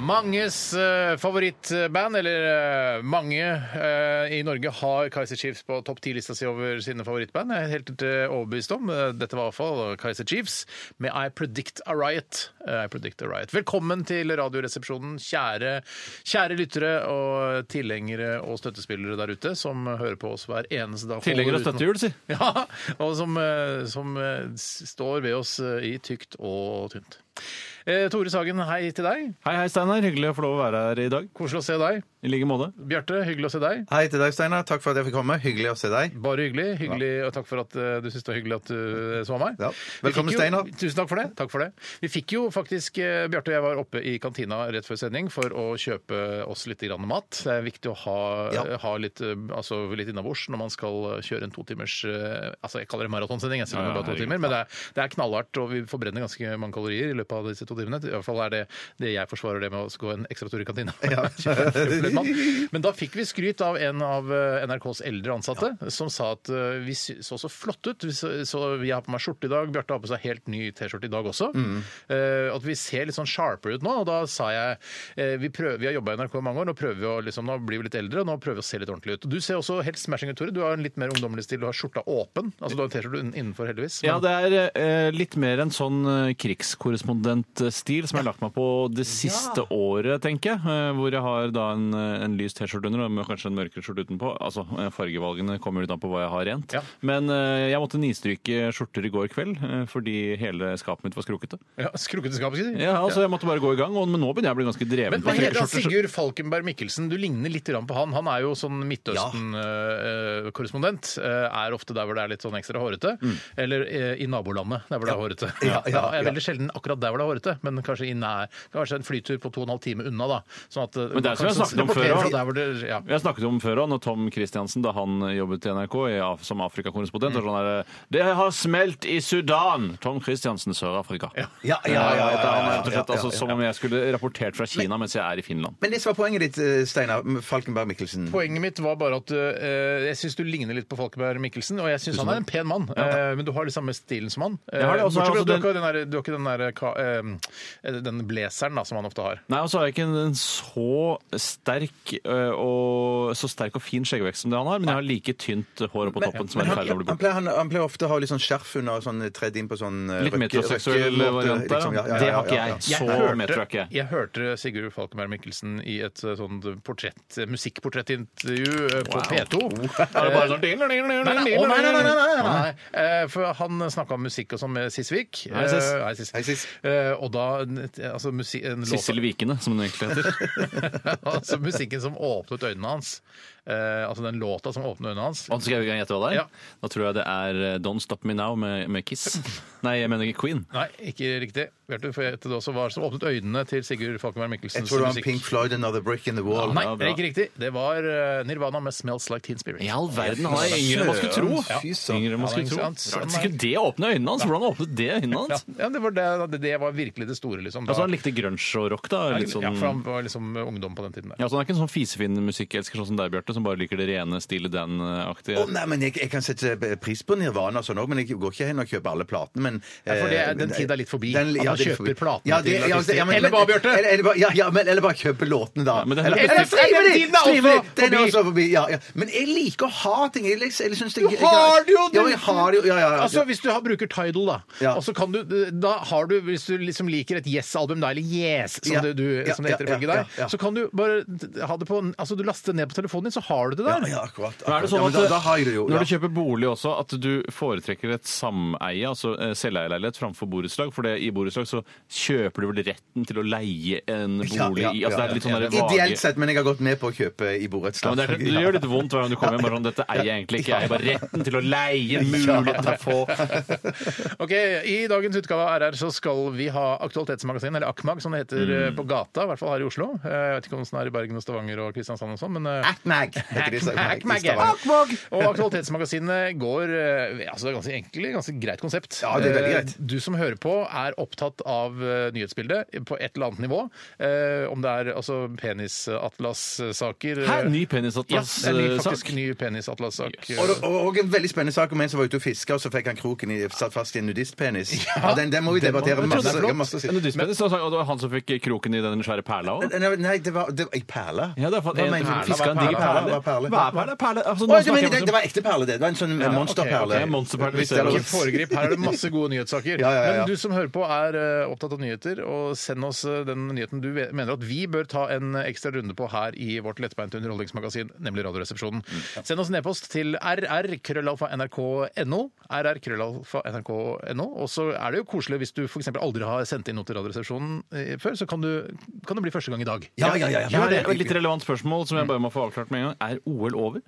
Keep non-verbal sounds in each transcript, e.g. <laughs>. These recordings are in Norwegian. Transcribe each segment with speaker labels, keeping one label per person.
Speaker 1: Manges eh, favorittband, eller eh, mange eh, i Norge har Kaiser Chiefs på topp 10-lista si over sine favorittband. Jeg er helt eh, overbevist om. Eh, Dette var iallfall Kaiser Chiefs med I Predict a Riot. Eh, I Predict a Riot. Velkommen til Radioresepsjonen, kjære, kjære lyttere og tilhengere og støttespillere der ute som hører på oss hver eneste dag.
Speaker 2: Tilhengere av
Speaker 1: Uten- <laughs>
Speaker 2: støttehjul, si.
Speaker 1: Ja, og som, eh, som eh, s- står ved oss eh, i tykt og tynt. Eh, Tore Sagen, hei til deg.
Speaker 2: Hei, hei, Steinar. Hyggelig å få lov å være her i dag.
Speaker 1: Koselig å se deg.
Speaker 2: I like måte.
Speaker 1: Bjarte, hyggelig å se deg.
Speaker 3: Hei til deg, Steinar. Takk for at jeg fikk komme. Hyggelig å se deg.
Speaker 1: Bare hyggelig. hyggelig og takk for at eh, du syntes det var hyggelig at du så meg.
Speaker 3: Ja.
Speaker 1: Vi
Speaker 3: Velkommen,
Speaker 1: fikk jo-
Speaker 3: Steinar.
Speaker 1: Tusen takk for det. takk for det. Vi fikk jo faktisk eh, Bjarte og jeg var oppe i kantina rett før sending for å kjøpe oss litt grann mat. Det er viktig å ha,
Speaker 3: Ja.
Speaker 1: ha litt, eh, altså, litt innabords når man skal kjøre en to timers eh, Altså, jeg kaller det maratonsending, jeg, selv om det
Speaker 2: Ja, ja,
Speaker 1: bare er to
Speaker 2: herregud.
Speaker 1: timer, men det er, det er knallhardt, og vi forbrenner ganske mange kalorier i løpet av disse to timene. I hvert fall er det det jeg forsvarer det med å gå en ekstra tur i kantina. <laughs>
Speaker 3: <laughs>
Speaker 1: Kjøpe litt mat. Men da fikk vi skryt av en av eh, NRKs eldre ansatte, som sa at eh, vi sy- så så flott ut. Vi så, så jeg har på meg skjorte i dag, Bjarte har på seg helt ny T-skjorte i dag også.
Speaker 2: Mm.
Speaker 1: Eh, at vi ser litt sånn sharpere ut nå. Og da sa jeg eh, vi, prøver, vi har jobba i NRK i mange år, nå, prøver vi å, liksom, nå blir vi litt eldre, og nå prøver vi å se litt ordentlig ut. Du ser også helt smashing ut, Tore. Du har en litt mer ungdommelig stil, du har skjorta åpen. Altså du har en T-skjorte innenfor, heldigvis.
Speaker 2: Ja, det er eh, litt mer en sånn eh, krigskorrespondentstil som jeg har lagt meg på det siste året, tenker jeg. Eh, hvor jeg har da en, eh, en lys T-skjorte under og kanskje en mørkere skjorte utenpå. Altså, eh, fargevalgene kommer litt an på hva jeg har rent.
Speaker 1: Ja.
Speaker 2: Men eh, jeg måtte nistryke skjorter i går kveld eh, fordi hele skapet mitt var skrukkete.
Speaker 1: Ja, Skrukkete skap, skal jeg si.
Speaker 2: Ja, altså jeg måtte bare gå i gang, og, men nå begynner jeg å bli ganske dreven
Speaker 1: Men hva
Speaker 2: på
Speaker 1: heter han?
Speaker 2: skrukkeskjorter.
Speaker 1: Sigurd Falkenberg Mikkelsen. Du ligner litt grann på han. Han er jo sånn Midtøsten-korrespondent. eh, Er ofte der hvor det er litt sånn ekstra hårete. Eller eh, i nabolandet, der hvor det er hårete.
Speaker 3: Mm. Ja, ja,
Speaker 1: Jeg er
Speaker 3: ja.
Speaker 1: veldig sjelden akkurat der hvor det er hårete, men kanskje i nær Kanskje en flytur på to og en halv time unna, da. Sånn at,
Speaker 2: Men det er som jeg snakket om før,
Speaker 1: rapportere
Speaker 2: da.
Speaker 1: fra der hvor det, ja.
Speaker 2: Vi har snakket om før også, når Tom Christiansen, da han jobbet i NRK i Af- som Afrikakorrespondent, var sånn der, Det har smelt i Sudan! Tom Christiansen, Sør-Afrika.
Speaker 3: Ja, ja, ja, ja,
Speaker 2: Det er han,
Speaker 3: ja,
Speaker 2: rett og
Speaker 3: ja,
Speaker 2: slett, altså,
Speaker 3: ja, ja.
Speaker 2: Som om jeg skulle rapportert fra Kina mens jeg er i Finland.
Speaker 3: Men det som var poenget ditt, eh, Steinar Falkenberg Mikkelsen.
Speaker 1: Poenget mitt var bare at eh, jeg syns du ligner litt på Falkenberg Mikkelsen. Og jeg syns han er en pen mann, eh, men du har litt samme stilen som han. Eh,
Speaker 2: Jeg har det, og så
Speaker 1: Bortsett
Speaker 2: har jeg
Speaker 1: fra at du har
Speaker 2: også
Speaker 1: ikke den der- du har ikke den der ka- eh, den blazeren da, som han ofte har.
Speaker 2: Nei, og så har jeg ikke en- en så sterk, ø, og, så sterk og fin skjeggevekst som det han har, men jeg har like tynt hår oppå toppen som
Speaker 3: Men
Speaker 2: er i
Speaker 3: han,
Speaker 2: ferd med å bli
Speaker 3: han,
Speaker 2: borte.
Speaker 3: pleier, han, han pleier ofte å ha litt sånn skjerf under og sånn tredd inn på sånn eh,
Speaker 2: Litt
Speaker 3: røkke-
Speaker 2: metroseksuell
Speaker 3: røkkemåte,
Speaker 2: variant der,
Speaker 3: liksom.
Speaker 2: ja.
Speaker 3: Ja, ja, ja,
Speaker 2: Det har ikke
Speaker 3: ja, ja.
Speaker 2: jeg. Så metro er ikke jeg.
Speaker 1: jeg hørte Sigurd Falkenberg Mikkelsen i et eh, sånt portrett, musikkportrettintervju eh, på P2.
Speaker 2: <laughs> Er det bare sånn
Speaker 1: Nei, nei, å, nei, nei, nei, nei, nei, nei. Eh, For han snakka om musikk og sånn med Siss Vik.
Speaker 2: Hei, Sis.
Speaker 1: Eh, Hei, Sis.
Speaker 3: Hei, Sis.
Speaker 1: Eh, Og da eh, altså, musi- en låt-
Speaker 2: Sissel Vikene, som den egentlig
Speaker 3: <laughs>
Speaker 2: heter.
Speaker 1: <laughs> altså musikken som åpnet øynene hans. Eh, altså den låta som åpnet øynene hans.
Speaker 2: Og så skal jeg gjette hva det er?
Speaker 1: Ja.
Speaker 2: Da tror jeg det er eh, Don't Stop Me Now med, med Kiss.
Speaker 3: <laughs>
Speaker 2: Nei, jeg mener ikke Queen.
Speaker 1: Nei, ikke riktig. Bjarte, får jeg gjette det også? Hva er det som åpnet øynene til Sigurd Falkenberg
Speaker 3: Jeg
Speaker 1: Mikkelsens
Speaker 3: tror det var
Speaker 1: musikk?
Speaker 3: Pink Floyd, 'Another Brick in the Wall'.
Speaker 1: Nei,
Speaker 2: Ja,
Speaker 1: det
Speaker 2: bra.
Speaker 1: er ikke riktig. Det var eh, Nirvana med 'Smells Like Teen Spirit'.
Speaker 2: I all verden, han er yngre enn man skulle tro!
Speaker 3: Ja, fy søren.
Speaker 2: Yngre enn man
Speaker 1: Ja,
Speaker 2: skulle
Speaker 1: ikke
Speaker 2: tro.
Speaker 1: sant? Sånn
Speaker 2: Rart
Speaker 1: er-
Speaker 2: skulle det åpne øynene hans! Hvordan åpnet det øynene
Speaker 1: Ja,
Speaker 2: hans?
Speaker 1: ja det, var det, det var virkelig det store, liksom. Da-
Speaker 2: Altså, han likte grunge og rock, da. Litt sånn...
Speaker 1: Ja, for han var liksom ungdom på den tiden der.
Speaker 2: Ja, så Han er ikke en sånn fisefin musikkelsker sånn som deg, Bjarte, som bare liker det rene Stille Dan-aktige.
Speaker 3: Å, nei, men jeg, jeg kan sette pris på Nirvana og sånn òg, men jeg går ikke hen og kjøper alle platene. Men,
Speaker 1: for det er-
Speaker 3: eh, men-
Speaker 1: den tiden er litt forbi.
Speaker 3: Den-
Speaker 1: At man
Speaker 3: det er
Speaker 1: kjøper
Speaker 3: forbi.
Speaker 1: platene
Speaker 3: ja, det,
Speaker 1: til
Speaker 3: ja,
Speaker 1: artister.
Speaker 3: ja, men,
Speaker 1: Eller hva, Bjarte?
Speaker 3: Eller, eller, bare- ja, ja, men, eller bare kjøpe låtene, da.
Speaker 2: Ja, men den-
Speaker 3: eller,
Speaker 2: den-
Speaker 3: eller skrive
Speaker 1: den
Speaker 3: de!
Speaker 1: tiden er
Speaker 3: Skrive
Speaker 1: også
Speaker 3: de! Den er
Speaker 1: forbi.
Speaker 3: også forbi. Ja, ja. Men jeg liker å ha ting. Jeg, jeg, jeg synes det,
Speaker 1: Du har det jo, du-
Speaker 3: Ja, men jeg har det jo. Ja, ja, ja.
Speaker 1: Altså, Hvis du har, bruker Tidal, da
Speaker 3: Ja.
Speaker 1: og så kan du, da har du, Hvis du liksom liker et Yes-album, da, eller Yes, som,
Speaker 3: Ja.
Speaker 1: det, du,
Speaker 3: Ja,
Speaker 1: som det heter
Speaker 3: ja, ja,
Speaker 1: ifølge deg,
Speaker 3: ja, ja.
Speaker 1: så kan du bare ha det på Altså, du laster det ned på telefonen din, så har du det
Speaker 3: ja,
Speaker 1: der.
Speaker 3: ja, akkurat. akkurat.
Speaker 2: Men er det sånn
Speaker 3: ja,
Speaker 2: at
Speaker 3: men da, da har jeg det jo.
Speaker 2: Når du
Speaker 3: Ja.
Speaker 2: kjøper bolig også, at du foretrekker et sameie, altså eh, selveierleilighet, framfor borettslag? For det, i borettslag så kjøper du vel retten til å leie en bolig
Speaker 3: Ja, ja,
Speaker 2: i altså, Det er litt sånn
Speaker 3: ja,
Speaker 2: der
Speaker 3: ja.
Speaker 2: vage
Speaker 3: Ideelt sett, men jeg har gått med på å kjøpe i
Speaker 2: ja,
Speaker 3: borettslag.
Speaker 2: men det, er, det gjør litt vondt hver gang du kommer hjem. Bare sånn, Dette eier jeg egentlig ikke. Jeg har bare retten til å leie, muligheten til å få
Speaker 1: Ok, I dagens utgave av RR så skal vi ha Aktualitetsmagasin, eller
Speaker 3: Mm.
Speaker 1: AKMAG som det heter eh, på gata, i hvert fall her i Oslo. Eh, Jeg vet ikke om den er i Bergen og Stavanger og Kristiansand og sånn, men eh,
Speaker 3: At meg! Mag. Heter de, så-
Speaker 1: Hack
Speaker 3: Mag
Speaker 1: Mag,
Speaker 3: i Stavanger.
Speaker 1: Og Aktualitetsmagasinet går eh, altså ganske egentlig ganske greit konsept.
Speaker 3: Ja, det er veldig greit.
Speaker 1: Eh, Du som hører på, er opptatt av eh, nyhetsbildet på et eller annet nivå. Eh, Om det er altså penisatlas-saker eh,
Speaker 2: Hæ, ny
Speaker 1: Ja, det er ny-
Speaker 2: eh, penisatlas-sak?
Speaker 1: faktisk ny penisatlas-sak. eh,
Speaker 3: Og, og, og en veldig spennende sak om en som var ute og fiska, og så fikk han kroken i, satt fast i en nudistpenis. Ja, den, den må vi debattere
Speaker 2: Jeg trodde
Speaker 3: masse.
Speaker 2: det var
Speaker 3: masse å si.
Speaker 2: En nudistpenis, og det var han som fikk kroken i den svære perla òg?
Speaker 3: Nei, Nei, det var, det var ei perle.
Speaker 2: Ja, det er for-
Speaker 3: Hva
Speaker 2: en
Speaker 3: mener du?
Speaker 2: perle,
Speaker 3: Fiska
Speaker 2: hva er
Speaker 3: en diger
Speaker 2: perle?
Speaker 3: perle? Hva er perle?
Speaker 2: Hva er perle? perle? Altså, nå
Speaker 3: Å, du
Speaker 2: snakker
Speaker 3: mener,
Speaker 2: jeg
Speaker 3: det,
Speaker 2: om-
Speaker 3: det var ekte perle, det. Det var en sånn monsterperle.
Speaker 2: ok, monsterperle,
Speaker 3: Hvis
Speaker 2: vi
Speaker 3: det
Speaker 2: ser
Speaker 3: er lov å
Speaker 1: Ikke foregrip, her er det masse gode nyhetssaker.
Speaker 3: <laughs> Ja, ja, ja, ja.
Speaker 1: Men du som hører på er eh, opptatt av nyheter, og send oss eh, den nyheten du ve- mener at vi bør ta en eh, ekstra runde på her i vårt lettbeinte underholdningsmagasin, nemlig Radioresepsjonen.
Speaker 3: Mm,
Speaker 1: Send oss en e-post til rr.krøllalfa.nrk.no, rr.krøllalfa.nrk.no, og så er det jo koselig hvis du f.eks. aldri har sendt inn noe til Radioresepsjonen eh, før, så kan, du, kan det bli første gang i dag.
Speaker 3: Ja, ja, ja. ja.
Speaker 2: Jeg har et litt relevant spørsmål som jeg bare må få avklart med en gang. Er OL over?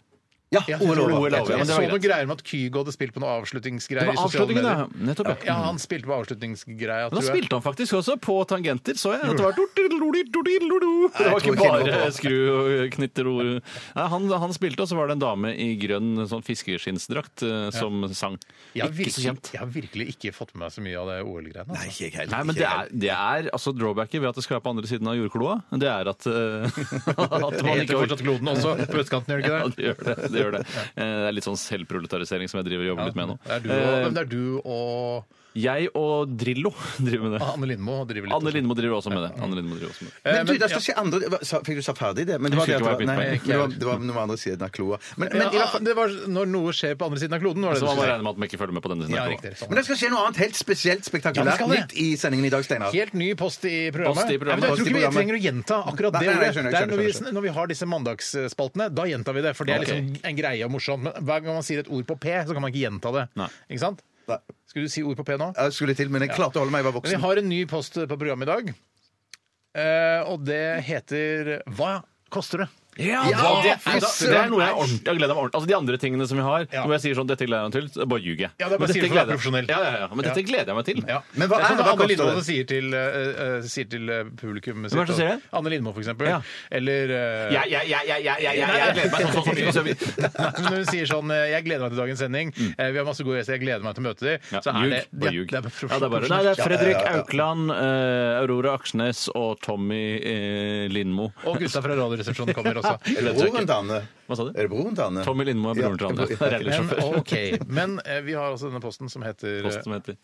Speaker 3: Ja,
Speaker 1: Jeg,
Speaker 3: OL over.
Speaker 2: OL
Speaker 1: jeg,
Speaker 2: over, ja, men det
Speaker 1: så
Speaker 2: var
Speaker 1: noen
Speaker 2: greit.
Speaker 1: greier med at Kygo hadde spilt på noen avslutningsgreier
Speaker 2: Det var
Speaker 1: i sosiale
Speaker 2: avslutningen,
Speaker 1: medier.
Speaker 2: ja. Nettopp,
Speaker 1: Ja,
Speaker 2: ja.
Speaker 1: han spilte på avslutningsgreia,
Speaker 2: Men Da
Speaker 1: tror jeg.
Speaker 2: spilte han faktisk også på tangenter, så jeg. At det var do-di-do-di-do-di-do-do. Det var
Speaker 3: tror
Speaker 2: ikke
Speaker 3: ikke det var
Speaker 2: bare
Speaker 3: på.
Speaker 2: skru og knitter og Nei, han, han spilte, og så var det en dame i grønn sånn fiskeskinnsdrakt eh, som sang.
Speaker 1: Jeg har,
Speaker 2: Ikke
Speaker 1: virkelig,
Speaker 2: så kjent.
Speaker 1: jeg har virkelig ikke fått med meg så mye av det OL-greiene.
Speaker 3: Nei,
Speaker 1: Altså.
Speaker 3: ikke jeg
Speaker 2: Nei,
Speaker 3: heller.
Speaker 2: men det er, det er altså drawbacket ved at det skal være på andre siden av jordkloa. Det er at, eh, <laughs> at
Speaker 1: Det
Speaker 2: man
Speaker 1: heter
Speaker 2: ikke
Speaker 1: fortsatt Gloden også, på østkanten, gjør det
Speaker 2: <laughs> Ja,
Speaker 1: ikke det?
Speaker 2: det gjør det. Det, gjør det. Eh, det er litt sånn selvproletarisering som jeg driver og jobber litt med nå.
Speaker 1: Det er du og, men det er du og
Speaker 2: Eh, Jeg og Drillo <laughs> driver med det.
Speaker 1: Anne Lindmo driver Ah, litt.
Speaker 2: Anne Lindmo driver også med det. Anne Lindmo driver også med det.
Speaker 1: Eh,
Speaker 3: Men du, det
Speaker 1: ja.
Speaker 3: står ikke andre hva, sa, Fikk du sa ferdig det? Men det
Speaker 2: Jeg husker ikke
Speaker 3: var det, at det, var,
Speaker 2: hva
Speaker 3: nei,
Speaker 1: begynte
Speaker 2: jeg
Speaker 1: på.
Speaker 3: det, var, det var noe andre siden av kloa. Men, men, i
Speaker 1: ja,
Speaker 3: hvert fall-
Speaker 1: det var når noe skjer på andre siden av kloden, var det
Speaker 2: Så man må
Speaker 1: det
Speaker 2: regne med at man ikke følger med på denne siden.
Speaker 1: Ja,
Speaker 2: av
Speaker 1: riktig.
Speaker 2: kloa.
Speaker 3: men det skal skje noe annet helt spesielt
Speaker 1: Ja, det
Speaker 3: spektakulært
Speaker 1: skal det.
Speaker 3: nytt i sendingen i dag, Steinar.
Speaker 1: Helt ny post i programmet.
Speaker 2: Post i
Speaker 1: Nei, men
Speaker 2: programmet.
Speaker 1: Jeg
Speaker 3: Post
Speaker 1: tror ikke vi
Speaker 3: i programmet.
Speaker 1: trenger å gjenta akkurat det.
Speaker 3: Nei, nei, nei, jeg
Speaker 1: ordet.
Speaker 3: skjønner,
Speaker 1: Det
Speaker 3: jeg
Speaker 1: er
Speaker 3: skjønner,
Speaker 1: når,
Speaker 3: jeg
Speaker 1: vi, når vi har disse mandagsspaltene, da gjentar vi det. For det er
Speaker 2: Ok.
Speaker 1: liksom en greie og morsomt. Men hver gang man sier et ord på P, så kan man ikke gjenta det.
Speaker 2: Nei.
Speaker 1: Ikke sant?
Speaker 3: Nei.
Speaker 1: Skulle du si ord på P nå?
Speaker 3: Jeg skulle til, men jeg klarte å holde meg, jeg
Speaker 1: Men
Speaker 3: var
Speaker 1: vi
Speaker 3: voksen.
Speaker 1: har en ny post på programmet i dag, eh, og det heter Hva koster det?
Speaker 2: Ja,
Speaker 1: Ja,
Speaker 2: det,
Speaker 1: fy
Speaker 2: er, det er noe jeg ordentlig jeg gleder meg ordentlig. Altså De andre tingene som vi har,
Speaker 1: Ja.
Speaker 2: hvor jeg sier sånn 'dette gleder jeg meg til', så bare ljuger
Speaker 1: Ja,
Speaker 2: jeg.
Speaker 1: det er bare
Speaker 2: Men dette
Speaker 1: sier du for å være
Speaker 2: gleder jeg-
Speaker 1: profesjonell.
Speaker 2: Ja, ja, ja. Men dette
Speaker 1: Ja.
Speaker 2: gleder jeg meg til.
Speaker 1: Ja.
Speaker 3: Men hva
Speaker 1: det er sånn
Speaker 3: er- hva
Speaker 1: Anne
Speaker 3: koster
Speaker 1: Lindmo
Speaker 3: det?
Speaker 1: sier til, eh, eh, sier til eh, publikumet sitt.
Speaker 2: Hvem er det som sier det?
Speaker 1: Anne Lindmo, for eksempel.
Speaker 2: Ja.
Speaker 1: Eller eh,
Speaker 2: Ja, ja, ja, ja, ja, ja, ja, jeg gleder meg sånn, sånn, sånn, sånn, sånn.
Speaker 1: <laughs> Nei, men når hun sier sånn eh, 'Jeg gleder meg til dagens sending', eh, 'Vi har masse gode gjester, jeg gleder meg til å møte dem',
Speaker 2: Ja,
Speaker 1: så er
Speaker 2: ljug,
Speaker 1: det
Speaker 2: bare ljug.
Speaker 1: Ja, det er
Speaker 2: Ja, det er bare, nei, det er Fredrik Aukland, eh, sånn, Aurora Aksnes og Tommy eh, Lindmo.
Speaker 1: Og gutta fra Radioresepsjonen kommer også.
Speaker 2: <laughs>
Speaker 3: Er det broren til Anne?
Speaker 2: Hva sa du?
Speaker 3: Er det broren til Anne?
Speaker 2: Tommy Lindmo er broren til <laughs> Anne.
Speaker 1: Men,
Speaker 2: Rallysjåfør.
Speaker 1: OK.
Speaker 2: <laughs>
Speaker 1: Men eh, vi har altså denne posten som heter
Speaker 2: Post som heter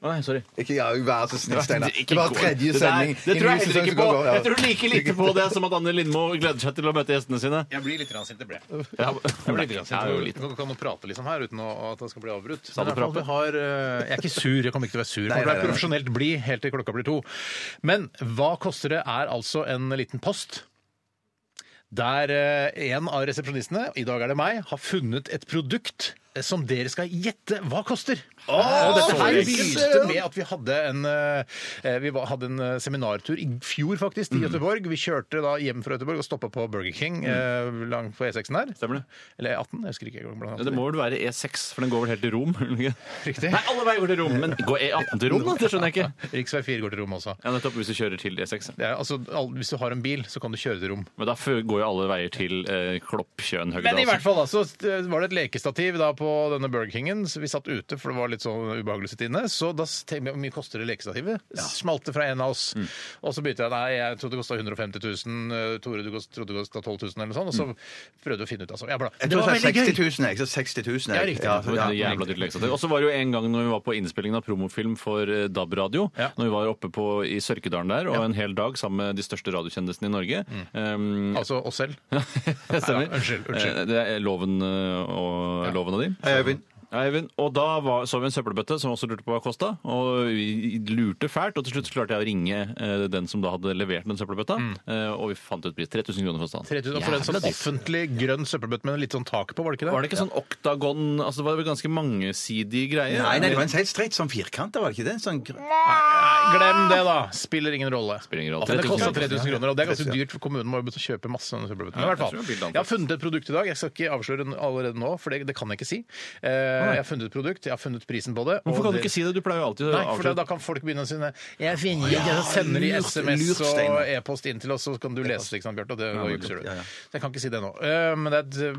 Speaker 2: Å nei, sorry.
Speaker 3: Ikke ja, vær så
Speaker 2: <laughs>
Speaker 3: snill, Steinar.
Speaker 2: Ikke
Speaker 3: Det var
Speaker 2: gå.
Speaker 3: tredje
Speaker 2: Det der-
Speaker 3: sending.
Speaker 2: Det tror jeg heller ikke på.
Speaker 3: Ja.
Speaker 2: Jeg tror like lite på det som at Anne Lindmo gleder seg til å møte gjestene sine.
Speaker 1: Jeg blir litt sint, det ble jeg.
Speaker 2: Ja,
Speaker 1: <laughs> Jeg blir litt
Speaker 2: Ja,
Speaker 1: sint.
Speaker 2: jo,
Speaker 1: Vi
Speaker 2: litt.
Speaker 1: kan, kan jo prate liksom her uten å, at det skal bli avbrutt.
Speaker 2: du
Speaker 1: Men i hvert fall, vi
Speaker 2: prate?
Speaker 1: har, eh, jeg er ikke sur, jeg kommer ikke til å være sur.
Speaker 3: Nei,
Speaker 1: Jeg
Speaker 3: nei, nei.
Speaker 1: er profesjonelt blid helt til klokka blir to. Men hva koster det er altså en liten post. Der eh, en av resepsjonistene, i dag er det meg, har funnet et produkt eh, som dere skal gjette hva koster. og dette her begynte med at vi hadde en, eh, vi var, hadde en eh, seminartur i fjor faktisk
Speaker 3: Mm.
Speaker 1: til Göteborg. Vi kjørte da hjem fra Göteborg og stoppa på Burger King eh,
Speaker 3: Mm.
Speaker 1: langt på E6-en her.
Speaker 2: Stemmer det.
Speaker 1: Eller E18, jeg husker ikke. Jeg kommer blant
Speaker 2: Det
Speaker 1: annet.
Speaker 2: må vel være E6, for den går vel helt til Rom? gjør den ikke?
Speaker 1: Riktig.
Speaker 2: Nei, alle veier går til Rom, men går E18 til Rom, da? Det skjønner jeg ikke.
Speaker 1: Riksvei 4 går til rom også.
Speaker 2: Ja, Nettopp hvis du kjører til E6. ja.
Speaker 1: Det er, altså, all, hvis du har en bil, så kan du kjøre til rom.
Speaker 2: Men da fø- går jo alle veier til eh, Klopp, Tjøen, Høgda.
Speaker 1: Men i
Speaker 2: altså.
Speaker 1: hvert fall altså, st- var det et lekestativ da på denne Burger Kingen. Så vi satt ute, for det var litt sånn ubehagelig å sitte inne. Så da tenkte jeg hvor mye koster det lekestativet? Smalt det fra en av oss. Og så begynte jeg nei, jeg trodde det kosta 150 000. eh, Tore, du kost- trodde det kosta 12 000 eller noe sånt. Og så prøvde vi å finne ut altså. Mm. Jeg bare,
Speaker 3: Jeg
Speaker 1: det
Speaker 3: tror
Speaker 1: var
Speaker 3: det er
Speaker 1: veldig
Speaker 3: 60
Speaker 1: gøy!
Speaker 3: 000, jeg. Så 60
Speaker 1: Ja,
Speaker 3: 000, jeg.
Speaker 1: riktig.
Speaker 2: Det var et jævla dyrt lekestativ. Og så var det jo en gang når vi var på innspillingen av promofilm for eh, DAB-radio,
Speaker 1: Ja.
Speaker 2: når vi var oppe på, i Sørkedalen der, og en hel dag sammen med de største radiokjendisene i Norge <laughs> um,
Speaker 1: Altså oss selv.
Speaker 2: Stemmer.
Speaker 1: Nei, unnskyld, unnskyld.
Speaker 2: Eh, Det er loven eh, og loven og din.
Speaker 3: Hei, Øyvind.
Speaker 2: Ja, Eivind. Og da var, så vi en søppelbøtte som også lurte på hva kosta, og vi lurte fælt. Og til slutt så klarte jeg å ringe eh, den som da hadde levert den søppelbøtta, eh, og vi fant ut pris. 3000 kroner kosta den.
Speaker 1: 3000, og for en sånn
Speaker 2: Jævla dyrt.
Speaker 1: offentlig grønn søppelbøtte med litt sånn tak på, var det ikke det?
Speaker 2: Var det ikke sånn oktagon altså Det var vel ganske mangesidig greie?
Speaker 3: Nei, nei, det var en helt streit sånn firkant, var det ikke det? Sånn gr-
Speaker 1: Nei, glem det, da. Spiller ingen rolle.
Speaker 2: Spiller ingen rolle.
Speaker 1: Men det
Speaker 2: 3000
Speaker 1: koster
Speaker 2: kroner.
Speaker 1: 3000 kroner, og det er ganske dyrt, for kommunen må jo begynne å kjøpe masse sånne superbøtter. Men i hvert
Speaker 2: jeg tror jeg
Speaker 1: fall,
Speaker 2: bildet
Speaker 1: jeg har funnet et produkt i dag. Jeg skal ikke avsløre den allerede nå, for det, det kan jeg ikke si. Eh, jeg har funnet et produkt, jeg har funnet prisen på det. og
Speaker 2: Hvorfor kan du
Speaker 1: dere-
Speaker 2: ikke si det? Du pleier jo alltid å
Speaker 1: Nei, for da,
Speaker 2: avslutte.
Speaker 1: da kan folk begynne å si Jeg finner ikke Så sender de
Speaker 3: lurt,
Speaker 1: SMS
Speaker 3: lurt,
Speaker 1: og
Speaker 3: Steinar.
Speaker 1: e-post inn til oss, så kan du lese det, ikke sant, Bjarte? Og det da jukser du.
Speaker 3: ja, ja.
Speaker 1: Så jeg kan ikke si det nå. Eh, Men det er et, eh,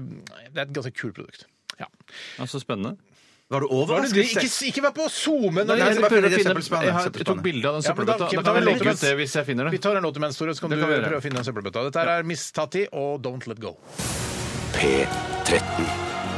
Speaker 1: det er et ganske kult produkt. Ja.
Speaker 2: Ja, så spennende.
Speaker 3: Var du
Speaker 1: Var det,
Speaker 3: overrasket?
Speaker 1: ikke, ikke vær på SoMe! når dere-
Speaker 3: Nei, det var
Speaker 2: prøver å
Speaker 3: fordi det er
Speaker 2: finne-
Speaker 3: søppelspannet,
Speaker 2: jeg har- jeg tok
Speaker 3: søppelspannet.
Speaker 2: bilde av
Speaker 1: Ja, men
Speaker 2: den
Speaker 1: da-
Speaker 2: søppelbøtta.
Speaker 1: ja,
Speaker 2: Da
Speaker 1: men da
Speaker 2: kan vi
Speaker 1: legger
Speaker 2: legge
Speaker 1: vi
Speaker 2: ut det hvis jeg finner
Speaker 1: Vi
Speaker 2: det.
Speaker 1: tar en låt imens, Tore, så kan
Speaker 2: Det
Speaker 1: du
Speaker 2: kan vi gjøre.
Speaker 1: prøve å finne en søppelbøtte. Dette her er Miss Tati og Don't Let Go.
Speaker 4: P13.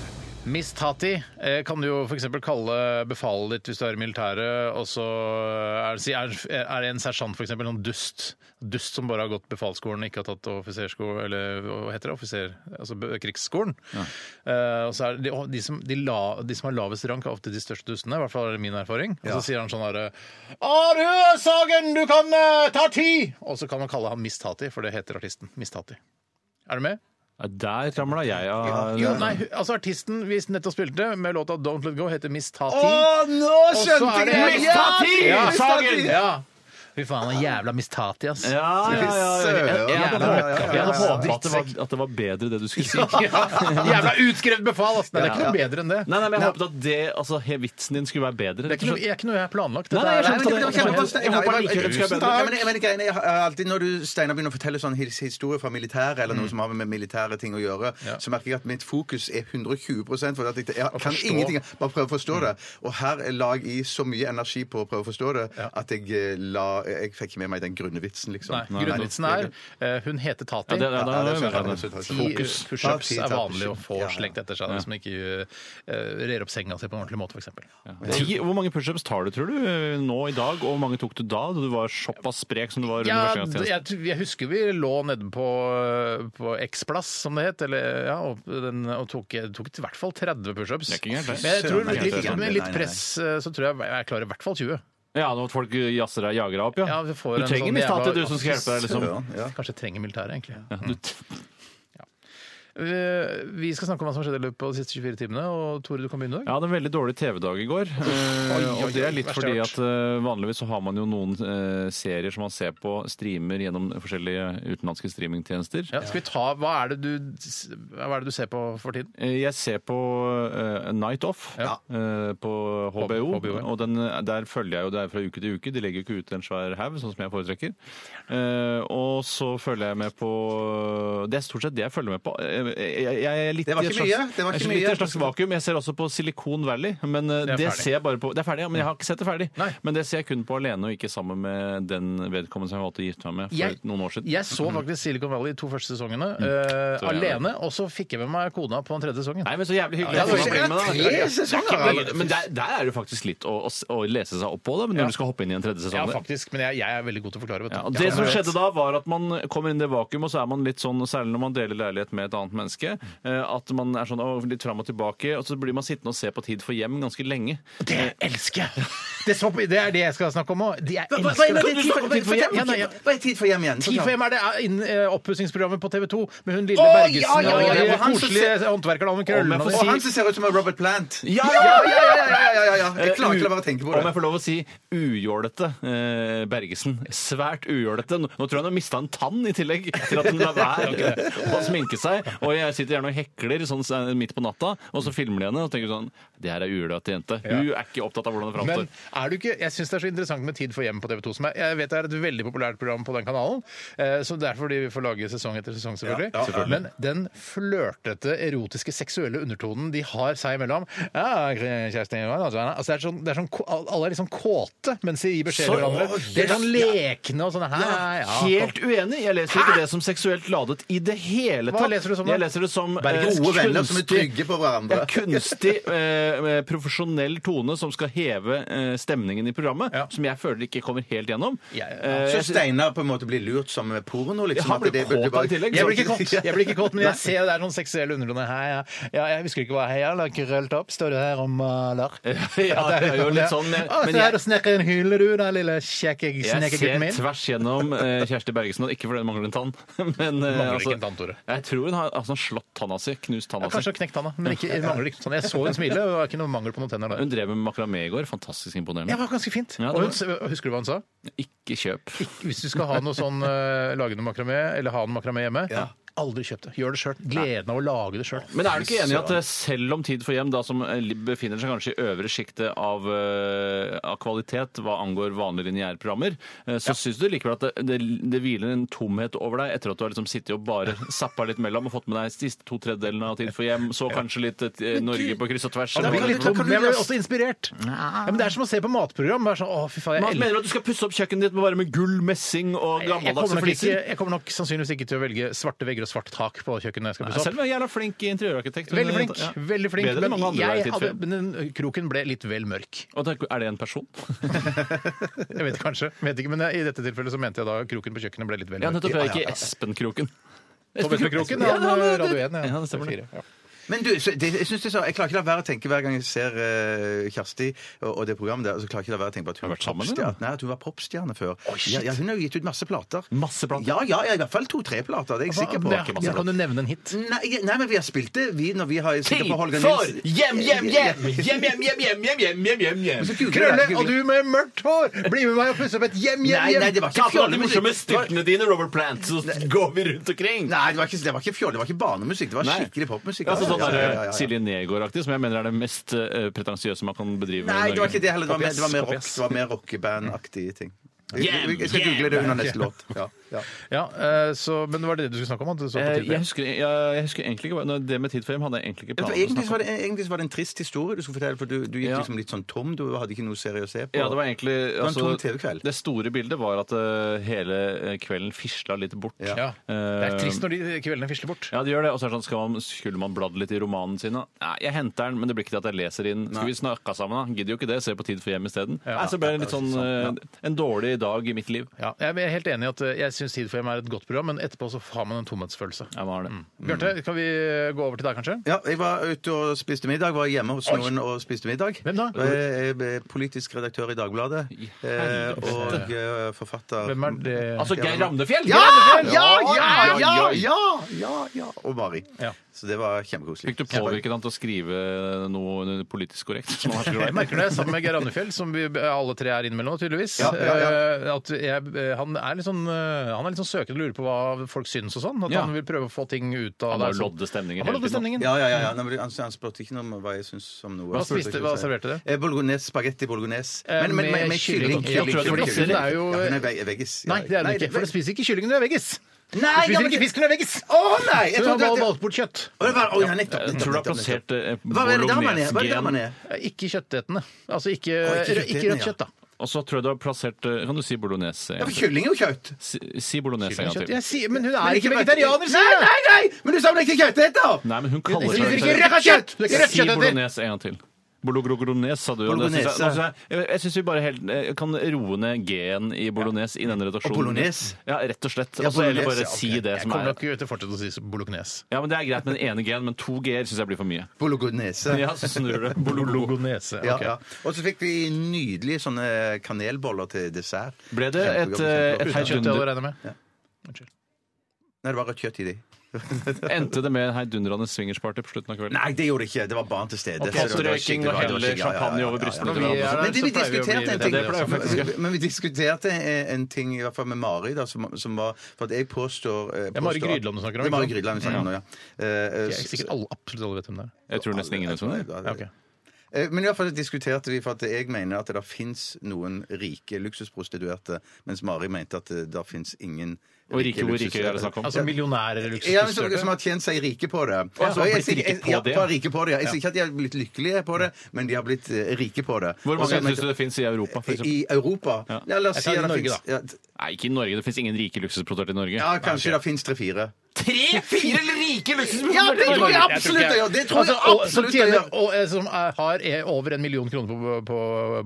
Speaker 1: Miss Tati eh, kan du jo f.eks. kalle befalet ditt hvis du er i militæret, og så er, si- er, er en sersjant f.eks. en dust. Dust som bare har gått befalsskolen, ikke har tatt offisersko, eller hva heter det, offiser, altså be- krigsskolen. Eh, og så er det, og de, som, de, la, de som har lavest rank, er ofte de største dustene, i hvert fall er det min erfaring. Og så sier han sånn herre Are Sagen, du kan eh, ta ti! Og så kan man kalle ham Miss Tati, for det heter artisten. Miss Tati. Er du med?
Speaker 2: Ja, Der ramla jeg av.
Speaker 1: Jo, nei, hu- altså Artisten vi nettopp spilte med låta 'Don't Let Go', heter Miss Tati.
Speaker 3: nå skjønte jeg!
Speaker 1: Miss Tati! Ja,
Speaker 3: Miss Tati!
Speaker 1: Sagen! Ja. Fy faen, han jævla Miss Tati, ass.
Speaker 2: Ja, ja, ja, ja. Jeg- jeg- Jeg hadde
Speaker 1: Jævla
Speaker 2: håpet- jeg hadde
Speaker 1: ja, ja, ja.
Speaker 2: håpet at det var- at det var bedre, det du skulle
Speaker 1: <laughs>
Speaker 2: si.
Speaker 1: <laughs> Jævla utskrevet befal, ass! Nei, det er ikke noe bedre enn det.
Speaker 2: Nei, nei, men jeg håpet at det, altså, he- vitsen din skulle være bedre.
Speaker 1: Det er ikke noe, er ikke noe jeg har planlagt.
Speaker 2: Nei, nei, jeg
Speaker 1: Dette er- Nei,
Speaker 2: skjønte det.
Speaker 1: men
Speaker 2: Jeg skjønte det.
Speaker 1: håper
Speaker 2: Jeg
Speaker 1: likevel-
Speaker 2: håper likevel-
Speaker 1: Tusen
Speaker 3: Ja,
Speaker 1: takk.
Speaker 3: men, jeg mener, greiene, jeg har alltid Når du Steinar, begynner å fortelle sånn his- historie fra militæret, eller noe som har med militære ting å gjøre,
Speaker 1: Mm. Ja.
Speaker 3: så merker jeg at mitt fokus er 120 for at jeg, jeg kan
Speaker 1: forstå. Mm.
Speaker 3: ingenting. Bare prøve å forstå det. Og her la jeg i så mye energi på å prøve å forstå det
Speaker 1: Ja.
Speaker 3: at jeg, eh, la, jeg fikk ikke med meg den grunne vitsen, liksom.
Speaker 1: Nei, Grunnvitsen er eh, hun heter Tati.
Speaker 2: Ja, det- ja, da
Speaker 3: Ja, det
Speaker 2: er
Speaker 3: skjønner jeg.
Speaker 2: det-
Speaker 3: Det skjønner jeg.
Speaker 1: Ti
Speaker 3: Fokus.
Speaker 1: pushups
Speaker 3: Ja, ti
Speaker 1: er vanlig å
Speaker 3: pushups.
Speaker 1: få
Speaker 3: Ja, ja.
Speaker 1: slengt etter seg hvis man ikke eh, rer opp senga si på en ordentlig måte, f.eks.
Speaker 2: Ti, hvor mange pushups tar du, tror du, nå i dag? Og hvor mange tok du da, da du var såpass sprek som du var? under
Speaker 1: Ja,
Speaker 2: første
Speaker 1: d-
Speaker 2: gangstjeneste?
Speaker 1: jeg, tr- jeg husker vi lå nede på, på X-plass, som det het, eller, ja, og, den, og tok, tok i hvert fall 30 pushups.
Speaker 2: Det er ikke gærent, det.
Speaker 1: Men jeg tror
Speaker 2: Søren, det er
Speaker 1: litt,
Speaker 2: ikke gærent.
Speaker 1: med
Speaker 3: Nei,
Speaker 1: litt
Speaker 3: nei, nei.
Speaker 1: press eh, så tror jeg jeg klarer i hvert fall 20.
Speaker 2: Ja, nå at folk jazzer deg, jager deg opp, ja.
Speaker 1: Ja, vi får
Speaker 2: du
Speaker 1: en
Speaker 2: trenger
Speaker 1: sånn
Speaker 2: Miss Tati,
Speaker 1: jævla-
Speaker 2: du som skal hjelpe deg, liksom.
Speaker 3: Ja, ja.
Speaker 1: Kanskje jeg trenger militæret, egentlig.
Speaker 2: Ja, du t-
Speaker 1: Eh, Vi skal snakke om hva som skjedde i løpet av de siste 24 timene, og Tore, du kan begynne i
Speaker 2: Jeg
Speaker 1: dag.
Speaker 2: hadde en veldig dårlig TV-dag i går. eh,
Speaker 1: Oi, oi,
Speaker 2: Og det
Speaker 1: oi,
Speaker 2: er litt
Speaker 1: verst
Speaker 2: fordi
Speaker 1: jeg har
Speaker 2: at eh, vanligvis så har man jo noen eh, serier som man ser på, streamer gjennom forskjellige utenlandske streamingtjenester.
Speaker 1: Ja, skal vi ta, hva, er det du, hva er det du ser på for tiden?
Speaker 2: Eh, Jeg ser på eh, A Night Off
Speaker 1: Ja.
Speaker 2: eh, på HBO,
Speaker 1: HBO, ja.
Speaker 2: og den, der følger jeg jo det er fra uke til uke. De legger jo ikke ut en svær haug, sånn som jeg foretrekker. Eh, og så følger jeg med på Det er stort sett det jeg følger med på. Eh, Jeg, jeg er litt
Speaker 3: Det var
Speaker 2: i et slags-
Speaker 3: ikke mye, det var
Speaker 2: jeg er litt
Speaker 3: ikke
Speaker 2: i
Speaker 3: mye.
Speaker 2: et slags vakuum. Jeg ser også på Silicon Valley, men eh,
Speaker 1: Det er
Speaker 2: det,
Speaker 1: ferdig.
Speaker 2: ser jeg bare på Det er ferdig, ja, men jeg har ikke sett det ferdig.
Speaker 1: Nei.
Speaker 2: Men det ser jeg kun på alene, og ikke sammen med den vedkommende som jeg valgte å gifte meg med for
Speaker 1: Jeg-
Speaker 2: noen år siden. Mm.
Speaker 1: Jeg så faktisk Silicon Valley i to første sesongene eh,
Speaker 2: Så jeg-
Speaker 1: alene, og så fikk jeg med meg kona på den tredje sesongen.
Speaker 2: Nei, men så jævlig
Speaker 1: Ja,
Speaker 2: hyggelig.
Speaker 1: det sånn, var
Speaker 2: Jeg får
Speaker 1: ikke-
Speaker 2: være med, da.
Speaker 3: Tre sesonger!
Speaker 2: Men,
Speaker 3: Harald.
Speaker 2: men der, der er det faktisk litt å, å, s- å lese seg opp på det, men
Speaker 1: Ja.
Speaker 2: når du skal hoppe inn i en tredje
Speaker 1: Ja,
Speaker 2: sesong.
Speaker 1: faktisk, men jeg, jeg er veldig god til å forklare. Vet du.
Speaker 2: Ja, og det som skjedde da, var at man kommer inn i det vakuum, og så er man litt sånn, og særlig når man deler leilighet med et annet
Speaker 1: Mm.
Speaker 2: menneske, eh, at man er sånn å, litt fram og tilbake, og så blir man sittende og se på Tid for hjem ganske lenge.
Speaker 1: Det elsker jeg! Det, så, det er det jeg skal snakke om òg. Jeg
Speaker 3: Hva, hva,
Speaker 1: elsker
Speaker 3: er
Speaker 1: det.
Speaker 3: tid for,
Speaker 1: Tid for hjem? Ja, nei, ja.
Speaker 3: hva er tid for hjem igjen?
Speaker 1: Tid for hjem er det er innen eh, oppussingsprogrammet på TV 2 med hun lille
Speaker 3: Å,
Speaker 1: Bergesen
Speaker 3: ja, ja, ja,
Speaker 1: og de
Speaker 3: og han som
Speaker 1: koselige håndverkerne om
Speaker 2: Om jeg
Speaker 1: krøllene.
Speaker 2: får
Speaker 1: og
Speaker 3: Og
Speaker 1: det.
Speaker 2: si-
Speaker 3: han som ser ut som Robert Plant.
Speaker 2: Ja,
Speaker 3: ja, ja, ja, ja, ja, ja, ja. Jeg klarer ikke å la være å tenke på
Speaker 2: Eh, Om jeg
Speaker 3: det.
Speaker 2: får lov å si ujålete eh, Bergesen. Svært ujålete. Nå nå tror jeg han har mista en tann i tillegg til at han lar
Speaker 3: <laughs>
Speaker 2: være eh, å sminke seg. Og jeg sitter gjerne og hekler sånn s- midt på natta, og så filmer de henne og tenker sånn Det her er ujålete jente. Hun er ikke opptatt av hvordan det
Speaker 1: Men
Speaker 2: framstår.
Speaker 1: er du ikke, jeg syns det er så interessant med Tid for hjem på TV 2. Som er, jeg vet det er et veldig populært program på den kanalen. Eh, så Derfor de får lage sesong etter sesong, selvfølgelig. Men den flørtete, erotiske, seksuelle undertonen de har seg imellom ja, Kjersti, hva er det? altså, det er sånn, det er sånn, ko- Alle er liksom kåte mens de gir beskjed til
Speaker 2: Så-
Speaker 1: hverandre.
Speaker 2: Å,
Speaker 1: Det er
Speaker 2: yes,
Speaker 1: sånn
Speaker 2: ja.
Speaker 1: lekne og sånn Hæ, ja,
Speaker 2: Helt uenig! Jeg leser ikke det som seksuelt ladet i det hele
Speaker 1: Hva
Speaker 2: tatt.
Speaker 1: leser du som da?
Speaker 2: Jeg leser det som eh,
Speaker 3: Gode venner som er
Speaker 2: kunstig-
Speaker 3: trygge på
Speaker 2: Det
Speaker 3: hverandre.
Speaker 2: er kunstig, eh, profesjonell tone som skal heve eh, stemningen i programmet,
Speaker 1: Ja.
Speaker 2: som jeg føler ikke kommer helt gjennom.
Speaker 1: Ja, ja.
Speaker 2: Eh,
Speaker 3: Så
Speaker 2: jeg sy-
Speaker 3: Steinar på en måte blir lurt som med porno? liksom.
Speaker 2: Ja, han
Speaker 3: at
Speaker 2: blir
Speaker 3: det burde
Speaker 2: kåt
Speaker 3: bare-
Speaker 2: i tillegg.
Speaker 1: Jeg blir ikke kåt,
Speaker 2: <laughs>
Speaker 1: jeg blir ikke kåt men jeg ser det er noen seksuelle undertoner. Hei, ja. ja, jeg husker ikke hva hei, eller krølt opp. Står du her eh, og maler?
Speaker 2: <laughs> ja, det er jo litt sånn, men,
Speaker 1: Å,
Speaker 2: men
Speaker 1: se her,
Speaker 2: jeg,
Speaker 1: du snekker en hyle, du, da, lille kjekke
Speaker 2: jeg
Speaker 1: snekegutten
Speaker 2: ser
Speaker 1: min.
Speaker 2: tvers gjennom eh, Kjersti Bergesen, og ikke fordi hun mangler en tann. <laughs> Men, eh,
Speaker 1: Mangler
Speaker 2: altså,
Speaker 1: ikke en tann, Tore.
Speaker 2: Jeg tror hun har, altså, slått tanna si, knust tanna
Speaker 1: Ja, kanskje
Speaker 2: si.
Speaker 1: hun knekte tanna, men ikke, det mangler ikke sånn. Jeg så hun smile, og det var ikke noe mangel på noen tenner der.
Speaker 2: Hun drev med makramé i går. Fantastisk
Speaker 1: Ja,
Speaker 2: imponerende.
Speaker 1: det var ganske fint.
Speaker 2: Ja, det
Speaker 1: og hun,
Speaker 2: var-
Speaker 1: s- husker du hva hun sa?
Speaker 2: Ikke kjøp.
Speaker 1: Ikke, hvis du skal ha noe sånn eh, lage noe makramé, eller ha noe makramé hjemme, aldri kjøp det. Gjør det sjøl. Gleden av å lage det sjøl.
Speaker 2: Men er du ikke enig i at eh, selv om Tid for hjem, da som eh, li- befinner seg kanskje i øvre sjiktet av, eh, av kvalitet hva angår vanlige lineærprogrammer, eh, så syns du likevel at det, det, det hviler en tomhet over deg etter at du har liksom sittet og bare <laughs> zappa litt mellom og fått med deg siste to tredjedelene av Tid for hjem, så kanskje litt eh, Norge på kryss og tvers?
Speaker 1: Ja,
Speaker 2: og-
Speaker 1: det blir litt
Speaker 2: Men-
Speaker 1: tungt, men jeg ble også inspirert. Ja, men det er som å se på matprogram. Bare sånn, å, fy faen, jeg
Speaker 2: Men Mener du at du skal pusse opp kjøkkenet ditt med bare med gull, messing og
Speaker 1: Jeg jeg kommer,
Speaker 2: gammeldagse
Speaker 1: nok ikke,
Speaker 2: fliser?
Speaker 1: jeg kommer nok sannsynligvis ikke til å velge svarte vegger og svart tak på kjøkkenet. jeg skal pusse
Speaker 2: Selv
Speaker 1: opp.
Speaker 2: om jeg er jævla flink interiørarkitekt.
Speaker 1: Veldig flink.
Speaker 2: Ja.
Speaker 1: veldig flink.
Speaker 2: Bedre enn mange
Speaker 1: Men
Speaker 2: andre der i
Speaker 1: jeg
Speaker 2: Tid for
Speaker 1: hadde,
Speaker 2: hjem.
Speaker 1: men den kroken ble litt vel mørk.
Speaker 2: Og tenk, Er det en person?
Speaker 1: Jeg vet kanskje, vet ikke, men i dette tilfellet så mente jeg da kroken på kjøkkenet ble litt vel
Speaker 2: Ja,
Speaker 1: mørk.
Speaker 2: nettopp. Jeg er ikke Espen-kroken.
Speaker 1: Tom Espen-kroken,
Speaker 2: Ja,
Speaker 1: han eh,
Speaker 2: ja, ja,
Speaker 1: Radio
Speaker 2: det-
Speaker 1: 1.
Speaker 2: eh, Ja, det stemmer det.
Speaker 1: Fire, ja.
Speaker 3: Men du, så, det, jeg, synes det er så, jeg klarer ikke la være å tenke hver gang jeg ser eh, Kjersti og, og det programmet der, så klarer jeg ikke la være å tenke på at hun,
Speaker 2: Har du vært sammen med
Speaker 3: popstjerne-
Speaker 2: henne?
Speaker 3: nei, at hun var popstjerne før. ja, ja, hun har jo gitt ut masse plater.
Speaker 2: Masse plater?
Speaker 3: Ja, ja, ja i hvert fall to-tre plater. Det er jeg sikker på.
Speaker 1: Det er ikke masse.
Speaker 3: Ja.
Speaker 1: Kan du nevne en hit?
Speaker 3: Nei, nei, men vi har spilt det, vi, når vi har sikkert på Holger
Speaker 5: for
Speaker 3: Nilsen.
Speaker 5: hjem, hjem, hjem! Hjem, hjem, hjem, hjem, hjem, hjem, hjem, hjem, hjem.
Speaker 3: Så googler jeg,
Speaker 1: Krølle
Speaker 3: googler
Speaker 1: og du med mørkt hår! Bli med meg og pusse opp et hjem, hjem,
Speaker 3: Nei,
Speaker 1: hjem!
Speaker 3: nei, det var ikke
Speaker 5: Alle de
Speaker 3: fjollemusikk.
Speaker 5: morsomme styrtene dine, Robert Plant, så går vi rundt omkring.
Speaker 3: Nei, det var ikke, det var ikke fjoll, det var ikke barnemusikk, det var
Speaker 2: Nei.
Speaker 3: skikkelig popmusikk.
Speaker 2: Altså, sånn
Speaker 3: Ja,
Speaker 2: der,
Speaker 3: ja, ja, ja, ja.
Speaker 2: Silje Negård-aktig, som jeg mener er det mest eh, pretensiøse man kan bedrive. i
Speaker 3: Nei, det var
Speaker 2: Norge.
Speaker 3: ikke det heller, det var mer, det var mer, rock,
Speaker 2: Kopias.
Speaker 3: det var mer rockeband-aktige ting. Jeg,
Speaker 5: Yeah,
Speaker 3: jeg, jeg skal
Speaker 5: yeah.
Speaker 3: google det under neste låt. Ja, ja.
Speaker 1: Ja, eh, så, men det var det du skulle snakke om? At du så på
Speaker 2: Eh, Jeg
Speaker 1: tidligere.
Speaker 2: husker, jeg, jeg husker egentlig ikke hva- når Det med Tid for hjem hadde jeg egentlig ikke
Speaker 3: Vet du,
Speaker 2: planer om å
Speaker 3: Egentlig,
Speaker 2: snakke
Speaker 3: så var
Speaker 2: om.
Speaker 3: det, egentlig så var det en trist historie du skulle fortelle, for du, du gikk
Speaker 2: Ja.
Speaker 3: liksom litt sånn tom. Du hadde ikke noe serie å se på.
Speaker 2: Ja, det var egentlig
Speaker 3: var en tom
Speaker 2: altså,
Speaker 3: TV-kveld.
Speaker 2: Det store bildet var at eh, hele eh, kvelden fisla litt bort.
Speaker 3: Ja.
Speaker 1: Ja. Det er trist når de kveldene fisler bort.
Speaker 2: Ja, det gjør det. Og så er det sånn, skal man, skulle man bladd litt i romanen sin? da? Nei, jeg henter den, men det blir ikke til at jeg leser inn. Skal vi snakke sammen, da? Gidder jo ikke det. Se på Tid for hjem isteden. Nei, så ble det litt sånn eh, en dårlig dag i mitt liv.
Speaker 1: Ja, jeg er helt enig i at eh, jeg syns Tid for hjem er et godt program, men etterpå så har man en tomhetsfølelse.
Speaker 2: Ja, man har
Speaker 3: Mm.
Speaker 2: det.
Speaker 1: Bjarte, kan vi gå over til deg, kanskje?
Speaker 3: Ja, jeg var ute og spiste middag. Var hjemme hos noen og spiste middag.
Speaker 1: Hvem da?
Speaker 3: Og Jeg jeg ble politisk redaktør i Dagbladet. eh, Og eh, forfatter
Speaker 1: Hvem er det?
Speaker 2: Altså Geir Ramnefjell!
Speaker 3: Ja!
Speaker 2: Geir Ramnefjell!
Speaker 3: Ja, ja,
Speaker 2: Oi,
Speaker 3: ja!
Speaker 2: oi, oi.
Speaker 3: ja, ja, ja. Og Mari.
Speaker 1: Ja.
Speaker 3: Så det var kjempekoselig.
Speaker 2: Fikk du påvirket han til å skrive noe politisk
Speaker 3: <laughs>
Speaker 2: korrekt? Som han er så glad i?
Speaker 1: Jeg merker det sammen med Geir Andefjell, som vi alle tre er innimellom, tydeligvis.
Speaker 3: Ja, ja,
Speaker 1: Eh, At jeg, eh, han, er litt sånn, eh, han er litt sånn søkende og lurer på hva folk syns og sånn. At
Speaker 2: Ja.
Speaker 1: han vil prøve å få ting ut av
Speaker 2: Han har
Speaker 1: det,
Speaker 2: jo
Speaker 1: sånn.
Speaker 2: lodde stemningen.
Speaker 1: Han har
Speaker 2: hele
Speaker 1: loddet
Speaker 2: tiden.
Speaker 1: stemningen.
Speaker 3: Ja, ja, ja, ja. Nei, men Han, han spurte ikke noe om hva jeg syns om noe.
Speaker 1: Hva
Speaker 3: Han spurte
Speaker 1: spiste-
Speaker 3: ikke,
Speaker 1: hva
Speaker 3: så jeg-
Speaker 1: serverte du?
Speaker 3: Eh, Bolognese, spagetti bolognese.
Speaker 1: Eh,
Speaker 3: Men, men, men,
Speaker 1: med
Speaker 3: men,
Speaker 1: kylling.
Speaker 3: kylling.
Speaker 1: Jeg tror det er
Speaker 3: kylling,
Speaker 1: det er jo- eh,
Speaker 3: Ja, hun er ve- veggis.
Speaker 1: Nei, det er det ikke. For du spiser ikke kyllingen, du er veggis. Du
Speaker 3: Nei, ja,
Speaker 1: spiser
Speaker 3: men-
Speaker 1: ikke fisk når du er veggis.
Speaker 3: Å nei!
Speaker 1: Så
Speaker 3: Jeg
Speaker 1: du
Speaker 3: trodde
Speaker 1: har
Speaker 3: at det-
Speaker 1: valgt bort kjøtt.
Speaker 3: Å, det var, å, ja, nettopp,
Speaker 2: Jeg tror du
Speaker 3: nettopp,
Speaker 2: har
Speaker 3: nettopp, nettopp.
Speaker 2: plassert eh,
Speaker 3: Hva er det der man er? Hva er det der man
Speaker 2: bolognesgen
Speaker 3: er?
Speaker 1: Eh, Ikke kjøttetende. Altså ikke,
Speaker 3: Å, ikke
Speaker 1: ikke
Speaker 3: kjøttetende,
Speaker 1: rødt
Speaker 3: ja.
Speaker 1: kjøtt, da.
Speaker 2: Og så tror jeg du har plassert eh, Kan du si bolognese?
Speaker 3: Ja,
Speaker 2: en gang
Speaker 3: for
Speaker 2: til?
Speaker 3: kylling er jo kjøtt.
Speaker 2: Si, si bolognese en gang
Speaker 1: Kjøtt.
Speaker 2: til.
Speaker 1: Jeg sier, men hun
Speaker 3: Men
Speaker 1: er ikke vegetarianer,
Speaker 3: sier jeg! Nei, nei, nei! Men du sa vel ikke kjøtteter?
Speaker 2: Nei, men hun kaller
Speaker 1: spiser
Speaker 2: seg
Speaker 1: ikke rødt kjøtt! Du er ikke rødt
Speaker 2: Si
Speaker 1: kjøtt, heter.
Speaker 2: bolognese en gang til. Bolognese, sa du. og det synes jeg-
Speaker 3: Bolognese.
Speaker 2: nå synes Jeg, jeg- jeg syns vi bare helt, eh, kan roe ned G-en i bolognese i denne redaksjonen.
Speaker 3: Og bolognese.
Speaker 2: Ja, rett og slett.
Speaker 3: Ja,
Speaker 2: Og så heller
Speaker 3: bolognese,
Speaker 2: bare
Speaker 3: ja, ok.
Speaker 2: si det
Speaker 1: Jeg
Speaker 2: som
Speaker 1: kommer
Speaker 2: er
Speaker 1: nok til å fortsette å si bolognese.
Speaker 2: Ja, men Det er greit med den ene G-en, men to G-er syns jeg blir for mye.
Speaker 3: Bolognese.
Speaker 2: Ja, så snur
Speaker 3: <laughs>
Speaker 2: det. Bololo.
Speaker 1: Bolognese.
Speaker 3: Ja,
Speaker 1: ok.
Speaker 3: ja. Og så fikk vi nydelige sånne kanelboller til dessert.
Speaker 2: Ble det et, eh,
Speaker 3: Kjempegodt,
Speaker 2: et
Speaker 3: kjempegodt.
Speaker 1: Uten kjøtt,
Speaker 2: Herdunder-
Speaker 1: jeg regner med.
Speaker 3: Nei, det var rødt kjøtt i de.
Speaker 2: Endte det med en heidundrende swingersparty på slutten av kvelden?
Speaker 3: Nei, det gjorde det ikke. Det var barn til stede.
Speaker 2: Og
Speaker 3: så det var- det var
Speaker 2: postrøyking
Speaker 3: skikkelig-
Speaker 2: og
Speaker 3: det var
Speaker 2: helle
Speaker 3: skikkelig- ja, ja, ja,
Speaker 2: champagne over
Speaker 3: ja, ja.
Speaker 2: brystet
Speaker 1: Når vi er der,
Speaker 3: Men det vi
Speaker 1: så pleier å bli
Speaker 3: diskuterte en ting
Speaker 1: invitert.
Speaker 2: Det pleier vi faktisk å
Speaker 3: Men- Men vi diskuterte en, en ting, i hvert fall med Mari, da, som, som var For at jeg påstår, eh,
Speaker 1: er Mari
Speaker 3: påstår-
Speaker 1: Grydland du snakker om,
Speaker 3: Det er Mari
Speaker 1: ikke sant?
Speaker 3: Grydland vi snakker om nå, ja. Eh, eh,
Speaker 1: Jeg er sikkert alle, absolutt alle vet hvem det er.
Speaker 2: Jeg tror nesten ingen sånn.
Speaker 3: Jeg
Speaker 2: vet om
Speaker 3: tror
Speaker 2: det.
Speaker 3: det.
Speaker 1: Ja, ok.
Speaker 3: Eh, Men i hvert fall diskuterte vi for at jeg mener at det fins noen rike luksusprostituerte, mens Mari mente at det der fins ingen
Speaker 2: Og rike hvor rike er det snakk om?
Speaker 1: Altså millionærer eller
Speaker 3: ja, men som, som
Speaker 1: luksusprostituerte.
Speaker 3: har tjent seg rike på det.
Speaker 2: Ja,
Speaker 3: Så jeg
Speaker 2: blitt
Speaker 3: sier-
Speaker 2: rike
Speaker 3: jeg-
Speaker 2: på
Speaker 3: ja,
Speaker 2: det.
Speaker 3: bare rike på det. ja. Jeg sier ikke at de har blitt lykkelige på det, men de har blitt eh, rike på det.
Speaker 2: Hvor
Speaker 3: Og så-
Speaker 2: mange syns du det fins i Europa? For eksempel?
Speaker 3: I Europa? Ja. la oss
Speaker 1: Jeg
Speaker 3: si
Speaker 1: tar
Speaker 3: at det
Speaker 1: Norge,
Speaker 3: fins ja,
Speaker 2: Nei, ikke i Norge. Det fins ingen rike luksusprodukter i Norge.
Speaker 3: ja, kanskje det fins tre-fire.
Speaker 5: Tre-fire rike luksusprodukter!
Speaker 3: Ja, det tror jeg
Speaker 1: Norge,
Speaker 3: absolutt
Speaker 1: jeg.
Speaker 3: jeg gjør! Det tror jeg
Speaker 1: Altså, og- som
Speaker 3: absolutt jeg
Speaker 1: tjener,
Speaker 3: gjør!
Speaker 1: og, eh, som er, har eh, over en million kroner på, på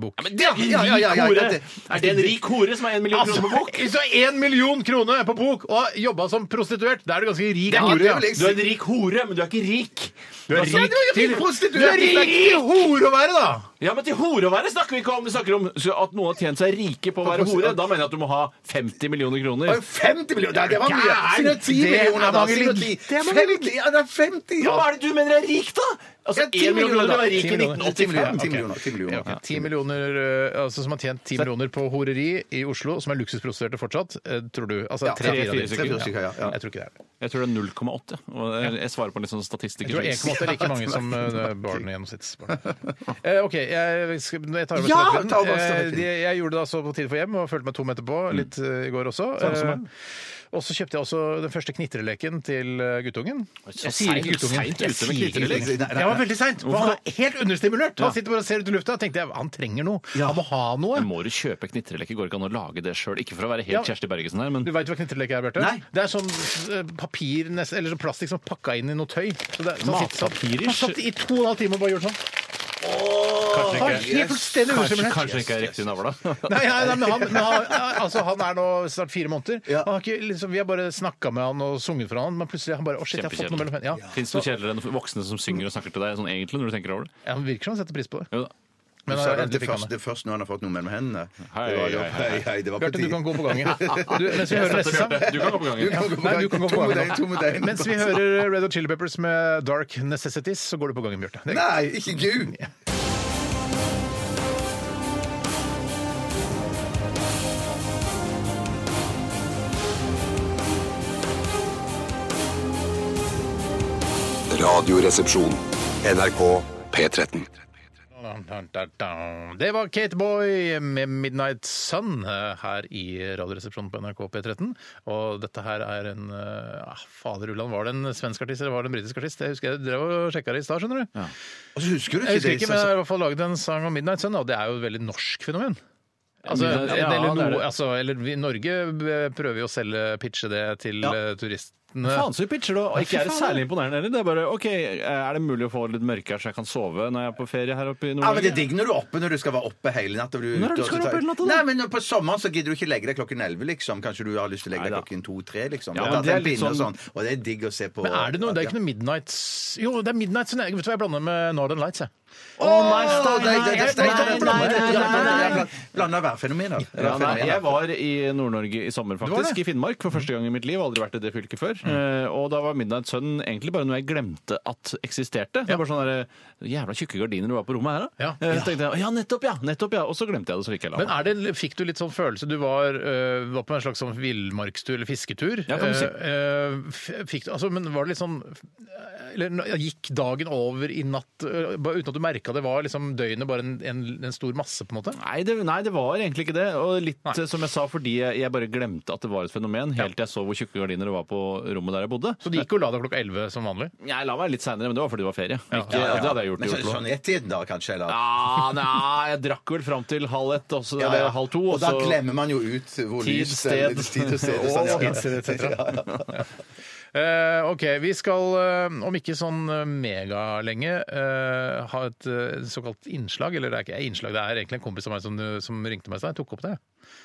Speaker 1: bok.
Speaker 5: Men det er ikke en
Speaker 3: Ja, Altså, ja, ja,
Speaker 5: rik
Speaker 3: ja, ja,
Speaker 5: hore!
Speaker 3: det-
Speaker 1: <laughs>
Speaker 5: Er det en rik hore som har en million kroner på bok?
Speaker 1: så én Altså, million kroner på på bok og har jobba som prostituert, da er du ganske rik.
Speaker 3: Det er
Speaker 1: hore,
Speaker 3: det
Speaker 1: ja.
Speaker 3: vel jeg-
Speaker 5: Du er en rik hore, men du er ikke rik.
Speaker 1: Du er
Speaker 5: Altså,
Speaker 3: Sånn,
Speaker 1: rik til
Speaker 3: prostituert!
Speaker 1: Du er rik til hore å være, da!
Speaker 5: Ja, men til hore å være snakker vi ikke om. Vi snakker om så at noen har tjent seg rike på å være hore. Da mener jeg at du må ha 50 millioner kroner.
Speaker 3: Oi, 50 millioner! Ja, Det var mye!
Speaker 1: Gæren!
Speaker 3: Si nå 10
Speaker 1: Det er
Speaker 3: millioner, da. Si nå
Speaker 1: mange
Speaker 3: 10. 50, ja, det er 50!
Speaker 5: Ja,
Speaker 3: Ja.
Speaker 5: hva er det du mener er rikt, da? Altså,
Speaker 3: Ja, 10
Speaker 5: én million kroner
Speaker 3: millioner, da.
Speaker 5: var rik i
Speaker 3: 10 millioner. 10
Speaker 5: 1985.
Speaker 3: millioner, 10 millioner.
Speaker 1: Ja, 10 millioner, eh, altså Som har tjent 10 millioner på horeri i Oslo, som er luksusprostituerte fortsatt, eh, tror du? Altså,
Speaker 3: Ja,
Speaker 1: tre,
Speaker 3: tre,
Speaker 1: fire av de.
Speaker 2: fire stykker.
Speaker 1: Ja,
Speaker 3: stykker, ja, ja.
Speaker 1: Jeg tror ikke det er det.
Speaker 2: Jeg tror det er 0,8. Og jeg- jeg svarer på litt sånn statistikk.
Speaker 1: Jeg tror det er 1,8 er like mange som eh, barn i gjennomsnittsbarn. Eh, OK, jeg, skal, jeg tar over
Speaker 3: Ja,
Speaker 1: stafettpinnen.
Speaker 3: ta over
Speaker 1: Eh,
Speaker 3: stafettpinnen.
Speaker 1: de- jeg gjorde det altså på tide for hjem og følte meg tom etterpå, litt eh, i går også. Eh, og så kjøpte jeg også den første knitreleken til eh, guttungen. Jeg sier ikke guttungen.
Speaker 2: seint
Speaker 1: Jeg
Speaker 2: ute med
Speaker 1: sier ikke
Speaker 2: knitrelek.
Speaker 1: guttungen. Jeg var veldig seint. Han var helt understimulert. Han sitter bare og ser ut i lufta og tenkte jeg, han trenger noe. Han må ha noe.
Speaker 2: Men må du kjøpe knitreleker? Går det ikke an å lage det sjøl? Ikke for å være
Speaker 1: Ja.
Speaker 2: helt Kjersti Bergesen her, men
Speaker 1: Du veit hva knitreleke er, Bjarte?
Speaker 5: Nei.
Speaker 1: Det er sånn eh, papir, nest- eller sånn plastikk som er pakka inn i noe tøy. Så det, er- så han sitter-
Speaker 2: Matpapirer?
Speaker 1: Han satt i to og en halv time og bare gjorde sånn.
Speaker 2: kanskje
Speaker 1: Han var helt fullstendig
Speaker 2: kanskje,
Speaker 1: understimulert.
Speaker 2: kanskje ikke er riktig navla.
Speaker 1: Nei, nei, nei, men han, men han, altså, han er nå snart fire måneder. Han har ikke, liksom, vi har bare snakka med han og sunget for han, men plutselig er han bare Å, shit, jeg har fått noe mellom hendene. Ja.
Speaker 2: Fins det noe kjedeligere enn voksne som synger og snakker til deg sånn egentlig, når du tenker over det?
Speaker 1: Ja, han virker som han setter pris på det.
Speaker 2: Jo da.
Speaker 1: Men
Speaker 3: Så er det,
Speaker 1: endelig
Speaker 3: det,
Speaker 1: fikk han
Speaker 3: først,
Speaker 1: det.
Speaker 3: det er først når han har fått noe mellom hendene. Det
Speaker 2: Hei,
Speaker 3: var jo-
Speaker 2: hei, hei.
Speaker 3: hei, det var på
Speaker 1: Bjarte, du
Speaker 3: tide.
Speaker 1: kan gå på
Speaker 2: <laughs>
Speaker 1: gangen. Du, mens vi hører neste sang
Speaker 2: Bjarte, du kan gå på gangen.
Speaker 1: Ja,
Speaker 3: gå på
Speaker 1: nei,
Speaker 3: gangen.
Speaker 1: du kan gå på
Speaker 3: To med
Speaker 1: gangen.
Speaker 3: deg, to med deg.
Speaker 1: Mens vi hører Red Hot Chili Peppers med Dark Necessities, så går du på gangen, Bjarte. Det er
Speaker 3: Nei, ikke Gud!
Speaker 6: Radioresepsjon. NRK P13.
Speaker 1: Det var Kate Boy med 'Midnight Sun' eh, her i Radioresepsjonen på NRK P13. Og dette her er en eh, ah, Fader ulland, var det en svensk artist eller var det en britisk artist? Jeg husker jeg drev og sjekka det i stad, skjønner du.
Speaker 3: Og så husker du
Speaker 1: Jeg husker
Speaker 3: ikke det?
Speaker 1: ikke, men jeg har i hvert fall laget en sang om 'Midnight Sun', og det er jo et veldig norsk fenomen. Altså,
Speaker 2: Ja, det er
Speaker 1: eller,
Speaker 2: det.
Speaker 1: noe- altså, eller vi, Norge eh, prøver jo å selge, pitche det til eh, turistene.
Speaker 2: Faen så vi pitcher det, og ikke
Speaker 1: fy
Speaker 2: er det
Speaker 1: faen,
Speaker 2: særlig imponerende heller. Det er bare OK, er det mulig å få litt mørke her så jeg kan sove når jeg er på ferie her oppe i
Speaker 3: Ja, men Det
Speaker 2: Nord-Norge?
Speaker 3: er digg når du er oppe når du skal være oppe hele natta.
Speaker 2: Når er det du skal være oppe hele natta, da?
Speaker 3: Nei, men På sommeren så gidder du ikke legge deg klokken 11, liksom. Kanskje du har lyst til å legge deg
Speaker 2: Neida.
Speaker 3: klokken 2-3, liksom.
Speaker 2: Ja,
Speaker 3: Og
Speaker 2: men
Speaker 3: da
Speaker 2: det er
Speaker 3: en
Speaker 2: litt
Speaker 3: pinne og
Speaker 2: sånn-
Speaker 3: sånn. Og det er digg å se på.
Speaker 1: Men er det noe? Det er ikke noe midnight Jo, det er midnight Sun. Jeg- Vet du hva jeg blander med Northern Lights? jeg.
Speaker 3: Blanda værfenomener.
Speaker 2: Ja, nei, jeg var i Nord-Norge i sommer,
Speaker 1: var
Speaker 2: faktisk.
Speaker 1: det? Mm.
Speaker 2: I Finnmark for første gang i mitt liv. Aldri vært i det fylket før. Eh, Og da var Midnight Sun egentlig bare noe jeg glemte at eksisterte. Det
Speaker 1: Ja.
Speaker 2: var bare sånne der, eh, jævla tjukke gardiner det var på rommet her, da.
Speaker 1: Ja.
Speaker 2: Eh, Så tenkte jeg ja, nettopp, ja! nettopp, ja. Og så glemte jeg det, så gikk jeg la
Speaker 1: Men
Speaker 2: meg.
Speaker 1: er det, fikk du litt sånn følelse Du var, øh, var på en slags sånn villmarkstur eller fisketur.
Speaker 2: Ja, kan du si.
Speaker 1: Øh, f- fikk du, altså, men var det litt sånn Eller n- gikk dagen over i natt øh, bare uten at du merka det? Var liksom døgnet bare en, en, en stor masse, på en måte?
Speaker 2: Nei det, nei, det var egentlig ikke det. Og litt
Speaker 1: Nei.
Speaker 2: eh, som jeg sa, fordi jeg, jeg bare glemte at det var et fenomen, helt til jeg så hvor tjukke gardiner det var på rommet der jeg bodde.
Speaker 1: Så du gikk jo og la deg klokka 11 som vanlig?
Speaker 2: Jeg la meg litt seinere, men det var fordi det var ferie. Ikke,
Speaker 1: ja, ja.
Speaker 2: Det hadde jeg gjort
Speaker 3: Men
Speaker 2: i
Speaker 3: så,
Speaker 2: Oslo.
Speaker 3: sånn ett-tiden, da, kanskje? Eller?
Speaker 2: Ja, nei, jeg drakk vel fram til halv ett, og så
Speaker 3: Ja, ja.
Speaker 2: eller halv to.
Speaker 3: Og da
Speaker 2: så-
Speaker 3: glemmer man jo ut hvor
Speaker 2: Tid,
Speaker 3: lyst det er.
Speaker 2: sted. <laughs>
Speaker 3: Tid og sted. og sånn, ja.
Speaker 1: Eh, ok, vi skal eh, om ikke sånn eh, megalenge eh, ha et eh, såkalt innslag. Eller det er ikke innslag, det er egentlig en kompis av meg som, øh, som ringte meg i stad. Jeg tok opp det.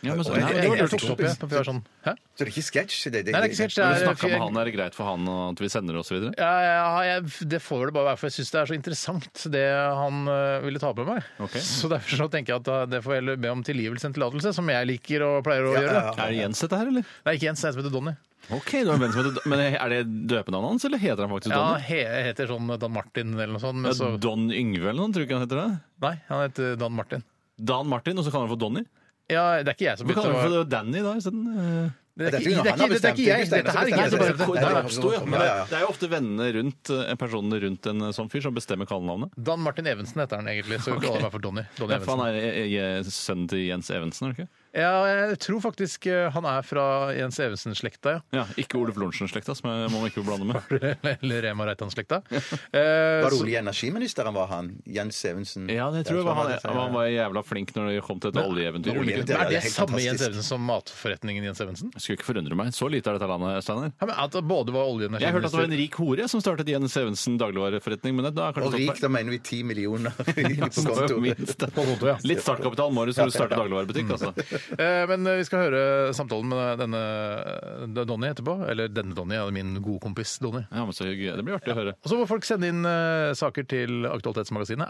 Speaker 2: Ja, men så,
Speaker 3: Nei,
Speaker 2: nei,
Speaker 1: Jeg,
Speaker 2: det var
Speaker 1: jeg
Speaker 2: lurt.
Speaker 1: tok det opp, jeg. For jeg var sånn, hæ?
Speaker 3: Så det er ikke sketsj? Det,
Speaker 1: Nei, det er ikke sketsj.
Speaker 2: Når du
Speaker 1: det er-
Speaker 2: snakket med han, er det greit for han og at vi sender det osv.?
Speaker 1: Ja, ja, jeg, det får det bare være, for jeg syns det er så interessant, det han øh, ville ta med meg.
Speaker 2: Ok.
Speaker 1: Så derfor så tenker jeg at da- det får jeg heller be om tilgivelse enn tillatelse, som jeg liker og pleier å gjøre.
Speaker 2: Er det Jens dette her, eller?
Speaker 1: Nei, ikke Jens, jeg heter Donny.
Speaker 2: Ok, du har en venn som heter Men er det døpenavnet hans, eller heter han faktisk
Speaker 1: Ja,
Speaker 2: Donny?
Speaker 1: han he jeg heter sånn Dan Martin eller noe sånt. Men så,
Speaker 2: Ja, Don Yngve eller noe, tror du ikke han heter det?
Speaker 1: nei, han heter Dan Martin.
Speaker 2: Dan Martin, og så kaller han for Donny?
Speaker 1: Ja, det er ikke jeg som
Speaker 2: Vi
Speaker 1: bytter.
Speaker 2: kaller
Speaker 1: det
Speaker 2: han
Speaker 1: var-
Speaker 2: for Danny da isteden. eh.
Speaker 1: Det er
Speaker 3: Dette er
Speaker 1: ikke det
Speaker 3: jo noe
Speaker 1: er
Speaker 3: han har
Speaker 1: ikke- dette er ikke jeg.
Speaker 3: bestemt, det er
Speaker 1: Dette her er
Speaker 3: ikke
Speaker 1: ikke
Speaker 2: Nei,
Speaker 1: jeg
Speaker 2: det,
Speaker 1: som
Speaker 2: er bare,
Speaker 3: Nei,
Speaker 2: det,
Speaker 1: bestemte.
Speaker 3: det er
Speaker 2: oppsto, ja.
Speaker 3: ikke-
Speaker 2: Men
Speaker 3: Ja, ja, ja.
Speaker 2: det- det er jo ofte vennene rundt eh, personene rundt en sånn fyr som bestemmer kallenavnet.
Speaker 1: Dan Martin Evensen heter han egentlig, så vi kaller meg for Donny. Donny
Speaker 2: Ja, for
Speaker 1: Evensen.
Speaker 2: han er eh, eh, sønnen til Jens Evensen, er det ikke?
Speaker 1: Ja, jeg tror faktisk øh, han er fra Jens Evensen-slekta, ja. <laughs>
Speaker 2: Ja, Ikke Oluf Lorentzen-slekta, som jeg må man ikke blande med.
Speaker 1: Eller Rema Reitan-slekta. Eh,
Speaker 3: Var det olje- og energiministeren var han? Jens Evensen?
Speaker 2: Altså- Ja, det tror jeg var han, han var jævla flink når det kom til et oljeeventyr.
Speaker 3: olje-
Speaker 1: Men er
Speaker 3: Det
Speaker 1: det
Speaker 3: er helt
Speaker 1: samme Jens
Speaker 3: fantastisk.
Speaker 1: Evensen som matforretningen Jens Evensen?
Speaker 2: Jeg Skulle ikke forundre meg. Så lite er dette landet, Steinar.
Speaker 1: Ja, men At det både var olje- og
Speaker 2: Jeg hørte at det var en
Speaker 1: energiminister
Speaker 2: rik hore som startet Jens Evensen dagligvareforretning. Men da er kanskje
Speaker 3: Og
Speaker 2: tatt
Speaker 3: rik,
Speaker 2: feil.
Speaker 3: da mener
Speaker 2: <laughs>
Speaker 3: vi ti millioner på konto.
Speaker 2: Minst.
Speaker 1: på konto, ja.
Speaker 2: Litt startkapital må du når du starter dagligvarebutikk, altså.
Speaker 1: Eh, Men eh, vi skal høre samtalen med denne eh, Donny etterpå. Eller denne Donny, ja, min gode kompis Donny.
Speaker 2: Ja, men så hyggelig. Det blir artig å høre.
Speaker 1: Og så må folk sende inn eh, saker til Aktualitetsmagasinet.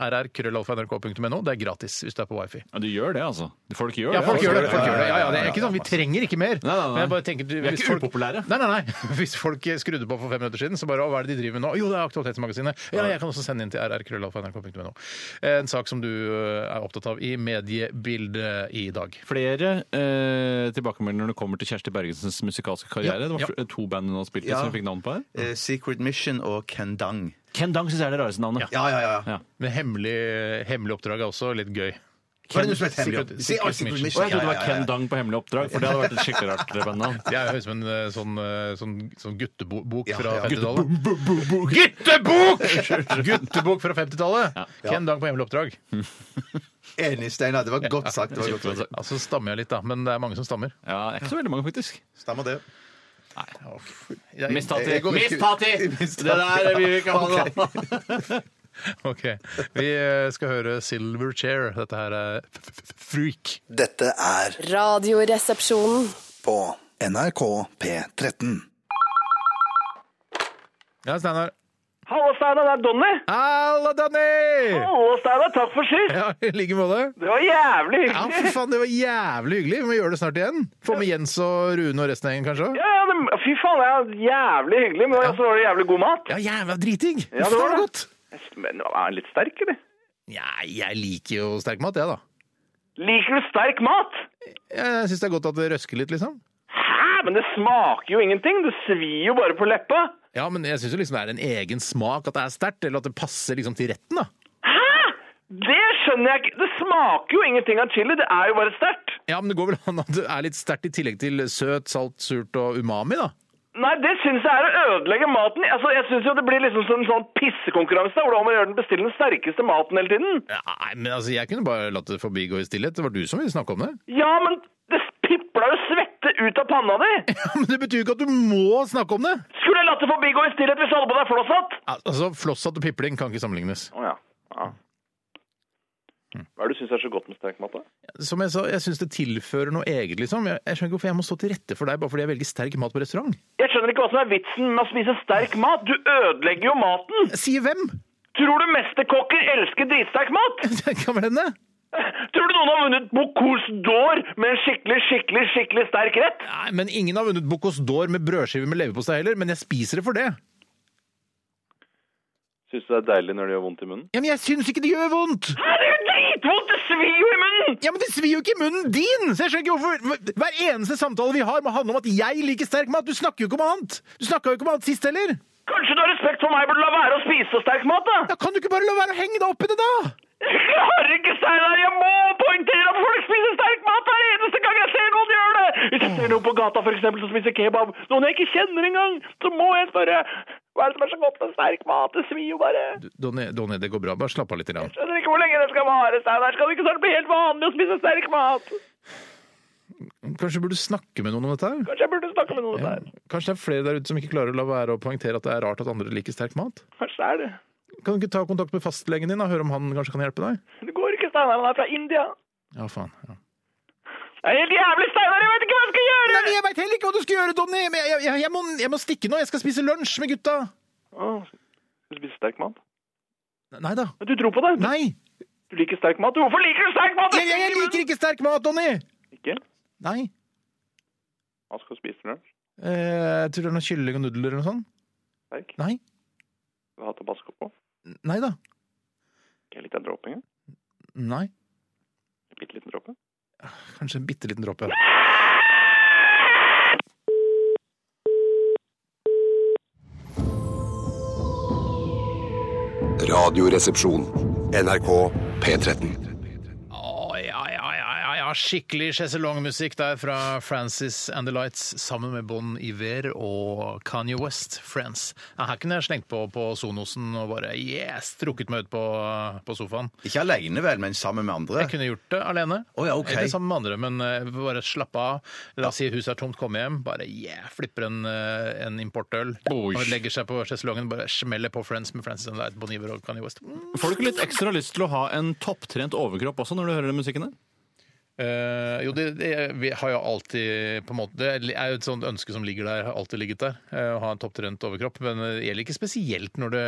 Speaker 1: rr.krøllalfa.nrk.no. Det er gratis hvis du er på wifi.
Speaker 2: Ja, du gjør det, altså. Folk gjør
Speaker 1: Ja,
Speaker 2: det.
Speaker 1: folk
Speaker 2: altså.
Speaker 1: gjør det. Folk gjør det. Ja, ja, det er ikke sånn, Vi trenger ikke mer.
Speaker 2: Nei, nei, nei.
Speaker 1: Men Jeg bare tenker, du,
Speaker 2: Vi er
Speaker 1: hvis
Speaker 2: ikke
Speaker 1: folk-
Speaker 2: upopulære.
Speaker 1: Nei, nei, nei. <laughs> Hvis folk skrudde på for fem minutter siden, så bare å, hva er det de driver med nå? Jo, det er Aktualitetsmagasinet. Ja, jeg kan også sende inn til rrkrøllalfa.nrk.no. En sak som du eh, er opptatt av i mediebildet i dag.
Speaker 2: Flere eh, tilbakemeldinger når det kommer til Kjersti Bergensens musikalske karriere.
Speaker 1: Ja,
Speaker 2: Det var
Speaker 1: ja.
Speaker 2: fl- to band hun har spilt i
Speaker 3: Ja.
Speaker 2: som hun fikk navn på her.
Speaker 3: Eh, Secret Mission og Ken Dang.
Speaker 2: Ken Dang syns jeg er det rareste navnet.
Speaker 3: Ja, ja, ja.
Speaker 2: Ja.
Speaker 1: Men hemmelig, hemmelig oppdrag er også litt gøy.
Speaker 3: Var det noe som het Hemmelig?
Speaker 1: Secret-
Speaker 3: Se-
Speaker 1: Secret
Speaker 3: å, Secret
Speaker 1: Mission.
Speaker 2: Og jeg trodde det
Speaker 3: Ja,
Speaker 2: var
Speaker 3: ja, ja,
Speaker 2: Ken
Speaker 3: ja.
Speaker 2: Dang på hemmelig oppdrag, for det hadde vært et skikkelig rart bandnavn.
Speaker 1: Jeg høres ut som en eh, sånn, eh, sånn, sånn guttebok
Speaker 3: Ja,
Speaker 1: fra
Speaker 3: ja.
Speaker 1: 50-tallet. Guttebok! Guttebok fra 50-tallet! Ken Dang på hemmelig oppdrag.
Speaker 3: Enig, Steinar. Det var godt sagt. Det var godt sagt.
Speaker 1: Altså stammer jeg litt, da, men det er mange som stammer.
Speaker 2: Ja, det er ikke så veldig mange, faktisk.
Speaker 3: Stemmer det.
Speaker 1: Jeg-
Speaker 2: Mist Tati.
Speaker 3: Jeg går ikke-
Speaker 2: Mist
Speaker 3: <laughs>
Speaker 2: Tati!
Speaker 3: Mist Tati.
Speaker 2: Det der vil vi ikke ha
Speaker 3: <laughs>
Speaker 2: nå.
Speaker 1: Ok, Vi eh, skal høre Silver Chair. Dette her er f- f- f- Freak.
Speaker 7: Dette er
Speaker 8: Radioresepsjonen.
Speaker 7: på NRK P13.
Speaker 1: Ja, Steinar.
Speaker 9: Hallo, Steinar. Det er Donny.
Speaker 1: Halla, Danny!
Speaker 9: Hallo, Steinar. Takk for sist.
Speaker 1: Ja, I like måte.
Speaker 9: Det var jævlig
Speaker 1: Ja,
Speaker 9: hyggelig.
Speaker 1: for faen, Det var jævlig hyggelig. Vi må gjøre det snart igjen. Få med Jens og Rune og resten av gjengen, kanskje.
Speaker 9: Ja, ja, det, fy faen, det er jævlig hyggelig, men så var det jævlig god mat.
Speaker 1: Ja, jævla driting!
Speaker 9: Ja, det var det.
Speaker 1: godt.
Speaker 9: Men er den litt sterk, eller?
Speaker 1: Nei, jeg liker jo sterk mat, jeg, da.
Speaker 9: Liker du sterk mat?
Speaker 1: Jeg syns det er godt at det røsker litt, liksom.
Speaker 9: Hæ? Men det smaker jo ingenting. Det svir jo bare på leppa.
Speaker 1: Ja, men jeg syns liksom det er en egen smak at det er sterkt, eller at det passer liksom til retten, da.
Speaker 9: Hæ? Det skjønner jeg ikke. Det smaker jo ingenting av chili. Det er jo bare sterkt.
Speaker 1: Ja, men det går vel an at det er litt sterkt i tillegg til søt, salt, surt og umami, da.
Speaker 9: Nei, det syns jeg er å ødelegge maten. Altså, jeg syns jo det blir liksom som en sånn pissekonkurranse. da, Hvor da må man gjøre den bestille den sterkeste maten hele tiden.
Speaker 1: Nei, men altså, jeg kunne bare latt det forbigå i stillhet. Det var du som ville snakke om det.
Speaker 9: Ja, men det pipla jo svette ut av panna di.
Speaker 1: Ja, men det betyr jo ikke at du må snakke om det!
Speaker 9: Skulle jeg latt det forbigå i stillhet hvis alle på deg flåsatt?
Speaker 1: Al- Altså, Flosshatt og pipling kan ikke sammenlignes.
Speaker 9: Å ja. Hva er det du syns er så godt med sterk mat, da?
Speaker 1: Som jeg sa, jeg syns det tilfører noe eget, liksom. Jeg, jeg skjønner ikke hvorfor jeg må stå til rette for deg bare fordi jeg velger sterk mat på restaurant.
Speaker 9: Jeg skjønner ikke hva som er vitsen med å spise sterk mat. Du ødelegger jo maten.
Speaker 1: Si hvem! <laughs>
Speaker 9: Tror du mesterkokker elsker dritsterk mat?
Speaker 1: Det kan vel hende.
Speaker 9: Tror du noen har vunnet Bocuse d'Or med en skikkelig, skikkelig, skikkelig sterk rett?
Speaker 1: Nei, men ingen har vunnet Bocuse d'Or med brødskive med leverpostei heller, men jeg spiser det for det.
Speaker 9: Syns du det er deilig når det gjør vondt i munnen?
Speaker 1: Ja, men jeg syns ikke det gjør vondt!
Speaker 9: Hæ, det gjør dritvondt! Det svir jo i munnen!
Speaker 1: Ja, men Det svir jo ikke i munnen din! Så jeg skjønner ikke hvorfor Hver eneste samtale vi har, må handle om at jeg liker sterk mat. Du snakker jo ikke om annet! Du snakka jo ikke om annet sist heller!
Speaker 9: Kanskje du har respekt for meg burde la være å spise så sterk mat, da?
Speaker 1: Ja, Kan du ikke bare la være å henge deg opp i det, da?
Speaker 9: Jeg klarer ikke, Steinar! Jeg må poengtere at folk spiser sterk mat hver eneste gang jeg ser noen gjøre det! Hvis jeg ser noen på gata for eksempel, som spiser kebab, noen jeg ikke kjenner engang, så må jeg spørre Hva er det som er så godt med sterk mat? Det svir jo bare.
Speaker 1: Donny, Donny, det går bra. Bare slapp av litt. Grann.
Speaker 9: Jeg skjønner ikke hvor lenge det skal vare, Steinar. Skal det ikke snart bli helt vanlig å spise sterk mat?
Speaker 1: Kanskje burde du snakke med noen om dette? her?
Speaker 9: Kanskje jeg burde snakke med noen
Speaker 1: Ja.
Speaker 9: der.
Speaker 1: Kanskje det er flere der ute som ikke klarer å la være å poengtere at det er rart at andre liker sterk mat?
Speaker 9: Kanskje det er det.
Speaker 1: Kan du ikke ta kontakt med fastlegen din og høre om han kanskje kan hjelpe deg?
Speaker 9: Det går ikke, Steinar. Han er fra India.
Speaker 1: Ja, faen. Ja.
Speaker 9: Det er helt jævlig, Steinar! Jeg vet ikke hva jeg skal
Speaker 1: Nei,
Speaker 9: gjøre!
Speaker 1: men Jeg veit heller ikke hva du skal gjøre, Donny! Men jeg, jeg, jeg, må, jeg må stikke nå. Jeg skal spise lunsj med gutta.
Speaker 9: Å, Skal du spise sterk mat?
Speaker 1: Nei da.
Speaker 9: Men Du tror på det? Du-
Speaker 1: Nei!
Speaker 9: Du liker sterk mat? Hvorfor liker du sterk mat?
Speaker 1: Jeg, jeg, jeg liker ikke sterk mat, Donny!
Speaker 9: Ikke?
Speaker 1: Nei.
Speaker 9: Hva skal du spise for lunsj?
Speaker 1: Eh, tror du det er noe kylling og nudler eller noe sånt?
Speaker 9: Sterk?
Speaker 1: Nei.
Speaker 9: Skal du ha tabasco på?
Speaker 1: Nei da.
Speaker 9: Ikke litt av dråpinga?
Speaker 1: Nei.
Speaker 9: Bitte liten dråpe?
Speaker 1: Kanskje en bitte liten dråpe.
Speaker 6: Radioresepsjon. NRK P13.
Speaker 1: Å, ja, ja, ja, ja, ja. Skikkelig sjeselongmusikk der fra Francis and the Lights sammen med Bon Iver og Kanye West, Friends. Ja, her kunne jeg slengt på på Sonosen og bare yes, trukket meg ut på, på sofaen.
Speaker 3: Ikke aleine, vel, men sammen med andre.
Speaker 1: Jeg kunne gjort det alene.
Speaker 3: Å, ja, ok.
Speaker 1: Eller sammen med andre, men eh, bare slappe av. La oss si huset er tomt, komme hjem. Bare yeah, flipper en, eh, en importøl.
Speaker 2: Oi.
Speaker 1: Og legger seg på sjeselongen, bare smeller på Friends med Francis and the Lights, Bon Iver og Kanye West. Mm.
Speaker 2: Får du ikke litt ekstra lyst til å ha en topptrent overkropp også når du hører den musikken der?
Speaker 1: Eh, jo, det, det vi har jo alltid på en måte Det er jo et sånt ønske som ligger der, har alltid ligget der. eh, å ha en topptrent overkropp. Men eh, det gjelder ikke spesielt når det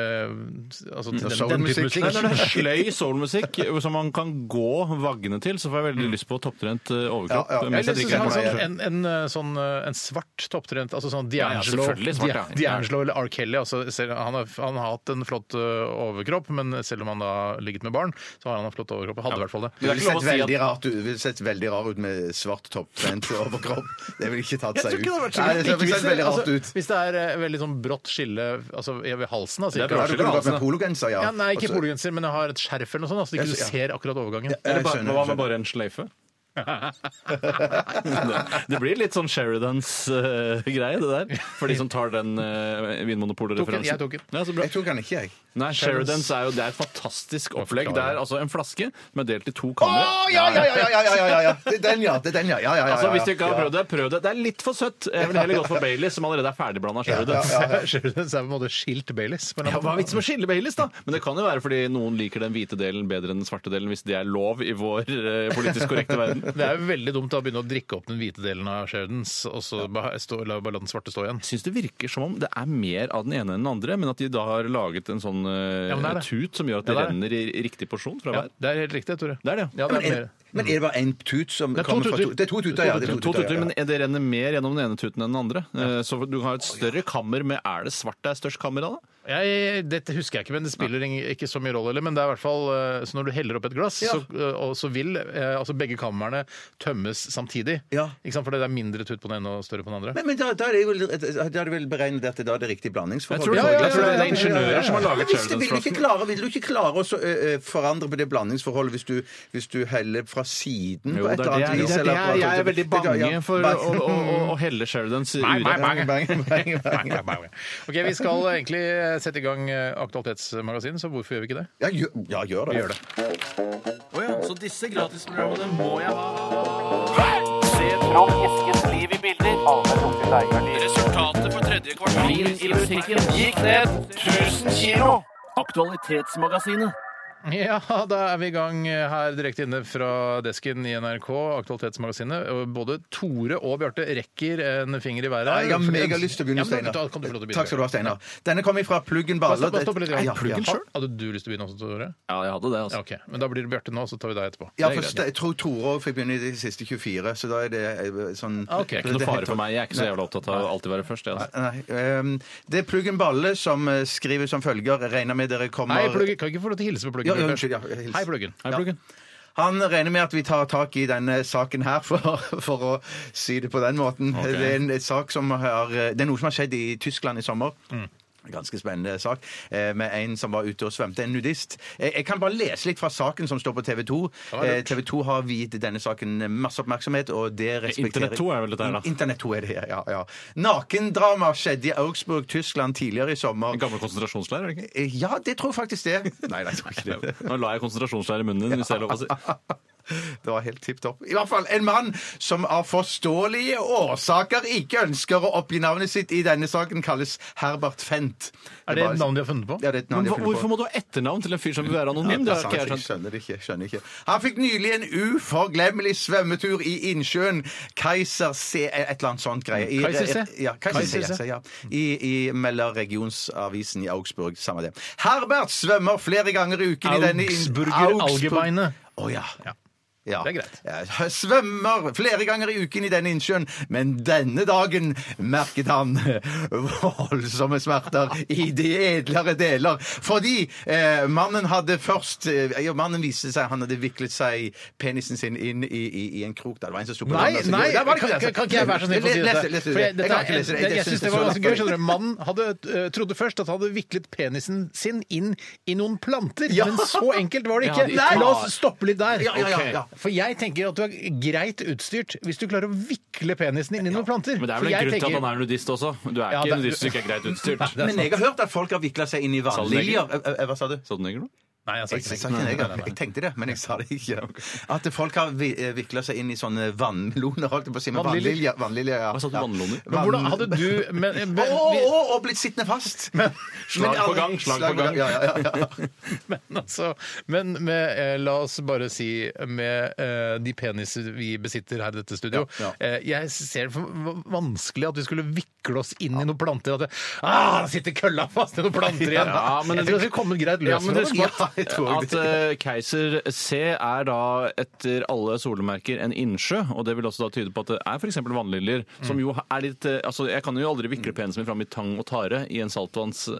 Speaker 1: Altså til den, den type
Speaker 3: soulmusikk.
Speaker 1: musikk.
Speaker 3: Nei,
Speaker 1: Nei,
Speaker 3: nei,
Speaker 1: nei, nei.
Speaker 2: Sløy soulmusikk som man kan gå vaggene til, så får jeg veldig lyst på topptrent eh, overkropp.
Speaker 3: Ja, ja.
Speaker 2: mens
Speaker 1: Jeg
Speaker 2: jeg
Speaker 1: har lyst til
Speaker 2: drikker
Speaker 1: å
Speaker 2: en
Speaker 1: ha
Speaker 2: cola.
Speaker 1: sånn, en, en, eh, sånn, eh, en svart topptrent, altså sånn
Speaker 2: Ja, ja,
Speaker 1: D'Angelo
Speaker 2: selvfølgelig svart, ja.
Speaker 1: Di- D'Angelo eller R. Kelly. Altså, selv, han, har, han har hatt en flott eh, overkropp, men selv om han da har ligget med barn, så har han en flott overkropp. Hadde i hvert fall det.
Speaker 3: Du ville
Speaker 2: ikke lov
Speaker 3: sett,
Speaker 2: å si at-
Speaker 3: veldig rart ut- du ville sett veldig rar ut med svart topptrent overkropp. Det ville ikke tatt
Speaker 1: Jeg
Speaker 3: seg
Speaker 1: tror
Speaker 3: ut.
Speaker 1: ikke det hadde vært så
Speaker 3: Nei,
Speaker 1: galt.
Speaker 3: det ville sett veldig rart
Speaker 1: altså,
Speaker 3: ut.
Speaker 1: Hvis det er eh, veldig sånn brått skille altså, ved halsen da,
Speaker 2: Det altså. er
Speaker 1: cirka.
Speaker 2: bra
Speaker 3: Ja, du kunne gått med pologenser, ja.
Speaker 1: Ja, nei, ikke
Speaker 3: Også-
Speaker 1: pologenser, men jeg har et skjerf eller noe sånt, da, så ikke
Speaker 3: Jeg
Speaker 1: du
Speaker 3: ser-
Speaker 1: ser akkurat overgangen.
Speaker 3: Ja, jeg
Speaker 2: Eller bare,
Speaker 3: skjønner,
Speaker 2: hva med
Speaker 3: skjønner.
Speaker 2: bare en sløyfe? det, det blir litt sånn Sheridans eh, greie, det der. For de som tar den eh,
Speaker 1: Tok den,
Speaker 2: Vinmonopolet-referansen.
Speaker 1: jeg tok den.
Speaker 2: Ja, så bra.
Speaker 3: Jeg tok den ikke, jeg.
Speaker 2: Nei, Sheridans er jo det er et fantastisk opplegg. Det er altså en flaske som er delt i to kamre.
Speaker 3: Å, ja, ja, ja, ja, ja, ja, ja, ja. Det er den, ja. Det er den, ja. ja, ja, ja, ja.
Speaker 2: Altså, Hvis du ikke har prøvd det, prøv det. Det er litt for søtt. Jeg ville heller gått for Baileys, som allerede er ferdigblanda
Speaker 1: <laughs>
Speaker 2: Sheridans. <laughs> Ja,
Speaker 1: Sheridan er på en måte skilt Baileys. men han-
Speaker 2: Hva er vitsen med å skille Baileys, da? Men det kan jo være fordi noen liker den hvite delen bedre enn den svarte delen, hvis det er lov i vår eh, politisk korrekte verden.
Speaker 1: Det er jo veldig dumt da, å begynne å drikke opp den hvite delen av Sheridans, og så ba- stå- la bare la den svarte stå igjen.
Speaker 2: Jeg syns det virker som om det er mer av den ene enn den andre, men at de da har laget en sånn eh,
Speaker 1: Ja, men det er det.
Speaker 2: tut som gjør at det
Speaker 1: Ja, det er
Speaker 2: renner i riktig porsjon fra
Speaker 1: Ja,
Speaker 2: hver.
Speaker 1: det er helt riktig, Tore.
Speaker 2: Det er det, ja.
Speaker 1: Ja, det er mer.
Speaker 3: Men er det bare én tut som
Speaker 1: er to
Speaker 3: kommer fra
Speaker 1: tuter.
Speaker 3: to Det er to tuter, ja. Det er
Speaker 2: To tuter,
Speaker 3: ja.
Speaker 2: men det renner mer gjennom den ene tuten enn den andre. Eh, Så du har et større kammer med Er det svart det er størst kammer <laughs> av, da?
Speaker 1: Jeg, dette husker jeg ikke, men det spiller ing- ikke så mye rolle. heller, Men det er i hvert fall, eh, så når du heller opp et glass, så, eh, og så vil eh, altså begge kamrene tømmes samtidig.
Speaker 3: Ja.
Speaker 1: Ikke sant? For det er mindre tutt på den ene og større på den andre.
Speaker 3: Men, men da, da, er det vel, da er det vel beregnet at det da er det riktig blandingsforhold?
Speaker 2: Jeg tror det,
Speaker 3: Ja, ja, ja,
Speaker 2: jeg tror det er
Speaker 3: ja, ja, ja,
Speaker 2: ingeniører
Speaker 3: ja, ja.
Speaker 2: som har laget
Speaker 3: Men hvis det- vil du ikke
Speaker 2: Sheridans-flasken.
Speaker 3: klare, Vil du ikke klare å så, ø, ø, forandre på det blandingsforholdet hvis du, hvis du heller fra siden
Speaker 2: Jo,
Speaker 3: på
Speaker 2: det er
Speaker 3: et eller
Speaker 2: det
Speaker 3: annet
Speaker 2: jeg, det er
Speaker 3: vis?
Speaker 2: det
Speaker 3: eller på-
Speaker 2: jeg, jeg er veldig
Speaker 3: Ja,
Speaker 2: bange
Speaker 3: ja.
Speaker 2: for å,
Speaker 3: Bang.
Speaker 2: å, å, å helle Sheridans
Speaker 1: Nei,
Speaker 2: urett.
Speaker 1: nei,
Speaker 3: Bang, bang, bang, bang.
Speaker 1: Ok, Vi skal egentlig sette i gang eh, Aktualitetsmagasinet, så hvorfor gjør vi ikke det?
Speaker 3: Ja, gjør, ja, gjør det.
Speaker 2: Så disse gratisprogrammene må jeg ha.
Speaker 1: <laughs> Ja, da er vi i gang her direkte inne fra desken i NRK, Aktualitetsmagasinet. Og Både Tore og Bjarte rekker en finger i været.
Speaker 3: Ja,
Speaker 1: her.
Speaker 3: jeg har megalyst til å begynne,
Speaker 1: Ja, men da-
Speaker 3: Steinar.
Speaker 1: Da kan du få lov til å begynne.
Speaker 3: Takk skal du ha, Steinar. Denne kommer fra Pluggen Baller.
Speaker 1: Bare stopp litt.
Speaker 3: Ja, ja,
Speaker 1: Ja,
Speaker 3: ja.
Speaker 1: Hadde du lyst til å begynne også, Tore?
Speaker 2: Ja, jeg hadde det,
Speaker 1: Ja,
Speaker 2: altså.
Speaker 1: ok. Men da blir det Bjarte nå, så tar vi deg etterpå.
Speaker 3: Ja, for jeg tror Tore òg fikk begynne i de siste 24, så da er det eh, sånn
Speaker 1: Ah, ok.
Speaker 2: Det er ikke noe fare for meg. Jeg er ikke så jævla opptatt av å alltid være først. Jeg, altså.
Speaker 3: Nei, ehm, det er Pluggen Balle som eh, skriver som følger. Jeg Regner med dere kommer
Speaker 1: Hei, Pluggen. Kan jeg ikke få lov til å hilse på Pluggen?
Speaker 3: Ja, ja,
Speaker 1: Bjarte?
Speaker 3: unnskyld, ja, hils.
Speaker 1: Hei, Pluggen.
Speaker 2: Hei, Pluggen.
Speaker 3: Han regner med at vi tar tak i denne saken her, for, for å si det på den måten. Det, er en sak som har, det er noe som har skjedd i Tyskland i sommer.
Speaker 2: Mm.
Speaker 3: Ganske spennende sak, eh, med en som var ute og svømte, en nudist. Eh, Jeg kan bare lese litt fra saken som står på TV 2. TV 2 har viet denne saken masse oppmerksomhet, og det respekterer
Speaker 2: Internett 2 er vel dette her, da?
Speaker 3: Internett 2 er det, ja. ja. Nakendrama skjedde i Augsburg, Tyskland, tidligere i sommer.
Speaker 2: En gammel konsentrasjonsleir, er det ikke?
Speaker 3: Eh, Ja, det tror jeg faktisk det.
Speaker 2: Nei, nei, det var ikke det. Nå la jeg konsentrasjonsleir i munnen din, hvis det er lov å si.
Speaker 3: Det var helt tipp topp. I hvert fall en mann som av forståelige årsaker ikke ønsker å oppgi navnet sitt i denne saken, kalles Herbert Fent.
Speaker 1: Er det et navn de har funnet på?
Speaker 3: Ja, det er et navn
Speaker 2: Men
Speaker 3: de
Speaker 2: hva,
Speaker 3: har funnet
Speaker 2: hvorfor
Speaker 3: på.
Speaker 2: må du ha etternavn til en fyr som vil være
Speaker 3: Ja,
Speaker 2: anonym? Det
Speaker 3: det er
Speaker 2: har
Speaker 3: sant,
Speaker 2: ikke jeg
Speaker 3: jeg
Speaker 2: skjønt.
Speaker 3: skjønner det ikke. jeg skjønner ikke. Han fikk nylig en uforglemmelig svømmetur i innsjøen Kaiser C et eller annet sånt greie. I,
Speaker 1: Kaiser C?
Speaker 3: Ja, Kaiser
Speaker 1: Kaiser
Speaker 3: C,
Speaker 1: C.
Speaker 3: ja. I, i Melderregionsavisen i Augsburg, samme det. Herbert svømmer flere ganger i uken i denne
Speaker 1: Augsburger Algebeine.
Speaker 3: Å ja.
Speaker 1: Ja.
Speaker 3: Ja.
Speaker 1: Det er greit.
Speaker 3: Jeg Svømmer flere ganger i uken i denne innsjøen, men denne dagen merket han voldsomme smerter i de edlere deler. Fordi eh, mannen hadde først eh, ja, Mannen viste seg han hadde viklet seg penisen sin inn i, i, i en krok der. Det var en som sto på
Speaker 1: Nei,
Speaker 3: landet, så-
Speaker 1: nei,
Speaker 3: Jo, der var det ikke
Speaker 1: kan,
Speaker 3: det.
Speaker 1: kan ikke jeg være så snill å si
Speaker 3: Les-
Speaker 1: dette?
Speaker 3: les- les-
Speaker 1: For jeg,
Speaker 3: Jeg
Speaker 1: dette
Speaker 3: kan ikke
Speaker 1: er,
Speaker 3: lese det.
Speaker 1: jeg, jeg
Speaker 3: synes
Speaker 1: syns det var
Speaker 3: så
Speaker 1: ganske gøy.
Speaker 3: latterlig.
Speaker 1: skjønner du. Mannen hadde, eh, trodde først at han hadde viklet penisen sin inn i noen planter,
Speaker 3: Ja.
Speaker 1: men så enkelt var det
Speaker 2: Ja,
Speaker 1: ikke.
Speaker 2: de
Speaker 1: La
Speaker 2: tar-
Speaker 1: oss stoppe litt der.
Speaker 3: Ja, ja, ja, ja.
Speaker 1: Ok. For jeg tenker at du er greit utstyrt hvis du klarer å vikle penisen inn i noen planter.
Speaker 2: Men det er
Speaker 1: For
Speaker 2: vel en
Speaker 1: jeg
Speaker 2: grunn til at
Speaker 1: tenker-
Speaker 2: han er nudist også. Du er
Speaker 1: Ja,
Speaker 2: ikke
Speaker 1: det-
Speaker 2: <laughs> nudist hvis du ikke er greit utstyrt.
Speaker 1: Det er
Speaker 3: Men jeg har hørt at folk har vikla seg inn i
Speaker 2: Sa du det
Speaker 3: vannliljer. Eh, eh, Hva sa du?
Speaker 2: Sa Sånn du neger nå?
Speaker 1: Nei, jeg sa
Speaker 3: Jeg,
Speaker 1: ikke
Speaker 3: sa ikke
Speaker 1: det. Nei, nei,
Speaker 3: det,
Speaker 1: nei.
Speaker 3: jeg tenkte det, men jeg sa det ikke. At folk har vikla seg inn i sånne vannmeloner, holdt jeg på å si. men
Speaker 1: Vannliljer?
Speaker 3: Vannliljer. vannliljer, ja.
Speaker 2: Hva sa du,
Speaker 3: Ja.
Speaker 2: vannloner?
Speaker 1: Men hvordan hadde du men,
Speaker 3: Å,
Speaker 1: men,
Speaker 3: å, å, å, blitt sittende fast!
Speaker 5: Slag på gang, slag på gang.
Speaker 3: Ja, ja, ja, ja.
Speaker 1: <laughs> men altså Men med, eh, la oss bare si med eh, de peniser vi besitter her i dette studio
Speaker 3: Ja,
Speaker 1: Eh, Jeg ser det for vanskelig at vi skulle vikle oss inn i noen planter. At det, ah, da sitter kølla fast i noen planter
Speaker 3: <laughs>
Speaker 1: igjen!
Speaker 5: Ja, men-
Speaker 1: jeg tror det skulle komme greit løs
Speaker 2: Ja, men
Speaker 1: fra
Speaker 2: husk
Speaker 1: det.
Speaker 2: at,
Speaker 1: <laughs>
Speaker 2: at eh, Keiser C er da etter alle solemerker en innsjø, og det vil også da tyde på at det er f.eks. vannliljer,
Speaker 1: Mm.
Speaker 2: som jo er litt eh, Altså, jeg kan jo aldri vikle penisen min fram i tang og tare i en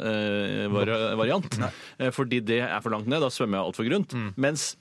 Speaker 2: eh, saltvannsvariant, eh, fordi det er for langt ned, da svømmer jeg altfor grunt. Mens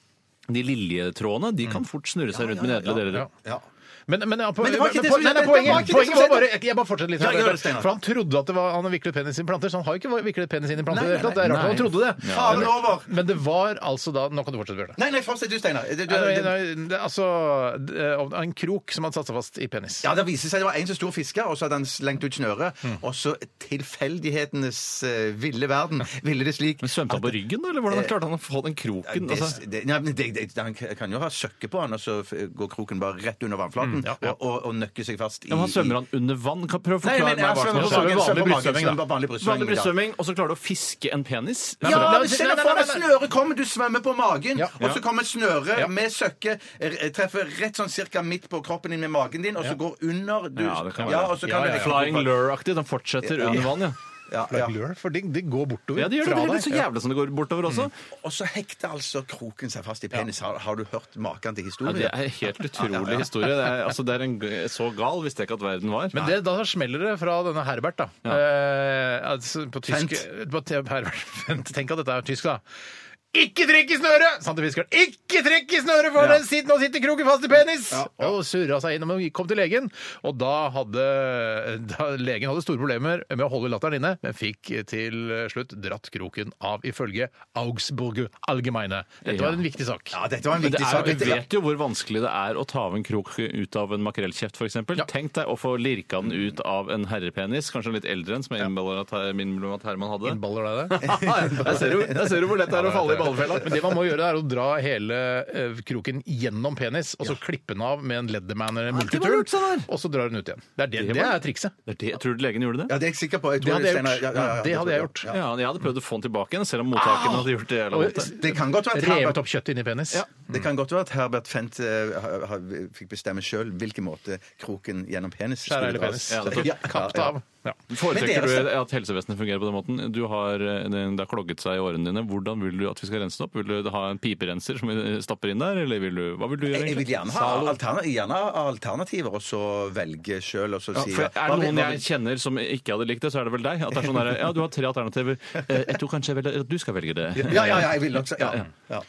Speaker 2: de liljetrådene de kan fort snurre seg rundt mine edle deler.
Speaker 1: Mm. Ja. Men, men, ja, på-
Speaker 3: Men det var ikke
Speaker 1: men
Speaker 3: det
Speaker 1: på-
Speaker 3: som-
Speaker 1: nei, nei,
Speaker 3: det var
Speaker 1: poenget,
Speaker 3: ikke
Speaker 1: poenget
Speaker 3: det som
Speaker 1: var
Speaker 3: skjedde.
Speaker 1: bare Jeg, jeg bare fortsetter litt.
Speaker 3: Ja,
Speaker 1: her,
Speaker 3: gjør det, Steinar.
Speaker 1: for han trodde at det var, han har viklet penis inn i planter, så han har ikke viklet penis inn i planter. i det hele tatt. det er rart
Speaker 2: nei.
Speaker 1: han trodde det.
Speaker 3: Faen over!
Speaker 1: Men det var altså da Nå kan du fortsette, Bjørte.
Speaker 3: Nei, nei, fortsett du, Steinar. Du- du-
Speaker 1: Nei, nei,
Speaker 3: du-
Speaker 1: nei, det er Altså det er en krok som hadde satt seg fast i penis.
Speaker 3: Ja, Det viste seg det var en så stor fisker, og så hadde han slengt ut snøret. Og så tilfeldighetenes eh, ville verden ville det slik
Speaker 2: Men svømte han på ryggen, da? Eller
Speaker 1: Eh,
Speaker 2: hvordan klarte han å få den kroken?
Speaker 3: det,
Speaker 2: Altså,
Speaker 3: det, nei, men det, det, Han kan jo ha søkke på han, og så f- går kroken bare rett under vannflaten
Speaker 2: Mm,
Speaker 3: Og, og, og nøkker seg fast i
Speaker 2: ja, men han svømmer han under vann? Kan prøve å
Speaker 3: Nei,
Speaker 2: forklare
Speaker 3: men
Speaker 2: meg
Speaker 3: jeg
Speaker 2: hva som
Speaker 3: svømmer på
Speaker 2: skjer.
Speaker 3: magen.
Speaker 1: vanlig
Speaker 3: Svømmer på magen.
Speaker 1: brystsvømming,
Speaker 3: svømmer på Vanlig
Speaker 2: Vanlig
Speaker 3: brystsvømming. ja.
Speaker 2: brystsvømming, og så klarer du å fiske en penis?
Speaker 3: Ja,
Speaker 1: Nei,
Speaker 3: men se
Speaker 1: nei,
Speaker 3: deg
Speaker 1: nei,
Speaker 3: for
Speaker 1: nei,
Speaker 3: deg
Speaker 1: nei.
Speaker 3: snøret kommer, du svømmer på magen,
Speaker 1: Ja.
Speaker 3: og så kommer snøret
Speaker 1: Ja.
Speaker 3: med søkke, eh, treffer rett sånn cirka midt på kroppen din med magen din, og så går under du,
Speaker 2: Ja, det kan være.
Speaker 3: og så kan
Speaker 1: Ja, ja,
Speaker 3: det
Speaker 1: ja.
Speaker 2: Flying lure-aktig. Den fortsetter
Speaker 3: Ja.
Speaker 2: under vann, ja.
Speaker 3: Ja, ja.
Speaker 1: Lure, For de, de går bortover
Speaker 2: Ja, Mm. det gjør det.
Speaker 1: fra
Speaker 2: Det er
Speaker 1: deg.
Speaker 2: litt så jævlig som det går bortover også.
Speaker 3: Og så hekter altså kroken seg fast i penis. Har, har du hørt maken til
Speaker 2: Ja,
Speaker 3: historien?
Speaker 2: det er en helt utrolig historie. Det er, altså, det er en, g- så gal visste jeg ikke at verden var.
Speaker 1: Men det, da smeller det fra denne Herbert, da.
Speaker 2: Ja.
Speaker 1: Eh, altså, på tysk på, te- Herbert, <laughs> Fent. Tenk at dette er tysk, da. Ikke trekk i snøret! sa han til fiskeren. Ikke trekk i snøret, for den sitter, nå sitter kroken fast i penis! Og surra seg inn og kom til legen. Og da hadde da, legen hadde store problemer med å holde latteren inne, men fikk til slutt dratt kroken av, ifølge Augsburger Allgemeine. Dette
Speaker 2: Ja.
Speaker 1: var en viktig sak.
Speaker 3: Ja, dette var en
Speaker 2: Men det er,
Speaker 3: viktig sak.
Speaker 2: vi vet jo hvor vanskelig det er å ta av en krok ut av en makrellkjeft, f.eks. eksempel Tenk deg å få lirka den ut av en herrepenis, kanskje en litt eldre en, som jeg innbiller at, innbiller at Herman hadde. <laughs>
Speaker 1: Innballer deg det?
Speaker 2: Der ser du- der ser du hvor lett det er å falle i ballefella.
Speaker 1: Men det man må gjøre, er å dra hele eh, kroken gjennom penis, og så klippe den av med en Leatherman eller en
Speaker 2: det var lurt, sånn
Speaker 1: multitool,
Speaker 2: der.
Speaker 1: og så drar den ut igjen. Det er, det,
Speaker 2: Det
Speaker 1: det
Speaker 2: var-
Speaker 1: er trikset.
Speaker 2: Det er det, tror du legen gjorde det?
Speaker 3: Ja, det er jeg sikker på. Jeg
Speaker 1: Det
Speaker 3: tror
Speaker 1: hadde jeg
Speaker 3: Steinar-
Speaker 1: gjort.
Speaker 3: ja, ja, ja,
Speaker 1: Det
Speaker 3: det
Speaker 1: hadde
Speaker 3: tror
Speaker 1: jeg
Speaker 3: jeg.
Speaker 1: gjort.
Speaker 3: Ja.
Speaker 2: Ja, jeg hadde prøvd å få den tilbake igjen, selv om mottakeren hadde gjort det. jævla
Speaker 1: Og
Speaker 2: vondt.
Speaker 3: Det kan godt være at Herbert,
Speaker 1: revet opp kjøttet inni penis.
Speaker 3: ja, det kan godt være at Herbert Fent eh, ha- ha- fikk bestemme sjøl hvilken måte kroken gjennom penis
Speaker 1: Skjære
Speaker 3: skulle
Speaker 1: hele penis.
Speaker 3: dras.
Speaker 2: Ja, det er
Speaker 3: Ja,
Speaker 1: Kapp det
Speaker 3: ja, ja.
Speaker 1: av. Ja.
Speaker 2: Foretrekker
Speaker 3: Men det er
Speaker 2: du at helsevesenet fungerer på den måten? Du har, eh, det har klogget seg i årene dine. Hvordan vil du at vi skal rense det opp? Vil du ha en piperenser som vi stapper inn der, eller vil du, hva vil du gjøre?
Speaker 3: Jeg jeg vil
Speaker 2: egentlig?
Speaker 3: gjerne ha, alterna gjerne ha alternativer, og så velge sjøl, og så
Speaker 2: Ja,
Speaker 3: si
Speaker 2: for er
Speaker 3: Hva
Speaker 2: det
Speaker 3: vil-
Speaker 2: noen
Speaker 3: hva
Speaker 2: jeg kjenner som ikke hadde likt det, så er det vel deg. At det er sånn der, ja, Du har tre alternativer. Eh, Jeg tror kanskje jeg velger at du skal velge det.
Speaker 3: vil- Ja, ja, ja, jeg vil også. Ja,
Speaker 2: Ja,
Speaker 3: ja.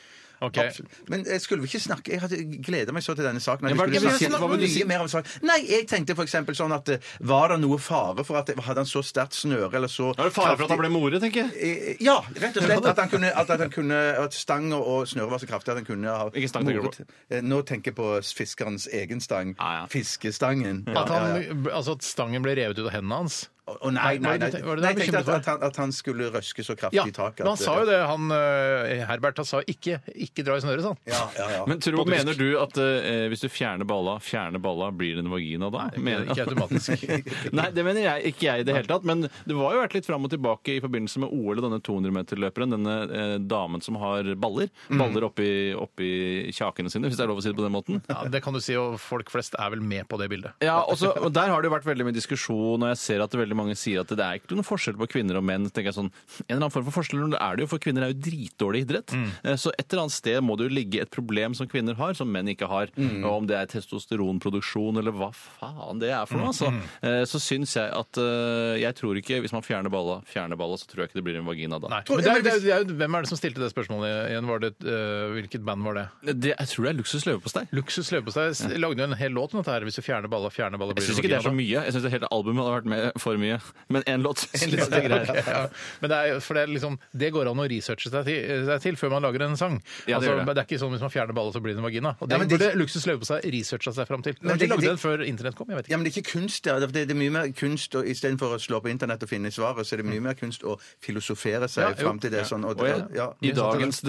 Speaker 1: Ok.
Speaker 3: Absolutt. Men eh, skulle vi ikke snakke Jeg hadde gleda meg så til denne saken. at
Speaker 2: Ja,
Speaker 3: Vi
Speaker 2: hva er det
Speaker 3: skulle
Speaker 2: du
Speaker 3: snakke
Speaker 2: snakker om? Hva vil du si?
Speaker 3: mye mer om saken. Nei, jeg tenkte f.eks. sånn at eh, Var det noe fare for at Hadde han så sterkt snøre eller så
Speaker 2: Er det fare for at han
Speaker 3: kraftig-
Speaker 2: ble more, tenker jeg?
Speaker 3: Eh, Ja, rett og slett. At, han kunne, at, at, han kunne, at stang og- og snøre var så kraftig at han kunne ha
Speaker 2: Ikke stang, tenker du på?
Speaker 3: Eh, Nå tenker jeg på fiskerens egen stang.
Speaker 2: Ah, ja.
Speaker 3: Fiskestangen.
Speaker 1: At, han, altså at stangen ble revet ut av hendene hans.
Speaker 3: Å å, nei, nei,
Speaker 1: Nei, var
Speaker 3: nei.
Speaker 1: det det- var det
Speaker 3: nei
Speaker 1: det
Speaker 3: jeg
Speaker 1: du
Speaker 3: tenkte
Speaker 1: bekymret
Speaker 3: at,
Speaker 1: for?
Speaker 3: at, han, at han skulle røske så kraftig
Speaker 1: Ja,
Speaker 3: i taket.
Speaker 1: men han sa jo det, han eh, Herbert. Han sa ikke 'ikke dra i snøret', sa han.
Speaker 3: Ja, ja, ja.
Speaker 2: Men tror, mener du at eh, hvis du fjerner balla, fjerner balla, blir det en vagina da? Mener-
Speaker 1: Ikke automatisk.
Speaker 2: <laughs>
Speaker 3: <laughs>
Speaker 2: Nei, det mener jeg ikke jeg i det hele tatt. Men det var jo vært litt fram og tilbake i forbindelse med OL og denne 200-meterløperen. Denne eh, damen som har baller. Baller oppi, oppi kjakene sine, hvis det er lov å si det på den måten.
Speaker 1: Ja, det kan du si, og folk flest er vel med på det bildet.
Speaker 2: Ja, også, og Der har det jo vært veldig mye diskusjon, og jeg ser at veldig mange sier at det er ikke noen forskjell på kvinner og menn. tenker jeg sånn, En eller annen form for forskjell men det er det jo, for kvinner er jo dritdårlig i idrett.
Speaker 1: Mm.
Speaker 2: Eh, Så et eller annet sted må det jo ligge et problem som kvinner har, som menn ikke har.
Speaker 1: Mm.
Speaker 2: Og om det er testosteronproduksjon eller hva faen det er for noe, altså.
Speaker 1: Mm,
Speaker 2: Eh, Så syns jeg at eh, jeg tror ikke, hvis man fjerner balla, fjerner balla, så tror jeg ikke det blir en vagina da.
Speaker 1: Nei. Men det er, det er, det er, jo- hvem er det som stilte det spørsmålet igjen? Var det, eh, hvilket band var det?
Speaker 2: Det, jeg tror det er luksus leverpostei.
Speaker 1: Luksus leverpostei s- lagde jo en hel låt om dette her. Hvis du fjerner balla, fjerner balla blir
Speaker 2: Jeg syns ikke det er så mye. Jeg syns hele albumet hadde vært med for mye. Men én
Speaker 1: <laughs>
Speaker 2: låt syns jeg er greit.
Speaker 1: sånn.
Speaker 2: <laughs>
Speaker 1: Ja, men det, er, jo- for det, er liksom, det går an å researche seg til, seg til før man lager en sang.
Speaker 2: Ja, det
Speaker 1: altså,
Speaker 2: gjør det.
Speaker 1: det. er ikke sånn hvis man fjerner ballet, så blir det en vagina. Og
Speaker 3: Ja,
Speaker 1: det
Speaker 3: men det-
Speaker 1: burde Luksus Løve på seg researcha seg fram til.
Speaker 3: Men
Speaker 1: Men de
Speaker 3: det-
Speaker 1: lagde
Speaker 3: det-
Speaker 1: den før internett kom, jeg vet ikke.
Speaker 3: Ja, men det er ikke kunst der. Det er, det er mye mer kunst, og istedenfor å slå på internett og finne svaret, så er det
Speaker 2: Mm.
Speaker 3: mye mer kunst å filosofere seg
Speaker 1: Ja, jo.
Speaker 3: fram til det. Sånn, og,
Speaker 2: Og jeg,
Speaker 3: ja.
Speaker 2: I dagens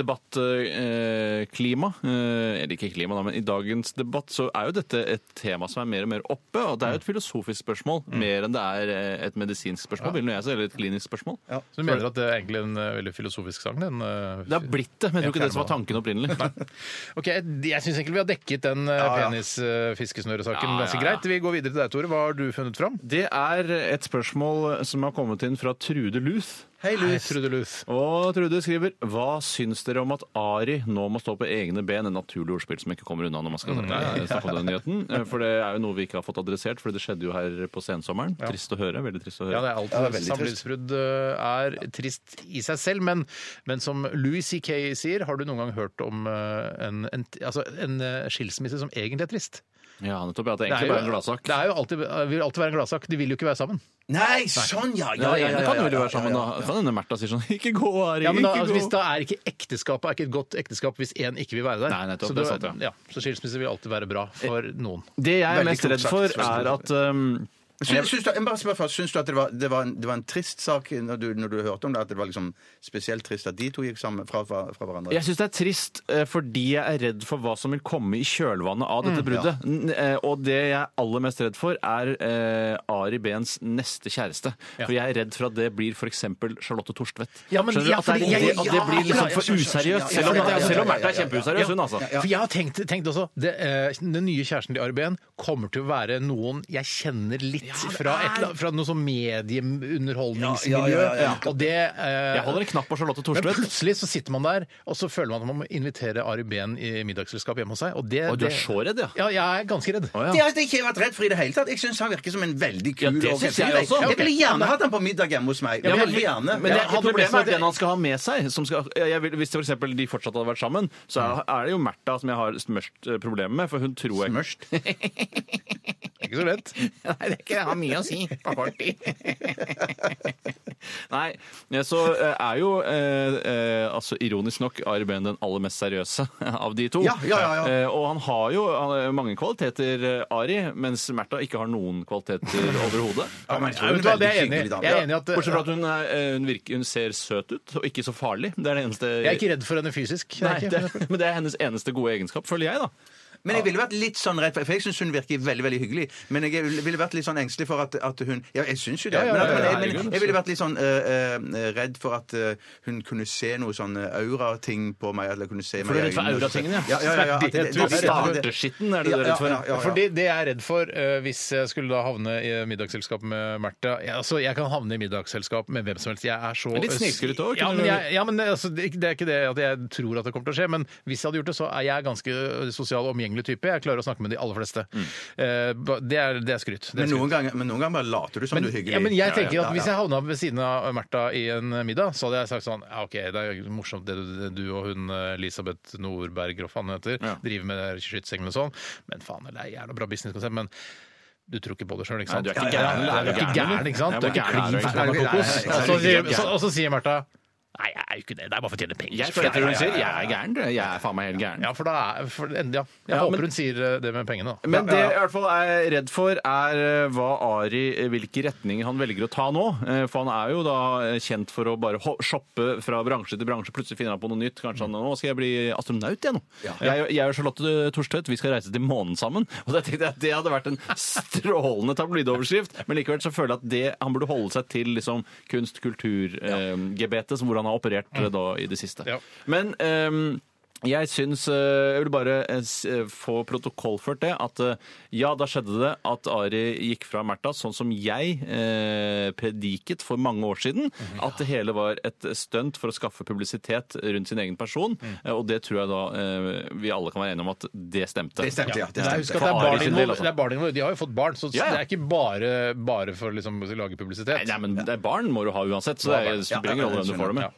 Speaker 2: debattklima eh, Eller ikke klima, da, men i dagens debatt så er jo dette et tema som er mer og mer oppe. Og det er jo et filosofisk spørsmål mer enn det er eh, et medisinsk spørsmål, vil nå jeg si, eller et klinisk spørsmål.
Speaker 1: Så du mener at det er egentlig en eh, veldig filosofisk sang? Den, eh,
Speaker 2: Det har blitt det, men jeg tror ikke det som var tanken opprinnelig.
Speaker 1: Ok, Jeg, jeg syns egentlig vi har dekket den eh,
Speaker 3: Ja, ja.
Speaker 1: penis-fiskesnørresaken
Speaker 2: Ja, ja,
Speaker 1: ganske
Speaker 2: ja.
Speaker 1: greit. Vi går videre til deg, Tore. Hva har du funnet fram?
Speaker 2: Det er et spørsmål som har kommet inn fra Trude Luth.
Speaker 3: Hei, Louis.
Speaker 1: Trude Luth.
Speaker 2: Og Trude skriver Hva syns dere om at Ari nå må stå på egne ben? En naturlig ordspill som ikke kommer unna når man skal snakke om den nyheten. Eh, For det er jo noe vi ikke har fått adressert, for det skjedde jo her på sensommeren. Trist å høre. Veldig trist å
Speaker 1: Ja,
Speaker 2: høre.
Speaker 1: det er alt.
Speaker 3: Ja, det er veldig
Speaker 1: Samlivsbrudd eh, er trist i seg selv, men, men som Louis C.K. sier, har du noen gang hørt om eh, en, en, altså en eh, skilsmisse som egentlig er trist?
Speaker 2: Ja, nettopp. Ja, det er
Speaker 1: Det er
Speaker 2: egentlig
Speaker 1: jo-
Speaker 2: bare en gladsak.
Speaker 1: Det er jo alltid, eh, vil alltid være en gladsak. De vil jo ikke være sammen.
Speaker 3: Nei, sånn, ja!
Speaker 2: Ja,
Speaker 3: Ja, ja, ja,
Speaker 2: det
Speaker 3: ja,
Speaker 2: kan jo vel
Speaker 3: ja,
Speaker 2: være sammen, da. Kan hende Märtha sier sånn <laughs> Ikke gå, Ari.
Speaker 1: Ja, men da,
Speaker 2: ikke
Speaker 1: altså,
Speaker 2: gå.
Speaker 1: hvis da er ikke ekteskapet er ikke et godt ekteskap hvis én ikke vil være der.
Speaker 2: Nei, nettopp,
Speaker 1: så,
Speaker 2: det er sant, Eh,
Speaker 1: ja. så skilsmisse vil alltid være bra for noen.
Speaker 2: Det jeg er
Speaker 3: Veldig
Speaker 2: mest
Speaker 3: klokt
Speaker 2: redd
Speaker 3: sagt,
Speaker 2: for,
Speaker 3: veldig
Speaker 2: er
Speaker 3: klokt
Speaker 2: at um,
Speaker 3: Syns, syns du, jeg må bare spør først, syns du at det var, det, var en, det var en trist sak når du, når du hørte om det? At det var liksom spesielt trist at de to gikk sammen fra, fra, fra hverandre?
Speaker 2: Jeg syns det er trist eh, fordi jeg er redd for hva som vil komme i kjølvannet av dette
Speaker 1: Mm,
Speaker 2: bruddet. N- eh, Og det jeg er aller mest redd for, er eh, Ari Behns neste kjæreste.
Speaker 1: Ja.
Speaker 2: For jeg er redd for at det blir f.eks. Charlotte Torstvedt.
Speaker 1: Ja, men-
Speaker 2: Skjønner du?
Speaker 1: ja,
Speaker 2: at, det,
Speaker 1: fordi
Speaker 2: er-
Speaker 1: jeg-
Speaker 2: at det blir
Speaker 1: ja,
Speaker 2: liksom
Speaker 1: ja,
Speaker 2: for
Speaker 3: ja, ja, ja, ja,
Speaker 2: useriøst.
Speaker 3: ja,
Speaker 2: Selv om,
Speaker 3: ja, ja, ja,
Speaker 2: selv om
Speaker 3: ja,
Speaker 2: Märtha er
Speaker 3: ja, ja,
Speaker 2: kjempeusseriøs, hun altså.
Speaker 1: For jeg har tenkt, tenkt også det, eh, Den nye kjæresten til Ari Behn kommer til å være noen jeg kjenner litt fra, et, eller annet- fra noe sånn medieunderholdningsmiljø.
Speaker 3: Ja, ja, ja, ja, ja.
Speaker 1: Og det eh,
Speaker 2: Jeg holder en knapp på Charlotte
Speaker 1: men
Speaker 2: Torstvedt.
Speaker 1: plutselig så sitter man der, og så føler man at man må invitere Ari Behn i middagsselskap hjemme hos seg. Og det,
Speaker 2: Og du er
Speaker 1: det-
Speaker 2: så redd, ja.
Speaker 1: Ja, jeg er ganske redd.
Speaker 2: Å, ja.
Speaker 3: Det har jeg ikke vært redd for i det hele tatt. Jeg syns han virker som en veldig kul
Speaker 2: Ja, det
Speaker 3: og
Speaker 2: synes
Speaker 3: helt-
Speaker 2: jeg også.
Speaker 3: Jeg ville gjerne hatt han på middag hjemme hos meg.
Speaker 2: Ja, men-
Speaker 3: Veldig gjerne.
Speaker 2: Men det,
Speaker 1: Ja, hadde
Speaker 2: problemet
Speaker 1: det-
Speaker 2: er den han skal ha med seg. Som skal, jeg vil, hvis for eksempel de fortsatt hadde vært sammen, så
Speaker 1: Mm.
Speaker 2: er- er det jo Märtha som jeg har størst eh, problem med, for hun tror jeg
Speaker 3: Mørkt.
Speaker 1: Det er ikke så lett. <laughs>
Speaker 2: Nei, det er ikke det. Jeg har mye å si på kort tid. <laughs> Nei, ja, så eh, er jo eh, eh, altså ironisk nok Ari Behn den aller mest seriøse <laughs> av de to.
Speaker 3: Ja, ja, ja, ja.
Speaker 2: Eh, og han har jo eh, mange kvaliteter, eh, Ari, mens Märtha ikke har noen kvaliteter <laughs> overhodet.
Speaker 3: Ja, men jeg tror
Speaker 1: Ja,
Speaker 3: hun
Speaker 1: vet du hva, det er jeg
Speaker 3: veldig
Speaker 1: enig i.
Speaker 3: hyggelig dame.
Speaker 1: Jeg er enig i at
Speaker 2: Bortsett fra at hun, er, eh, hun, virker, hun ser søt ut, og ikke så farlig. Det er det eneste
Speaker 1: Jeg er ikke redd for henne fysisk. Det er
Speaker 2: Nei,
Speaker 1: ikke-
Speaker 2: det, men det er <laughs> hennes eneste gode egenskap, føler jeg, da.
Speaker 3: Men jeg ville vært litt sånn redd, for for jeg syns hun virker veldig veldig hyggelig. Men jeg ville vært litt sånn engstelig for at, at hun Ja, jeg syns jo det.
Speaker 1: Ja, ja,
Speaker 3: men,
Speaker 1: ja,
Speaker 3: men,
Speaker 1: ja,
Speaker 3: jeg, men
Speaker 2: herregud.
Speaker 3: jeg ville vært litt sånn eh, eh, redd for at eh, hun kunne se noe sånn eh, aurating på meg. Eller kunne se
Speaker 2: For du er redd for auratingene,
Speaker 3: ja. ja, ja, ja at det- det- det-
Speaker 2: Starterskitten er det du er redd for.
Speaker 3: Ja, ja, ja, ja.
Speaker 1: For det, det jeg er redd for eh, hvis jeg skulle da havne i middagsselskap med Märtha ja, altså, Jeg kan havne i middagsselskap med hvem som helst. Jeg er så
Speaker 2: Men litt snikskryt også, kunne
Speaker 1: Ja, men,
Speaker 2: du-
Speaker 1: jeg, ja, men altså, det, er ikke- det er ikke det at jeg tror at det kommer til å skje. Men hvis jeg hadde gjort det, så er jeg ganske sosial og omgjengelig type. Jeg klarer å snakke med de aller fleste.
Speaker 2: Mm.
Speaker 1: Eh, ba- det, er, det er skryt. Det er
Speaker 3: Men
Speaker 1: skryt.
Speaker 3: noen ganger, men noen ganger bare later du som
Speaker 1: Men,
Speaker 3: du er hyggelig.
Speaker 1: ja, men jeg tenker
Speaker 3: Ja, ja,
Speaker 1: at Hvis
Speaker 3: ja,
Speaker 1: jeg havna ved siden av Märtha i en middag, så hadde jeg sagt sånn ja, OK, det er jo morsomt det du, du og hun eh, Elisabeth Nordberg Groff, han heter, driver med skytsengel og sånn, men faen, det er jævla bra businesskonsept. men du tror ikke på det sjøl, ikke sant?
Speaker 2: Nei, du er ikke gæren,
Speaker 1: Ja, ja, ja, ja,
Speaker 2: eller?
Speaker 1: Du er ikke gæren, ikke sant?
Speaker 2: Ja,
Speaker 1: Du er ikke
Speaker 2: men gæren er du
Speaker 1: klin
Speaker 2: ikke.
Speaker 1: ferdig med kokos.
Speaker 3: Nei, nei, nei,
Speaker 1: Og
Speaker 3: nei,
Speaker 1: så
Speaker 3: nei,
Speaker 1: sier-
Speaker 3: nei,
Speaker 1: så- Og så sier Märtha Nei, jeg er jo ikke det. Det er bare for å tjene penger.
Speaker 2: Jeg føler hun sier jeg er gæren. du. Jeg er faen meg helt gæren.
Speaker 1: Ja, for da er for, ja. Jeg
Speaker 2: Ja, men-
Speaker 1: håper hun sier eh, det med pengene, da.
Speaker 2: Men det jeg i hvert fall er redd for, er eh, hva Ari, eh, hvilke retninger han velger å ta nå. Eh, For han er jo da eh, kjent for å bare ho- shoppe fra bransje til bransje. Plutselig finner han på noe nytt. Kanskje han nå skal jeg bli astronaut, jeg nå. Jeg, jeg og Charlotte Thorstvedt vi skal reise til månen sammen. Og da tenkte jeg at det hadde vært en strålende tabloidoverskrift. Men likevel så føler jeg at det, han burde holde seg til liksom, kunst, kultur, eh, gebetet, som hvor han har operert eh, da i det siste.
Speaker 1: Ja.
Speaker 2: Men ehm, jeg syns eh, Jeg vil bare eh, s- eh, få protokollført det at eh, ja, da skjedde det at Ari gikk fra Märtha, sånn som jeg eh, prediket for mange år siden. At det hele var et stunt for å skaffe publisitet rundt sin egen person. eh, Og det tror jeg da eh, vi alle kan være enige om at det stemte.
Speaker 3: Det stemte, ja. Det
Speaker 1: Nei,
Speaker 3: stemte.
Speaker 1: husk at det er
Speaker 2: For Ari
Speaker 1: barn
Speaker 2: sin del,
Speaker 1: involvert.
Speaker 2: altså.
Speaker 1: Det er barn involvert. De har jo fått barn, så
Speaker 2: Ja, ja.
Speaker 1: det er ikke bare, bare for liksom, å lage publisitet.
Speaker 2: Nei, nei, men det er barn må du ha uansett, så
Speaker 1: Ja,
Speaker 2: det spiller ingen rolle hvem du får det med.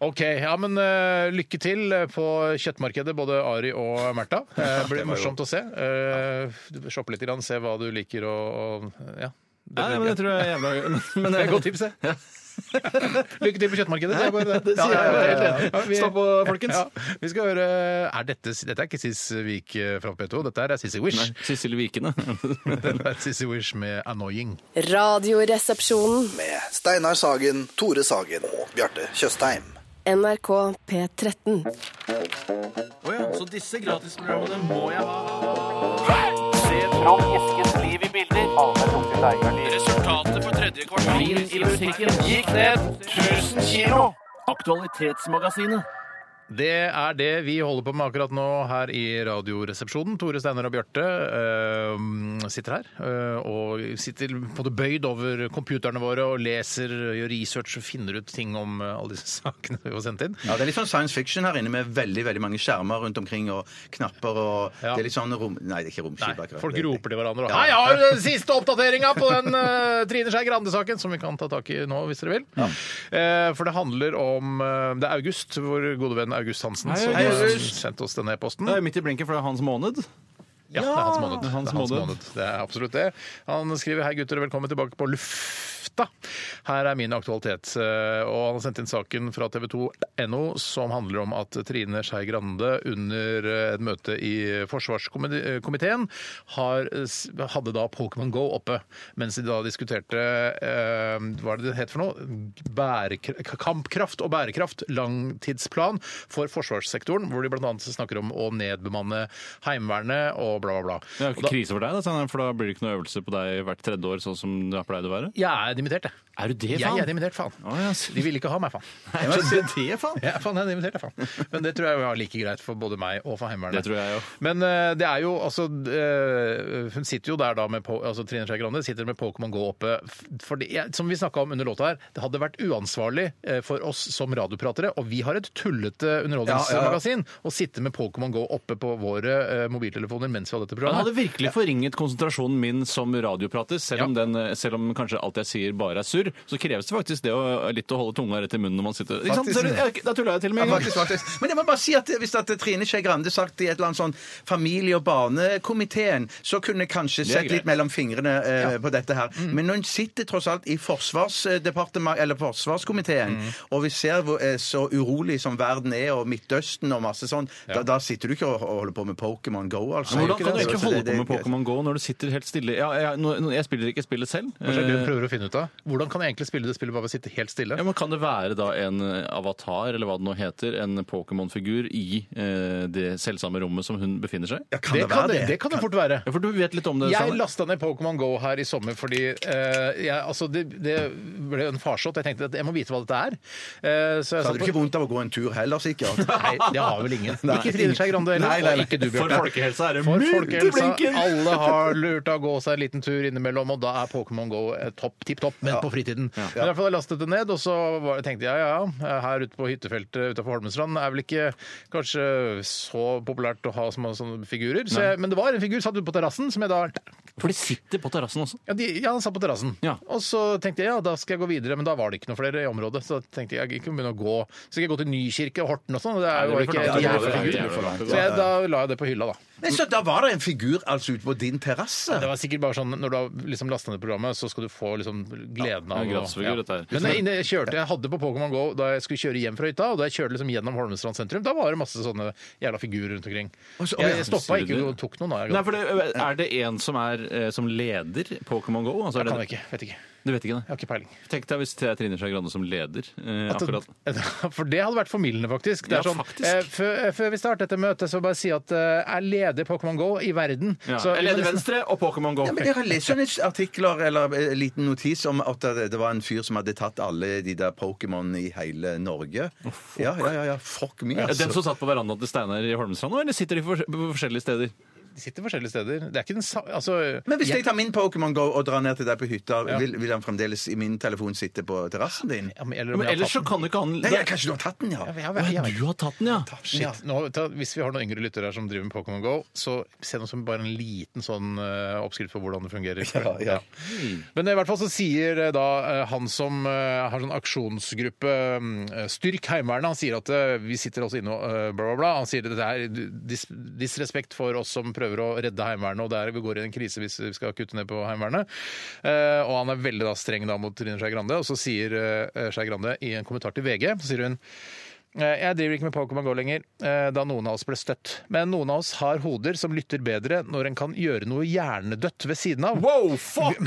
Speaker 1: OK. Ja, men eh, lykke til på kjøttmarkedet, både Ari og Märtha. Eh, det blir morsomt å se. Uh, shoppe litt, grann, se hva du liker og, og ja.
Speaker 2: Nei, men det tror jeg er jævla
Speaker 1: <laughs>
Speaker 2: men,
Speaker 1: Det er et godt tips, det. <laughs> Lykke til på kjøttmarkedet. Det er bare det. det
Speaker 3: Ja,
Speaker 1: sier
Speaker 3: ja,
Speaker 1: jeg
Speaker 2: <laughs>
Speaker 3: ja,
Speaker 1: bare
Speaker 3: ja, ja.
Speaker 1: helt enig.
Speaker 3: Stå på, folkens.
Speaker 1: Ja, vi skal høre er dette, dette er ikke Sissvik fra P2, dette er Sissy Wish.
Speaker 2: Sissel Vikene.
Speaker 1: <laughs> Dette er Sissy Wish med 'Annoying'.
Speaker 8: Radioresepsjonen.
Speaker 7: Med Steinar Sagen, Tore Sagen og Bjarte Tjøstheim.
Speaker 8: NRK P13.
Speaker 5: Så disse gratisprogrammene må jeg ha. Resultatet for tredje kvartal i musikken gikk ned 1000 kilo. Aktualitetsmagasinet.
Speaker 1: Det er det vi holder på med akkurat nå her i Radioresepsjonen. Tore Steinar og Bjarte eh, sitter her eh, og sitter på en måte bøyd over computerne våre og leser, gjør research og finner ut ting om eh, alle disse <laughs> sakene vi får sendt inn.
Speaker 3: Ja, Det er litt sånn science fiction her inne med veldig veldig mange skjermer rundt omkring og knapper og
Speaker 1: Ja.
Speaker 3: Det er litt sånn rom... Nei, det er ikke romskip.
Speaker 1: Nei,
Speaker 3: akkurat.
Speaker 1: folk
Speaker 3: Det-
Speaker 1: roper til hverandre. Og, Hei, har du den siste oppdateringa på den eh, Trine Skei Grande-saken? Som vi kan ta tak i nå, hvis dere vil. Eh, for det handler om eh, Det er August, vår gode venn August Hansen, som
Speaker 2: Hei,
Speaker 1: har
Speaker 2: August.
Speaker 1: sendt oss denne e-posten.
Speaker 2: Det er midt i blinken, for det er hans måned.
Speaker 1: Ja, det er hans måned. det
Speaker 2: Det er hans
Speaker 1: er hans
Speaker 2: måned.
Speaker 1: måned. Det er absolutt det. Han skriver hei gutter og velkommen tilbake på lufta. Her er min aktualitet. Eh, Og han har sendt inn saken fra tv2.no som handler om at Trine Skei Grande under eh, et møte i forsvarskomiteen har, eh, s- hadde da Pokémon Go oppe, mens de da diskuterte eh, hva er det det het for noe? Bærekra- kampkraft og bærekraft, langtidsplan for forsvarssektoren, hvor de bl.a. snakker om å nedbemanne Heimevernet og bla, bla, bla.
Speaker 2: Det er jo
Speaker 1: Og da-
Speaker 2: ikke krise for deg, da, Steinar, for da blir det ikke noe øvelse på deg hvert tredje år, sånn som det har pleid å være.
Speaker 1: Jeg er dimittert, jeg.
Speaker 2: Er du det,
Speaker 1: Jeg er dimittert, faen.
Speaker 2: Å, ja, <laughs> så-
Speaker 1: De ville ikke ha meg, faen.
Speaker 2: Er det det, faen?
Speaker 1: <laughs> Ja, faen, jeg er dimittert, jeg, faen. Men det tror jeg var like greit for både meg og for Heimevernet.
Speaker 2: Det tror jeg jo.
Speaker 1: Men eh, det er jo altså eh, Hun sitter jo der da med po- altså, Trine Skei Grande sitter med Pokémon Go oppe. F- For det, jeg, som vi snakka om under låta her, det hadde vært uansvarlig eh, for oss som radiopratere, og vi har et tullete underholdningsmagasin, å sitte med Pokémon Go oppe på våre eh, mobiltelefoner mens vi har dette
Speaker 2: Han
Speaker 1: programmet.
Speaker 2: hadde virkelig forringet konsentrasjonen min som radioprater, selv, om
Speaker 1: Ja.
Speaker 2: den, selv om kanskje alt jeg sier bare er surr. Så kreves det faktisk det å, litt å holde tunga rett i munnen når man sitter ikke sant?
Speaker 3: Faktisk.
Speaker 2: Ser du, jeg- Da tulla jeg til og
Speaker 3: Ja,
Speaker 2: med en
Speaker 3: faktisk,
Speaker 2: gang.
Speaker 3: faktisk. Men jeg må bare si at hvis at Trine Skei Grande sagt i et eller annet sånn familie- og barnekomiteen, så kunne jeg kanskje
Speaker 2: er
Speaker 3: sett
Speaker 2: greit.
Speaker 3: litt mellom fingrene eh, på dette her.
Speaker 1: Mm.
Speaker 3: Men når hun sitter tross alt i forsvarsdepartement, eller forsvarskomiteen,
Speaker 1: Mm.
Speaker 3: og vi ser hvor, eh, så urolig som verden er, og Midtøsten og masse sånn, da, da sitter du ikke og og holder på med Pokémon Go, altså.
Speaker 2: Men Hvordan kan du
Speaker 3: Så
Speaker 2: egentlig holde
Speaker 3: det-
Speaker 2: på med
Speaker 3: det-
Speaker 2: Pokémon Go når du sitter helt stille? Ja, jeg, nå- nå- jeg spiller ikke spillet selv.
Speaker 1: Kanskje det er det
Speaker 2: Eh,
Speaker 1: hun prøver å finne ut av. Hvordan kan jeg egentlig spille det spillet bare ved å sitte helt stille?
Speaker 2: Ja, men Kan det være da en eh, avatar, eller hva det nå heter, en Pokémon-figur i eh, det selvsamme rommet som hun befinner seg?
Speaker 3: Ja, kan det,
Speaker 1: kan
Speaker 3: være det?
Speaker 1: det kan det fort være. Sånn-
Speaker 2: Ja, for du vet litt om det?
Speaker 1: Jeg
Speaker 2: Sanne.
Speaker 1: lasta ned Pokémon Go her i sommer fordi eh, jeg, altså det, det ble en farsott. Jeg tenkte at jeg må vite hva dette er. Eh, så jeg
Speaker 3: Så
Speaker 1: satt
Speaker 3: hadde du
Speaker 1: på
Speaker 3: Altså, ikke vondt av å gå en tur heller, sikkert.
Speaker 1: Nei, <laughs> det har vel ingen.
Speaker 3: Nei.
Speaker 1: Ikke Trine Skei Grande heller,
Speaker 3: Nei, nei, nei.
Speaker 1: og ikke du,
Speaker 2: For
Speaker 1: Bjørte.
Speaker 2: folkehelsa er det
Speaker 1: For
Speaker 2: mynt i
Speaker 1: folkehelsa.
Speaker 2: blinken.
Speaker 1: Alle har lurt av å gå seg en liten tur innimellom, og da er Pokémon Go eh, topp tipp topp, men på fritiden. Men i hvert fall jeg lastet det ned, og så var, tenkte jeg ja, ja, her ute på hyttefeltet utafor Holmestrand er vel ikke kanskje så populært å ha små sånne figurer, så jeg, men det var en figur satt ute på terrassen som jeg da
Speaker 2: For de sitter på terrassen også.
Speaker 1: ja, de, ja, han satt på terrassen.
Speaker 2: Ja.
Speaker 1: Og så tenkte jeg ja, da skal jeg gå videre, men da var det ikke noe flere i området. Så da tenkte jeg jeg kan begynne å gå. Så skal jeg gå til Nykirke og Horten og sånn, og det er jo
Speaker 2: Nei, det blir
Speaker 1: ikke
Speaker 2: for langt.
Speaker 1: de er figurer.
Speaker 2: Ja, det blir for langt. Det blir for langt.
Speaker 1: Så jeg, da la jeg det på hylla, da.
Speaker 3: Men så da var det en figur altså ute på din terrasse?
Speaker 1: Det var sikkert bare sånn når du har liksom lasta ned programmet, så skal du få liksom gleden av
Speaker 2: en
Speaker 1: å-
Speaker 2: gratisfigur, dette her.
Speaker 1: Men jeg, jeg kjørte, jeg hadde på Pokémon Go da jeg skulle kjøre hjem fra hytta, og da jeg kjørte liksom gjennom Holmestrand sentrum, da var det masse sånne jævla figurer rundt omkring.
Speaker 3: så-
Speaker 1: Jeg, jeg
Speaker 2: Sier
Speaker 1: stoppa ikke
Speaker 2: du?
Speaker 1: og tok noen, da. Jeg,
Speaker 2: Nei, for det, Er det en som er eh, som leder Pokémon Go? Altså, er
Speaker 1: kan
Speaker 2: det-
Speaker 1: jeg ikke. Vet ikke.
Speaker 2: Du vet ikke
Speaker 1: Jeg
Speaker 2: det?
Speaker 1: har ikke peiling.
Speaker 2: Tenk deg hvis det er Trine Skei Grande som leder. Eh,
Speaker 1: At <laughs>
Speaker 2: akkurat.
Speaker 1: det- For det hadde vært formildende, faktisk. Det er
Speaker 2: Ja,
Speaker 1: sånn,
Speaker 2: faktisk.
Speaker 1: eh, før, før vi starter dette møtet, så bare si at eh, jeg leder Pokémon Go i verden.
Speaker 2: Ja.
Speaker 1: Så,
Speaker 2: Jeg leder
Speaker 1: men-
Speaker 2: Venstre og Pokémon Go.
Speaker 3: Ja, men Jeg har lest sånne artikler eller eh, liten notis om at det det var en fyr som hadde tatt alle de der Pokémon i hele Norge. Ja, ja, ja, ja. Fuck me,
Speaker 2: Ja, Den som
Speaker 3: altså.
Speaker 2: satt på verandaen til Steinar i Holmestrand nå, eller sitter de for, på forskjellige steder?
Speaker 1: De sitter forskjellige steder. Det er ikke den samme altså,
Speaker 3: Men hvis
Speaker 1: jeg-
Speaker 3: jeg tar min Pokémon Go og drar ned til deg på hytta, vil, vil han fremdeles i min telefon sitte på terrassen din?
Speaker 1: Ja, men, eller om
Speaker 2: Men
Speaker 1: jeg har
Speaker 2: ellers så
Speaker 1: tatt den.
Speaker 2: kan jo ikke han
Speaker 3: Nei, ja, kanskje du har tatt den, ja?
Speaker 1: Ja, men jeg-
Speaker 2: Å,
Speaker 1: jeg-
Speaker 2: ja,
Speaker 1: jeg-
Speaker 2: Du har tatt den, ja!
Speaker 1: Shit. Nå, ta, hvis vi har noen yngre lyttere her som driver med Pokémon Go, så send oss bare en liten sånn eh, oppskrift på hvordan det fungerer.
Speaker 3: <laughs> Ja, ja.
Speaker 1: Men i hvert fall så sier eh, da eh, han som eh, har sånn aksjonsgruppe eh, Styrk Heimevernet, han sier at eh, vi sitter også inne og eh, bla, bla, bla. Han sier at det er dis disrespekt for oss som prøver prøver å redde Heimevernet, og det er, vi går i en krise hvis vi skal kutte ned på Heimevernet. Eh, og han er veldig da, streng da, mot Trine Skei Grande, og så sier eh, Skei Grande i en kommentar til VG så sier hun eh, jeg driver ikke med Pokémon GO lenger, eh, da noen av oss ble støtt. Men noen av oss har hoder som lytter bedre når en kan gjøre noe hjernedødt ved siden av.
Speaker 2: Wow, fuck!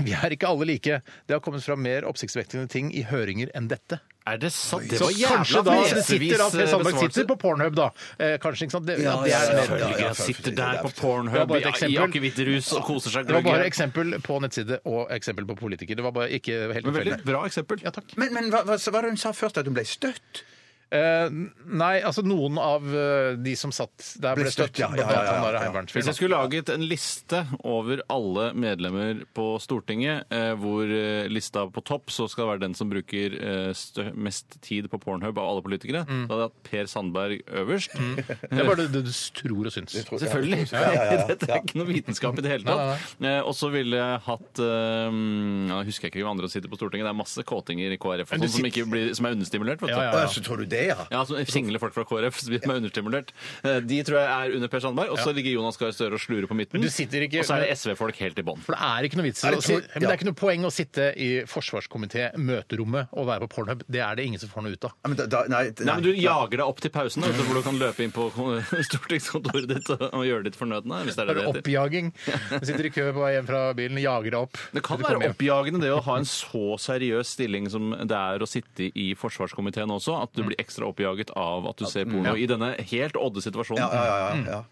Speaker 1: Vi er ikke alle like. Det har kommet fram mer oppsiktsvekkende ting i høringer enn dette.
Speaker 2: Er det sant? Det
Speaker 1: Så
Speaker 2: var jævla
Speaker 1: kanskje da det
Speaker 2: fnesevis,
Speaker 1: sitter, at Per Sandberg
Speaker 2: besvarelse.
Speaker 1: sitter på Pornhub, da. Eh, kanskje, ikke sant? Det,
Speaker 2: Ja,
Speaker 1: at det
Speaker 2: ja,
Speaker 1: er mer-
Speaker 2: selvfølgelig. Han sitter der på Pornhub
Speaker 1: Det var bare et
Speaker 2: i- i
Speaker 1: eksempel.
Speaker 2: akevittrus og koser seg.
Speaker 1: Det var bare
Speaker 2: gløgg.
Speaker 1: eksempel på nettside og eksempel på politiker. Det var bare ikke helt
Speaker 2: Men
Speaker 1: tilfeldig.
Speaker 2: veldig bra eksempel.
Speaker 1: Ja, takk.
Speaker 3: Men, men hva, hva hva var det hun sa først? At hun ble støtt?
Speaker 1: Eh, nei, altså noen av eh, de som satt der, ble
Speaker 3: Ble støtt,
Speaker 1: støtt.
Speaker 3: ja, ja,
Speaker 1: blant annet
Speaker 3: ja, ja,
Speaker 1: han der
Speaker 3: ja.
Speaker 1: heimevernsfyren,
Speaker 2: Hvis jeg skulle laget en liste over alle medlemmer på Stortinget, eh, hvor eh, lista på topp så skal det være den som bruker eh, stø mest tid på Pornhub av alle politikere,
Speaker 1: Mm.
Speaker 2: da hadde jeg hatt Per Sandberg øverst.
Speaker 1: da. Det er bare det du tror og syns.
Speaker 2: Selvfølgelig. <laughs> Dette er ikke noe vitenskap i det hele tatt. Eh, Og så ville jeg hatt eh, ja, Jeg husker ikke hvem andre som sitter på Stortinget. Det er masse kåtinger i KrF og
Speaker 1: Men du
Speaker 2: sånn som,
Speaker 1: sitter-
Speaker 2: ikke blir, som er understimulert. Vet du.
Speaker 1: Ja, ja,
Speaker 3: Å,
Speaker 1: ja.
Speaker 3: så tror du det, ja?
Speaker 2: Ja, altså, Single folk fra KrF som er understimulert. Eh, De tror jeg er under Per Sandberg. Og så ligger Jonas Gahr Støre og slurer på midten.
Speaker 1: Men du sitter ikke-
Speaker 2: Og så er det SV-folk helt i bånn.
Speaker 1: For det er ikke noe vits i å
Speaker 3: det
Speaker 1: si,
Speaker 3: tror-
Speaker 1: men det
Speaker 3: ja.
Speaker 1: er ikke noe poeng å sitte i forsvarskomité-møterommet og være på Pornhub. Det er det ingen som får noe ut av.
Speaker 3: Ja, men da, da, nei,
Speaker 2: Nei, men Du jager deg opp til pausen, vet du, hvor du kan løpe inn på <laughs> stortingskontoret ditt og og gjøre ditt fornødne. Hvis det er det
Speaker 1: Bare
Speaker 2: det heter.
Speaker 1: oppjaging. Du sitter i kø på vei hjem fra bilen, jager deg opp.
Speaker 2: Det kan
Speaker 1: Du kommer
Speaker 2: være
Speaker 1: hjem.
Speaker 2: oppjagende det å ha en så seriøs stilling som det er å sitte i forsvarskomiteen også, at
Speaker 1: Mm.
Speaker 2: du blir ekstra oppjaget av at du ser porno i denne helt odde situasjonen.
Speaker 3: Ja, ja, ja,
Speaker 1: Mm,
Speaker 3: ja.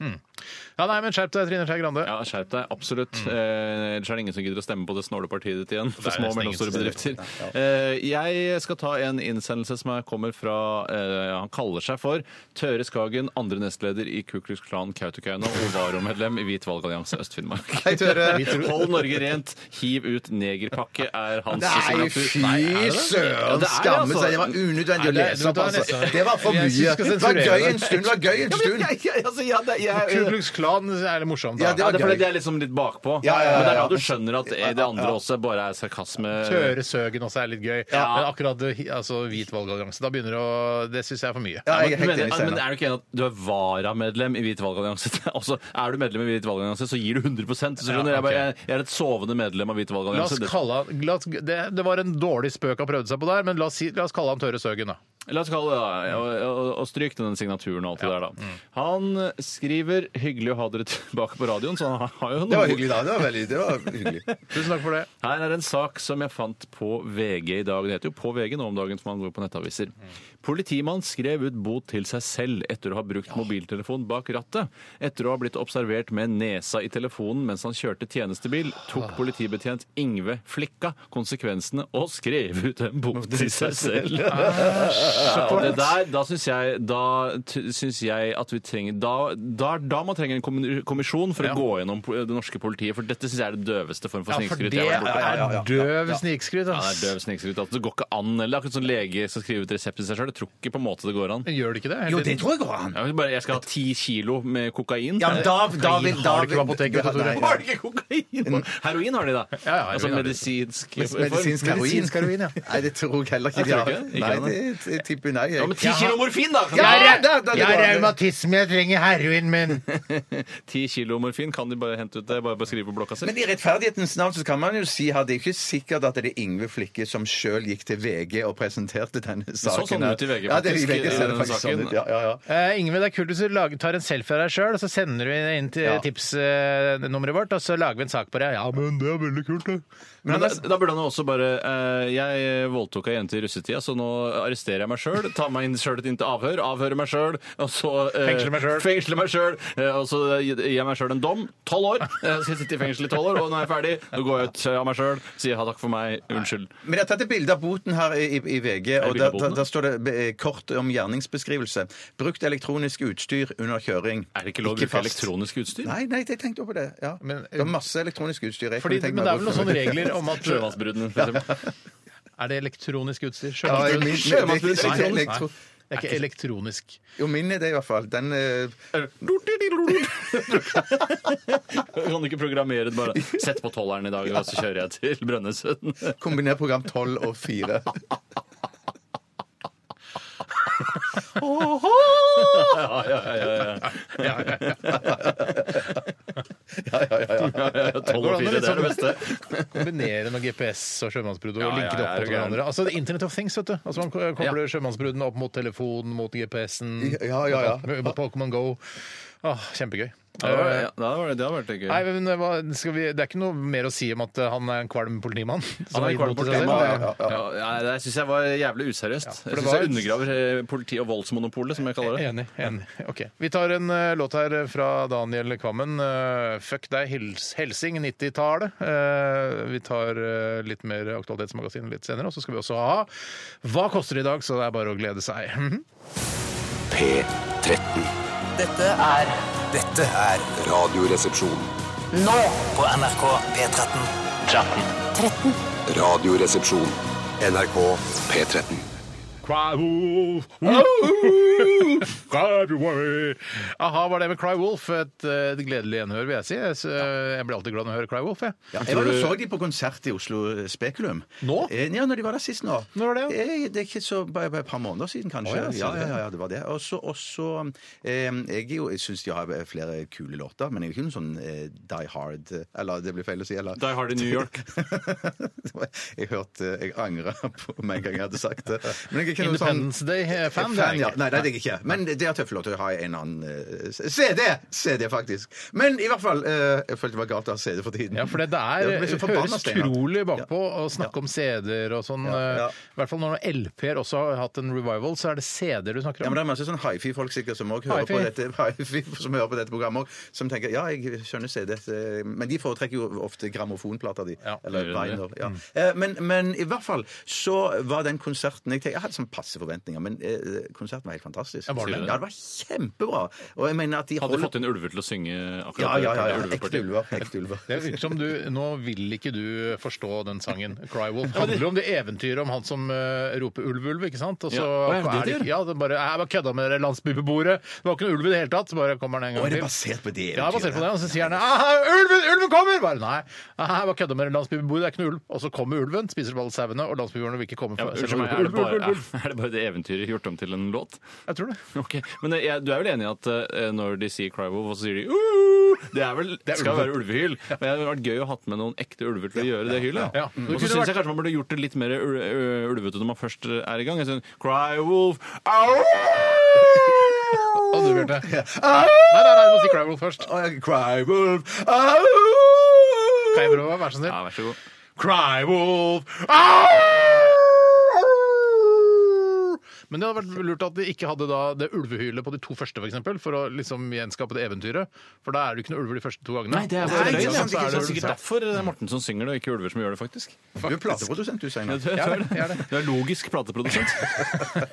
Speaker 1: Ja, nei, men skjerp deg, Trine Skei Grande.
Speaker 2: Ja, Skjerp deg. Absolutt. Eh, ellers er det ingen som gidder å stemme på det snålepartiet ditt igjen. For
Speaker 1: er
Speaker 2: små og
Speaker 1: nesten ingen
Speaker 2: mellomstore
Speaker 1: som
Speaker 2: bedrifter. Eh, jeg skal ta en innsendelse som er- kommer fra eh, Han kaller seg for Tøre Skagen, andre nestleder i Ku Klux Klan Kautokeino og varomedlem i Hvit valgallianse Øst-Finnmark.
Speaker 3: Hei, Tøre.
Speaker 2: Vi tror- Hold Norge rent, hiv ut negerpakke er hans
Speaker 3: Nei, fy
Speaker 2: signatur. Nei, er det det? Ja,
Speaker 3: søren!
Speaker 2: det er
Speaker 3: Skamme
Speaker 2: altså-
Speaker 3: seg. Det var unødvendig
Speaker 1: Nei,
Speaker 3: å
Speaker 1: det-
Speaker 3: lese opp,
Speaker 1: det var
Speaker 3: altså.
Speaker 1: nesten-
Speaker 3: Det var for
Speaker 1: Jeg
Speaker 3: mye.
Speaker 1: synes vi skal
Speaker 3: Det var
Speaker 1: sensurere
Speaker 3: gøy en
Speaker 1: det.
Speaker 3: stund! Det var gøy en stund.
Speaker 2: altså,
Speaker 1: Ku Klux Klan er det morsomt, da.
Speaker 3: Ja, det
Speaker 2: Ja,
Speaker 3: var
Speaker 2: det er fordi
Speaker 3: gøy.
Speaker 2: det er liksom litt bakpå.
Speaker 3: Ja, ja, ja,
Speaker 2: Men det er da
Speaker 3: ja.
Speaker 2: du skjønner at det andre også bare er sarkasme.
Speaker 1: Tøre Søgen også er litt gøy.
Speaker 2: Ja.
Speaker 1: Men akkurat det- altså, hvit valgallianse, da begynner det å Det syns jeg er for mye.
Speaker 3: Ja, jeg er
Speaker 2: Men,
Speaker 3: helt enig,
Speaker 2: men
Speaker 3: Steinar.
Speaker 2: er du ikke enig at du er varamedlem i Hvit valgallianse? <laughs> Altså, er du medlem i Hvit valgallianse, så gir du 100 så skjønner du? jeg,
Speaker 1: ok.
Speaker 2: bare, jeg er et sovende medlem av Hvit
Speaker 1: La oss
Speaker 2: valgallianse. Det-
Speaker 1: kalle han, la oss, det, det var en dårlig spøk han prøvde seg på der, men la oss, si, la oss kalle han Tøre Søgen, da.
Speaker 2: La oss kalle det ja, og, og, og stryk til den signaturen og alt det der,
Speaker 3: Mm.
Speaker 2: da. Han skriver 'hyggelig å ha dere tilbake på radioen', så han har jo noe
Speaker 3: Det var hyggelig da. Det var veldig det var hyggelig.
Speaker 1: Tusen takk for det.
Speaker 2: Her er en sak som jeg fant på VG i dag. Det heter jo På VG nå om dagen, for man går på nettaviser. Politimann skrev ut bot til seg selv etter å ha brukt mobiltelefon bak rattet. Etter å ha blitt observert med nesa i telefonen mens han kjørte tjenestebil, tok politibetjent Ingve Flikka konsekvensene og skrev ut en bot til seg selv. <laughs> Ja, og det der, da syns jeg, da t- syns jeg at vi trenger Da, da, da man trenger en kommun- kommisjon for å gå gjennom po- det norske politiet, for dette syns jeg er det døveste form for
Speaker 1: Ja, for
Speaker 2: snikskryt.
Speaker 1: det
Speaker 2: jeg har vært borti.
Speaker 1: er døv snikskryt.
Speaker 2: Ja, det er døv snikskryt. Altså, det går ikke an. Eller det er akkurat sånn lege skal skrive ut resept til seg sjøl. Jeg tror ikke på en måte det går an.
Speaker 1: Men Gjør det ikke det?
Speaker 3: Jo, det tror jeg går an.
Speaker 2: Jeg, vil bare, jeg skal ha ti kilo med kokain.
Speaker 3: Ja, men da, da vil da
Speaker 1: Har det ikke
Speaker 3: vil-
Speaker 1: på apoteket,
Speaker 3: da-
Speaker 1: Tore?
Speaker 3: nei,
Speaker 2: Har de ikke kokain? Heroin har de, da.
Speaker 1: Ja, ja,
Speaker 2: altså
Speaker 1: heroin har de.
Speaker 2: medisinsk
Speaker 3: Medisinsk
Speaker 2: form.
Speaker 3: heroin.
Speaker 1: Medisinsk heroin, ja.
Speaker 3: Nei, det tror jeg heller ikke de
Speaker 2: Jeg tror
Speaker 3: har.
Speaker 2: ikke det. Ikke
Speaker 3: Nei,
Speaker 2: det,
Speaker 3: det jeg tipper nei.
Speaker 2: Ja,
Speaker 3: Jeg.
Speaker 2: men ti kilo morfin, da!
Speaker 3: Ja,
Speaker 2: Kan-
Speaker 3: ja, da- da- det går an.
Speaker 1: revmatisme, jeg trenger heroin min.
Speaker 2: Ti kilo morfin kan de bare hente ut. Det er bare å skrive på blokka si.
Speaker 3: Men i rettferdighetens navn så kan man jo si her, det er ikke sikkert at det er Ingve Flikke som sjøl gikk til VG og presenterte denne saken.
Speaker 2: sånn
Speaker 3: her.
Speaker 2: ut i VG,
Speaker 3: Ja, det, i
Speaker 2: faktisk,
Speaker 3: VG ser det
Speaker 2: i
Speaker 3: faktisk
Speaker 2: saken.
Speaker 3: sånn ut. Ja, ja, ja.
Speaker 1: <laughs> Eh, Ingvild, det er kult hvis du lager, tar en selfie av deg sjøl, og så sender du inn til
Speaker 3: Ja.
Speaker 1: tipsnummeret vårt, og så lager vi en sak på det. Ja, men det er veldig kult, det.
Speaker 2: Men da, da burde han jo også bare eh, Jeg voldtok ei jente i russetida, så nå arresterer jeg meg sjøl. Tar meg inn sjøl inn til avhør, avhører meg sjøl, og så eh,
Speaker 1: Fengsler meg selv.
Speaker 2: fengsler meg selv, eh, og så gir gir jeg meg sjøl en dom. Tolv år! Eh, Jeg skal sitte i fengsel i tolv år, og nå er jeg ferdig. Nå går jeg ut eh, av meg sjøl, sier ha takk for meg, unnskyld.
Speaker 3: Men jeg har tatt et bilde av boten her i, i- i VG, og
Speaker 2: bilde
Speaker 3: da,
Speaker 2: av
Speaker 3: da,
Speaker 2: boten,
Speaker 3: da står det eh, kort om gjerningsbeskrivelse. Brukt elektronisk utstyr under kjøring.
Speaker 2: Er det ikke lov å bruke
Speaker 3: fast.
Speaker 2: elektronisk utstyr?
Speaker 3: Nei, nei, jeg tenkte også på det. Ja.
Speaker 1: Men- eh,
Speaker 3: det var masse elektronisk utstyr. jeg
Speaker 1: Fordi,
Speaker 3: kunne tenkt
Speaker 1: men
Speaker 3: meg
Speaker 1: det
Speaker 3: å
Speaker 1: er vel sånn noen sånne
Speaker 3: bruke.
Speaker 1: regler om
Speaker 2: <laughs>
Speaker 1: at
Speaker 2: Sjømannsbrudene, for eksempel.
Speaker 1: Er det elektronisk utstyr?
Speaker 3: Ja,
Speaker 1: Sjømannsbrud?
Speaker 3: min-
Speaker 2: Sjømannsbrud,
Speaker 3: det er ikke
Speaker 1: Nei,
Speaker 3: elektro-
Speaker 1: nei, det er ikke elektronisk.
Speaker 3: Jo, min er det i hvert fall. Den eh,
Speaker 2: <laughs> Kan du ikke programmere det bare? Sett på tolleren i dag, og så kjører jeg til Brønnøysund.
Speaker 1: <laughs>
Speaker 3: kombinerer program 12 og 4.
Speaker 1: Ja, ja, ja, ja. ja, ja,
Speaker 10: Ja, ja, ja. ja, ja, ja. 12 og 4, det er det beste.
Speaker 1: Kombinere noe GPS og sjømannsbrudd og
Speaker 10: Ja, ja,
Speaker 1: linke det opp
Speaker 10: ja,
Speaker 1: mot
Speaker 10: ja, ja.
Speaker 1: hverandre. Altså Internet of Things, vet du. Altså Man ko- kobler sjømannsbruddene opp mot telefonen, mot GPS-en,
Speaker 10: Ja, ja, ja.
Speaker 1: mot- mot Pokémon Go. Åh, kjempegøy. Eh,
Speaker 2: Ja, det var- ja, det var- det hadde vært gøy.
Speaker 1: Nei, men hva, skal vi, Det er ikke noe mer å si om at eh, han er en kvalm politimann. som
Speaker 2: Han er
Speaker 1: har gitt
Speaker 2: kvalm
Speaker 1: mot seg
Speaker 2: politimann,
Speaker 1: selv.
Speaker 2: ja,
Speaker 10: ja, ja.
Speaker 2: Ja, nei, det syns jeg var jævlig useriøst.
Speaker 1: for
Speaker 2: jeg
Speaker 1: det
Speaker 2: syns jeg
Speaker 1: var-
Speaker 2: undergraver eh, politi- og voldsmonopolet, som jeg kaller det.
Speaker 1: Enig. enig. Ok. Vi tar en eh, låt her fra Daniel Kvammen. Eh, Fuck deg, hils Helsing, 90-tallet. Eh, vi tar eh, litt mer Aktualitetsmagasin litt senere, og så skal vi også ha Hva koster det i dag? Så det er bare å glede seg. <laughs> Mhm.
Speaker 4: P13.
Speaker 11: Dette er
Speaker 7: Dette er
Speaker 6: Radioresepsjon.
Speaker 11: nå på NRK P13. 13.
Speaker 6: Radioresepsjon. NRK P13.
Speaker 1: Cry Wolf. Cry Wolf. Aha, var det med Cry Wolf. Et, eh, et gledelig gjenhør, vil jeg si. Jeg, s- eh, jeg blir alltid glad når jeg hører Cry Wolf. Jeg.
Speaker 3: Jeg var og så de på konsert i Oslo eh, Spekulum.
Speaker 1: Nå?
Speaker 3: Eh, Ja, når de var der sist nå.
Speaker 1: Når var det?
Speaker 3: Eh, Det er ikke så, bare bare et par måneder siden, kanskje.
Speaker 1: Å, ja,
Speaker 3: ja,
Speaker 1: så det.
Speaker 3: ja, ja, det var det. Og så- Og så eh, Jeg, er jo- jeg syns de har flere kule låter, men jeg er jo ikke noen sånn eh, Die Hard eh, Eller det blir feil å si. Eller
Speaker 2: Die Hard i New <laughs> York.
Speaker 3: <laughs> jeg hørte Jeg angra på meg en gang jeg hadde sagt det. Men jeg er ikke noe sånn
Speaker 1: Independence Day-fan. det er jeg
Speaker 3: ja.
Speaker 1: ikke.
Speaker 3: Nei, det er jeg ikke. Men det er tøffe låter. Jeg har en annen eh, CD! CD, faktisk. Men i hvert fall eh, Jeg følte det var galt å ha CD for tiden.
Speaker 1: Ja, for det der
Speaker 3: Jeg ble så forbanna,
Speaker 1: høres
Speaker 3: Steinar.
Speaker 1: utrolig bakpå å snakke om CD-er og sånn.
Speaker 3: ja.
Speaker 1: eh, I hvert fall når LP-er også har hatt en revival, så er det CD-er du snakker
Speaker 3: Ja,
Speaker 1: om.
Speaker 3: men Det er masse sånn hifi-folk sikkert som også hører, på
Speaker 1: Hi-fi.
Speaker 3: dette, hi-fi, som hører på dette programmet, også, som tenker ja, jeg skjønner CD, eh, men de foretrekker jo ofte grammofonplater, de.
Speaker 1: Ja,
Speaker 3: eller
Speaker 1: gjør de
Speaker 3: vinyl. Ja. Eh, Men, men i hvert fall så var den konserten Jeg, tenker, jeg hadde sånn passe forventninger, men eh, konserten var helt fantastisk.
Speaker 1: Ja, var det det?
Speaker 3: ja, det var kjempebra. Og jeg mener at de
Speaker 2: Hadde
Speaker 3: holder-
Speaker 2: fått inn ulver til å synge akkurat
Speaker 3: ja, ja, ja, ja,
Speaker 2: det
Speaker 3: Ekte
Speaker 2: ulvepartiet.
Speaker 3: ulver. Ekte ulver.
Speaker 1: Det virker som du, Nå vil ikke du forstå den sangen. Cry Wolf handler om det eventyret om han som eh, roper ulv, ulv, ikke sant? Og så
Speaker 2: Ja, hva er det det gjør?
Speaker 1: ja, det bare, Jeg bare kødda med det landsbybeboere. Det var ikke noe ulv i det hele tatt. så Bare kommer han en
Speaker 3: Og
Speaker 1: gang
Speaker 3: er det
Speaker 1: til.
Speaker 3: basert på det?
Speaker 1: Ja, basert på det. altså. Og
Speaker 3: eventyret?
Speaker 1: så sier han «Aha, ulven, ulven kommer! Bare, nei, aha, jeg bare kødda med det landsbybeboere, det er ikke noe ulv. Og så kommer ulven, spiser opp alle sauene, og landsbyboerne vil ikke komme.
Speaker 2: Ja,
Speaker 1: For,
Speaker 2: men Unnskyld meg, er det, bare, er det bare det eventyret gjort om til en låt?
Speaker 1: Jeg tror det.
Speaker 2: Ok, Men eh, jeg, du er vel enig i at eh, når de sier Cry Wolf, og så sier de uh, Det er vel,
Speaker 1: Det er
Speaker 2: skal
Speaker 1: ulver.
Speaker 2: være ulvehyl. Men det hadde vært gøy å hatt med noen ekte ulver til å gjøre det hylet.
Speaker 1: Ja.
Speaker 2: Mm.
Speaker 1: Det
Speaker 2: Og så
Speaker 1: kunne
Speaker 2: syns
Speaker 1: vært-
Speaker 2: jeg kanskje man burde gjort det litt mer ul- ø- ulvete når man først eh, er i gang. Jeg synes, Cry Wolf au!
Speaker 1: Og du, Bjarte? Nei, nei, nei, du må si Cry Wolf først.
Speaker 3: Å, jeg- Cry wolf, au!
Speaker 1: Kan jeg prøve? Vær så snill.
Speaker 2: Ja, vær så god.
Speaker 1: Cry Wolf! Au! Men det hadde vært lurt at de ikke hadde da det ulvehylet på de to første, for, eksempel, for å liksom gjenskape det eventyret. For da er det jo ikke noe ulver de første to gangene.
Speaker 2: Nei, det er bare
Speaker 3: Nei,
Speaker 2: løgn.
Speaker 3: ikke sant,
Speaker 2: Så er
Speaker 3: ikke
Speaker 2: det
Speaker 3: sant, ikke
Speaker 2: sikkert
Speaker 3: sant.
Speaker 2: derfor det er Morten som synger det, og ikke ulver som gjør det, faktisk.
Speaker 3: Du er plateprodusent, du, Steinar.
Speaker 2: Du er,
Speaker 1: det, jeg er det. <laughs>
Speaker 2: du er logisk plateprodusent.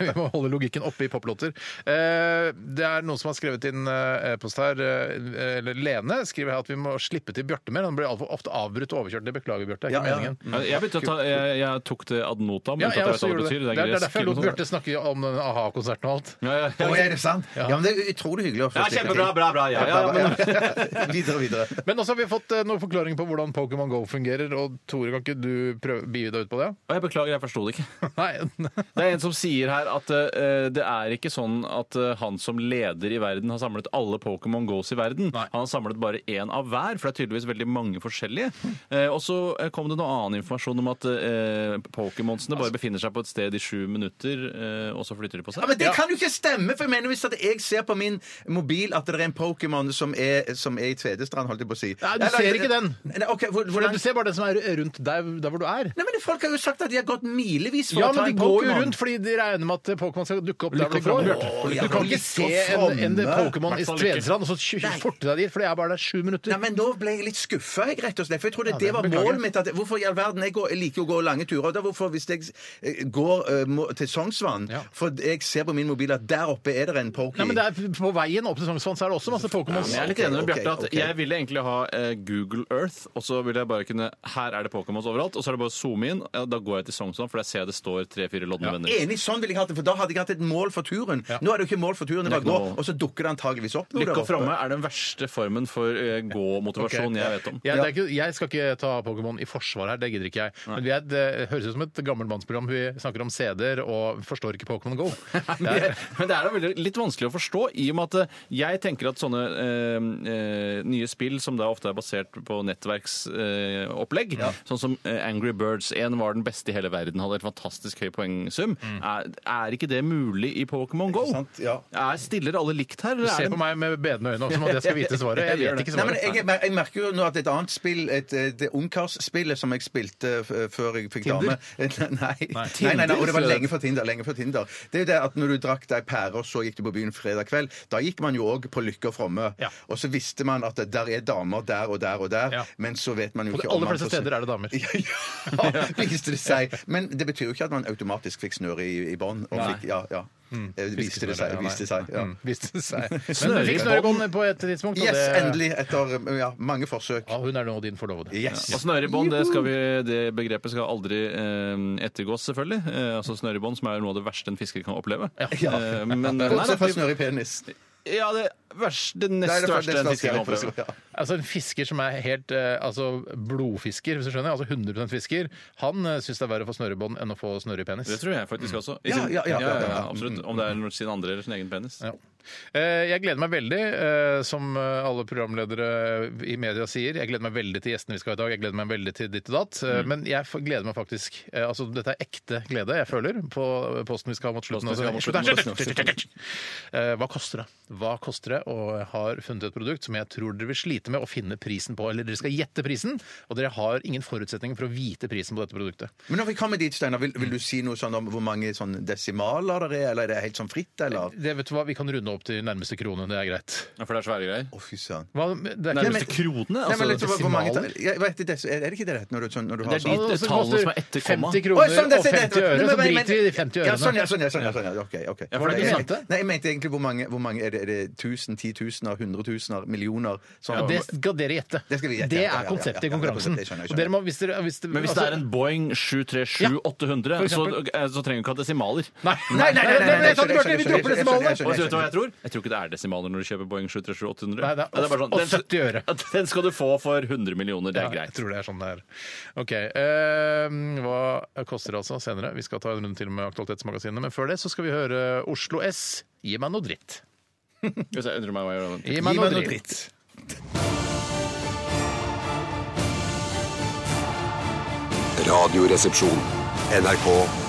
Speaker 1: Vi må holde logikken oppe i poplåter. Eh, Det er noen som har skrevet inn eh, e-post her. eh, Eller Lene skriver her at vi må slippe til Bjarte mer. Han blir altfor ofte avbrutt og overkjørt. Det beklager, Bjarte. Det er ikke
Speaker 3: Ja, ja.
Speaker 1: meningen.
Speaker 2: <laughs> Ja, Jeg, begynte å ta, jeg, jeg tok det ad notam.
Speaker 1: Ja,
Speaker 2: uten at
Speaker 1: jeg
Speaker 2: jeg vet
Speaker 1: også
Speaker 2: hva
Speaker 1: gjorde det.
Speaker 2: betyr.
Speaker 1: Det er, det er derfor jeg lot
Speaker 2: gresk.
Speaker 1: Bjarte snakke om den a-ha-konserten og alt.
Speaker 2: sånn. Ja, ja,
Speaker 3: Å,
Speaker 2: ja.
Speaker 3: er det sant? Ja, men det er utrolig hyggelig å få
Speaker 2: Ja,
Speaker 3: slippe
Speaker 2: kjempebra,
Speaker 3: til.
Speaker 2: bra, bra. Ja, ja,
Speaker 3: Ja,
Speaker 2: men,
Speaker 3: ja. <laughs> videre, videre.
Speaker 1: Men også har vi fått eh, noen forklaringer på hvordan Pokémon Go fungerer. Og Tore, kan ikke du prøve bie deg ut på det? <laughs>
Speaker 2: Og jeg beklager, jeg forsto det ikke.
Speaker 1: Nei.
Speaker 2: Det er en som sier her at eh, det er ikke sånn at eh, han som leder i verden har samlet alle Pokémon Goes i verden.
Speaker 1: Nei.
Speaker 2: Han har samlet bare én av hver, for det er tydeligvis veldig mange forskjellige. Eh, og så eh, kom det noe annen informasjon om at uh,
Speaker 1: Altså-
Speaker 2: Pokémonsene bare befinner seg på et sted i sju minutter, eh, og så flytter de på seg.
Speaker 3: Ja, men Det kan jo ikke stemme! for jeg mener Hvis at jeg ser på min mobil at det er en Pokémon som, er- som er i Tvedestrand, holdt jeg på å si
Speaker 1: Nei, du
Speaker 3: Eller-
Speaker 1: ser ikke den.
Speaker 3: Nei, ok, hvor-
Speaker 1: For
Speaker 3: hvordan...
Speaker 1: Du ser bare den som er rundt deg der hvor du er.
Speaker 3: Nei, men Folk har jo sagt at de har gått milevis for
Speaker 1: Ja,
Speaker 3: å ta
Speaker 1: men de
Speaker 3: en
Speaker 1: går jo
Speaker 3: Pokémon.
Speaker 1: rundt fordi de regner med at eh, Pokémon skal dukke opp der
Speaker 2: Lykke
Speaker 1: hvor de går.
Speaker 2: fram, Bjarte.
Speaker 1: Åh,
Speaker 3: Lykke
Speaker 1: Du kan
Speaker 3: fram.
Speaker 1: ikke se en, en eh,
Speaker 3: Lykke
Speaker 1: Pokémon
Speaker 3: fram.
Speaker 1: i
Speaker 2: Hvertfall lykke.
Speaker 1: Tvedestrand og så tju-
Speaker 3: Nei.
Speaker 1: forte deg dit, for det er bare der sju minutter.
Speaker 3: Nei, men Nå ble jeg litt skuffa, rett og slett. For jeg trodde det
Speaker 1: det
Speaker 3: var
Speaker 1: beklager.
Speaker 3: målet mitt. At, hvorfor i all verden Jeg, går, jeg liker jo å gå lange turer. Da, hvorfor Hvis jeg eh, går eh, må, til Sognsvann,
Speaker 1: Ja.
Speaker 3: for jeg ser på min mobil at der oppe er det en Poké
Speaker 1: Nei, men det er På veien opp til Sognsvann sånn, så er det også masse Pokémons.
Speaker 2: Men jeg er litt enig med
Speaker 3: ok,
Speaker 2: Bjarte at
Speaker 3: ok.
Speaker 2: jeg ville egentlig ha eh, Google Earth, og så ville jeg bare kunne Her er det Pokémons overalt, og så er det bare å zoome inn. og Da går jeg til Sognsvann, for der ser jeg det står tre-fire lodne venner.
Speaker 3: Enig, sånn ville jeg hatt det, for Da hadde jeg hatt et mål for turen. Nå er det jo ikke mål for turen, det bare
Speaker 2: Det er ikke
Speaker 3: går,
Speaker 2: noe-
Speaker 3: og så dukker det antageligvis opp. noe
Speaker 2: Lykke
Speaker 3: der
Speaker 2: og
Speaker 3: oppe.
Speaker 2: framme er den verste formen for eh, gå-motivasjon
Speaker 1: Ok.
Speaker 2: jeg vet om.
Speaker 1: Jeg, det er ikke, jeg skal ikke ta Pokémon i forsvar her, det gidder ikke jeg. Men vi er, det høres ut som et gammelmannsprogram. Vi snakker om CD-er og forstår ikke Pokémon Go.
Speaker 2: <laughs> Men det, men det er da veldig, litt vanskelig å forstå, i og med at eh, jeg tenker at sånne eh, eh, nye spill som da ofte er basert på nettverksopplegg, eh, opplegg, sånn som eh, Angry Birds 1 var den beste i hele verden, hadde helt fantastisk høy poengsum, er, er ikke det mulig i Pokémon Go? Er, stiller alle likt her?
Speaker 1: Du ser på meg med bedende øyne også, som at jeg skal vite svaret. Jeg vet ikke
Speaker 3: Nei, men
Speaker 1: svaret.
Speaker 3: <laughs> jeg, mer- jeg merker jo nå at et annet spill, et, eh, det Ungkars-spillet som jeg spilte eh, f før jeg fikk
Speaker 1: Tinder?
Speaker 3: dame <laughs> nei. Nei. Nei,
Speaker 1: Tinder,
Speaker 3: nei, og det var
Speaker 1: sier du.
Speaker 3: lenge før Tinder. lenge før Tinder. Det er jo det at når du drakk deg pære, og så gikk du på byen fredag kveld, da gikk man jo òg på Lykke og Fromme. Og så visste man at det der er damer der og der og der, men så vet man jo
Speaker 1: På de
Speaker 3: ikke
Speaker 1: aller
Speaker 3: man
Speaker 1: fleste
Speaker 3: får se-
Speaker 1: steder er det damer.
Speaker 3: <laughs>
Speaker 1: <laughs>
Speaker 3: Ja, viste det seg. Men det betyr jo ikke at man automatisk fikk snøre i, i bånd. og
Speaker 1: Nei. Hmm.
Speaker 3: fikk- Ja, ja. Eh, Viste det seg. Viste det seg. Ja. <laughs>
Speaker 1: Mm, viste seg. Men du
Speaker 3: Snøre i
Speaker 1: fikk
Speaker 3: bånd.
Speaker 1: snørebånd på et tidspunkt. og
Speaker 3: Yes,
Speaker 1: det-
Speaker 3: endelig. Etter eh, ja, mange forsøk.
Speaker 1: Ja, hun er nå din forlovede.
Speaker 3: Yes.
Speaker 1: Ja.
Speaker 2: Og snørrebånd, Altså, det, skal vi, det begrepet skal aldri eh, ettergås, selvfølgelig. Eh, altså snørrebånd, som er noe av det verste en fisker kan oppleve. Eh, <laughs> men,
Speaker 3: Bortsett fra
Speaker 2: vi-
Speaker 3: snøre i penis.
Speaker 2: Ja, det, verste, det nest
Speaker 3: Nei, det er
Speaker 2: verste en fisker kan oppleve.
Speaker 3: Ja.
Speaker 1: Altså En fisker som er helt eh, altså blodfisker, hvis du skjønner, altså 100 fisker, han eh, syns det er verre å få snørebånd enn å få snøre i penis.
Speaker 2: Det tror jeg faktisk også. I
Speaker 1: Ja,
Speaker 2: sin-
Speaker 1: ja, ja, ja, ja.
Speaker 2: Absolutt. Om det er sin andre eller sin egen penis.
Speaker 1: Ja. Eh, Jeg gleder meg veldig, eh, som eh, alle programledere i media sier. Jeg gleder meg veldig til gjestene vi skal ha i dag. Jeg gleder meg veldig til ditt og datt. Eh,
Speaker 2: Mm.
Speaker 1: Men jeg f- gleder meg faktisk eh, Altså, dette er ekte glede jeg føler på eh, posten vi skal ha mot slutten.
Speaker 2: Posten vi skal ha mot slutten.
Speaker 1: Altså, slutt, Eh, Hva koster det? Hva koster det? Og jeg har funnet et produkt som jeg tror dere vil slite med å finne prisen på. Eller dere skal gjette prisen, og dere har ingen forutsetninger for å vite prisen på dette produktet.
Speaker 3: Men når vi kommer dit, Steinar, vil, vil du si noe sånn om hvor mange sånn desimaler det er, eller er det helt sånn fritt, eller?
Speaker 1: Det vet du hva, Vi kan runde opp til nærmeste krone. Det er greit.
Speaker 2: Ja, for det er svære greier.
Speaker 3: Å, fy søren.
Speaker 1: Hva, det er
Speaker 2: Nei,
Speaker 1: ikke
Speaker 2: men- kronene,
Speaker 3: Nei, men litt, hvor- hvor mange,
Speaker 1: desimaler?
Speaker 3: jeg vet, ikke, des- er det ikke det det heter når du, sånn, når du har
Speaker 2: altså, Det er de
Speaker 3: sånn?
Speaker 1: Altså, det
Speaker 2: tallene
Speaker 1: koster
Speaker 2: som er etter komma.
Speaker 1: 50
Speaker 3: Oi,
Speaker 1: kroner
Speaker 3: sånn, det-
Speaker 1: og
Speaker 3: det- det-
Speaker 1: 50 øre,
Speaker 3: Nei,
Speaker 1: så
Speaker 3: men- men-
Speaker 1: driter vi i de 50 ørene.
Speaker 3: Ja, sånn, ja, sånn, ja, sånn, ja, sånn, ja. ok, ok.
Speaker 2: Ja, for det er
Speaker 3: Jeg-
Speaker 2: ikke sant, det.
Speaker 3: Nei, jeg mente egentlig hvor mange, hvor mange er det, er det tusen, titusener, hundretusener, millioner? Sånn,
Speaker 1: Det skal dere gjette.
Speaker 3: Det skal vi gjette,
Speaker 1: Det
Speaker 3: ja, ja, ja,
Speaker 1: er
Speaker 3: ja,
Speaker 1: konseptet
Speaker 3: ja,
Speaker 1: i
Speaker 3: ja,
Speaker 1: konkurransen.
Speaker 3: det skjønner jeg,
Speaker 1: Og dere må, hvis dere, hvis dere,
Speaker 2: Men hvis det er en Boeing 737-800,
Speaker 1: For
Speaker 2: så,
Speaker 1: eksempel.
Speaker 2: eh, så trenger du ikke ha desimaler.
Speaker 1: Nei,
Speaker 3: Nei, nei, nei, nei, nei,
Speaker 1: jeg sa det, Bjarte, vi
Speaker 3: skjønner, skjønner,
Speaker 1: dropper
Speaker 3: skjønner,
Speaker 1: desimalene.
Speaker 3: skjønner,
Speaker 2: Og vet du hva
Speaker 3: skjønner.
Speaker 2: jeg tror? Jeg tror ikke det er desimaler når du kjøper Boeing 737-800.
Speaker 1: Nei, det er
Speaker 2: bare sånn,
Speaker 1: og 70 øre.
Speaker 2: Den, <laughs> den skal du få for 100 millioner, det
Speaker 1: Ja,
Speaker 2: er
Speaker 1: jeg
Speaker 2: greit.
Speaker 1: tror det er sånn det er. OK. eh, hva koster det altså senere? Vi skal ta en runde til med Aktualitetsmagasinet, men før det så skal vi høre Oslo S. Gi meg noe dritt.
Speaker 2: Hvis jeg undrer meg hva jeg gjør.
Speaker 1: Gi meg noe dritt.
Speaker 6: Radioresepsjon. NRK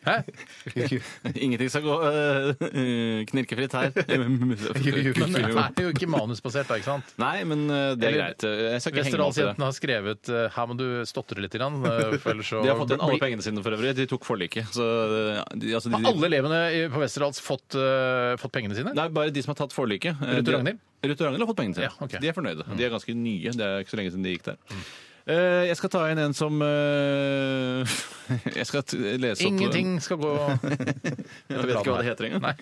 Speaker 1: Hæ?
Speaker 2: <laughs> Ingenting skal gå eh, <laughs> knirkefritt
Speaker 1: <laughs>
Speaker 2: her.
Speaker 1: Men det er jo ikke manusbasert, da, ikke sant?
Speaker 2: Nei, men eh, det er
Speaker 1: Eller-
Speaker 2: greit. Jeg skal ikke henge meg opp i det.
Speaker 1: Westerdalsjentene har skrevet eh, Her må du stotre litt,
Speaker 2: <laughs>
Speaker 1: grann, eh, for ellers så
Speaker 2: De har fått inn alle
Speaker 1: Blir-
Speaker 2: pengene sine for øvrig. De tok forliket. Så eh, de, altså, de,
Speaker 1: Har alle elevene i- på Westerdals fått, eh, fått pengene sine?
Speaker 2: Nei, bare de som har tatt forliket. Eh,
Speaker 1: Ruth og
Speaker 2: de-
Speaker 1: Ragnhild?
Speaker 2: Ruth og Ragnhild har fått pengene sine.
Speaker 1: Ja, ok. Mm.
Speaker 2: De er fornøyde. De er ganske nye. Det er ikke så lenge siden de gikk der. Eh, Jeg skal ta inn en som eh, <laughs> Jeg skal t- lese opp
Speaker 1: Ingenting skal gå Det
Speaker 2: Jeg vet ikke hva det heter engang.
Speaker 1: Nei.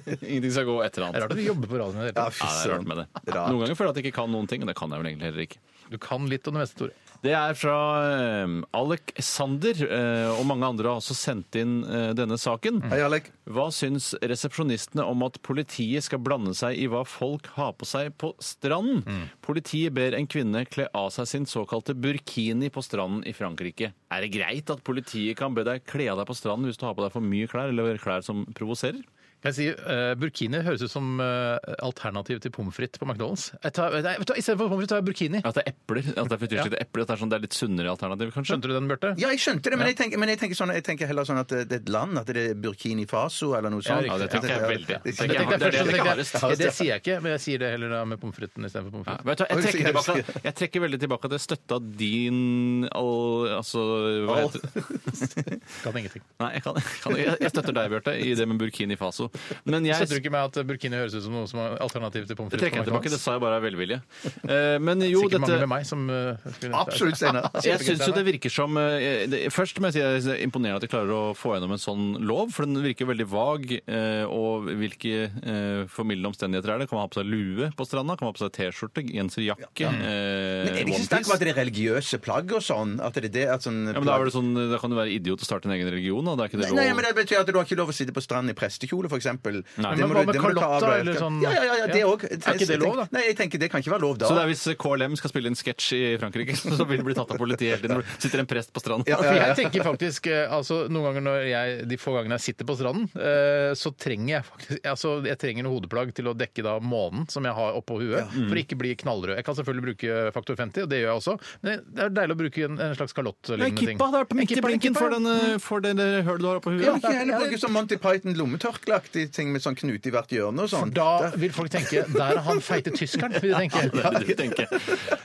Speaker 2: <laughs> Ingenting skal gå etter
Speaker 1: er
Speaker 2: annet.
Speaker 1: rart at du jobber på radioen. i det hele
Speaker 3: Ja,
Speaker 1: tatt.
Speaker 3: fy
Speaker 2: Ja, det er rart
Speaker 3: søren.
Speaker 2: med det.
Speaker 3: Rart.
Speaker 2: Noen ganger føler jeg at jeg ikke kan noen ting, og det kan jeg vel egentlig heller ikke.
Speaker 1: Du kan litt om det meste, Tore.
Speaker 2: Det er fra eh, Alec Sander, eh, og mange andre har også sendt inn eh, denne saken.
Speaker 3: Hei, Alek.
Speaker 2: Hva syns resepsjonistene om at politiet skal blande seg i hva folk har på seg på stranden?
Speaker 3: Mm.
Speaker 2: Politiet ber en kvinne kle av seg sin såkalte burkini på stranden i Frankrike. Er det greit at politiet kan be deg kle av deg på stranden hvis du har på deg for mye klær eller klær som provoserer?
Speaker 1: Kan jeg si, eh, Burkini høres ut som eh, alternativ til pommes frites på McDonald's. Jeg tar- nei, vet du hva, Istedenfor pommes frites tar jeg burkini.
Speaker 2: At det er epler? At det er frityrstykte epler? At det er, sånn, det er litt sunnere alternativ, kanskje?
Speaker 1: Skjønte du den, Bjarte?
Speaker 3: Ja, jeg skjønte det, men, jeg, tenker, men jeg, tenker sånn, jeg tenker heller sånn at det er et land, at det er Burkini Faso eller noe sånt.
Speaker 2: Ja, det tenker jeg veldig.
Speaker 3: Ja, det
Speaker 2: Det tenker
Speaker 3: tenker
Speaker 2: jeg-
Speaker 3: jeg.
Speaker 2: det er det jeg tenker
Speaker 1: Ja,
Speaker 2: hardest.
Speaker 1: det sier jeg ikke, men jeg sier det heller da med pommes fritesen istedenfor pommes
Speaker 2: Ja,
Speaker 1: frites.
Speaker 2: vet du, hva, jeg, trekker tilbake, jeg trekker veldig tilbake at jeg støtta din al- altså hva
Speaker 1: Al-
Speaker 2: heter det?
Speaker 1: Kan ingenting.
Speaker 2: Nei, jeg, kan, jeg, kan, jeg støtter deg, Bjarte, i det med Burkini Faso. Men jeg
Speaker 1: Støtter du ikke meg at burkini høres ut som noe som er alternativ til pommes
Speaker 2: det
Speaker 1: frites?
Speaker 2: trekker jeg
Speaker 1: på
Speaker 2: tilbake. Det
Speaker 1: McDonald's?
Speaker 2: sa jeg bare av velvilje. Eh, Men jo,
Speaker 1: Sikkert
Speaker 2: dette
Speaker 1: mange med meg som eh, skulle-
Speaker 2: Absolutt, Steinar. Jeg syns jo det
Speaker 1: Kjempegøy,
Speaker 2: virker som eh, det, Først må jeg si jeg synes det er imponerende at de klarer å få gjennom en sånn lov, for den virker veldig vag. eh, Og hvilke eh, formildende omstendigheter er det? Kan man ha på seg lue på stranda? Kan man ha på seg T-skjorte, genser, jakke? eh,
Speaker 3: Men er det ikke snakk om at det er religiøse plagg og sånn? At det er det at sånn
Speaker 2: Ja, men da, er det sånn, da kan du være idiot og starte en egen religion, da. Det er ikke det
Speaker 3: Nei,
Speaker 2: lov.
Speaker 3: men Det betyr at du har ikke lov å sitte på stranden i prestekjole, f.eks.
Speaker 2: Nei, men hva med kalotta eller sånn-
Speaker 3: Ja, ja, ja, ja, det
Speaker 2: Ja.
Speaker 3: òg.
Speaker 2: Er ikke det lov, da?
Speaker 3: Nei, jeg tenker det kan ikke være lov da.
Speaker 2: Så det er hvis KLM skal spille en sketsj i Frankrike, <laughs> så vil det bli tatt av politiet hele tiden. hvor det Sitter en prest på stranden.
Speaker 1: Ja, <laughs> for jeg tenker faktisk eh, altså, Noen ganger når jeg, de få gangene jeg sitter på stranden, eh, så trenger jeg faktisk altså, Jeg trenger noe hodeplagg til å dekke da månen som jeg har oppå huet,
Speaker 2: Mm.
Speaker 1: for å ikke bli knallrød. Jeg kan selvfølgelig bruke faktor 50, og det gjør jeg også, men det er deilig å bruke en, en slags
Speaker 2: Nei,
Speaker 1: kalott-lignende ting.
Speaker 2: kippa! sånn. Det er midt i
Speaker 1: Kippa,
Speaker 2: blinken
Speaker 1: kippa,
Speaker 2: for
Speaker 1: ja.
Speaker 2: den, eh, for den eh, høl du har oppå
Speaker 3: Kan ikke
Speaker 2: huet.
Speaker 3: heller bruke sånn Monty Python lommetørkleaktig ting med sånn knute i hvert hjørne og sånn?
Speaker 1: Da vil folk tenke Der er han feite tyskeren, vil de tenke.
Speaker 2: Ja, det vil de tenke.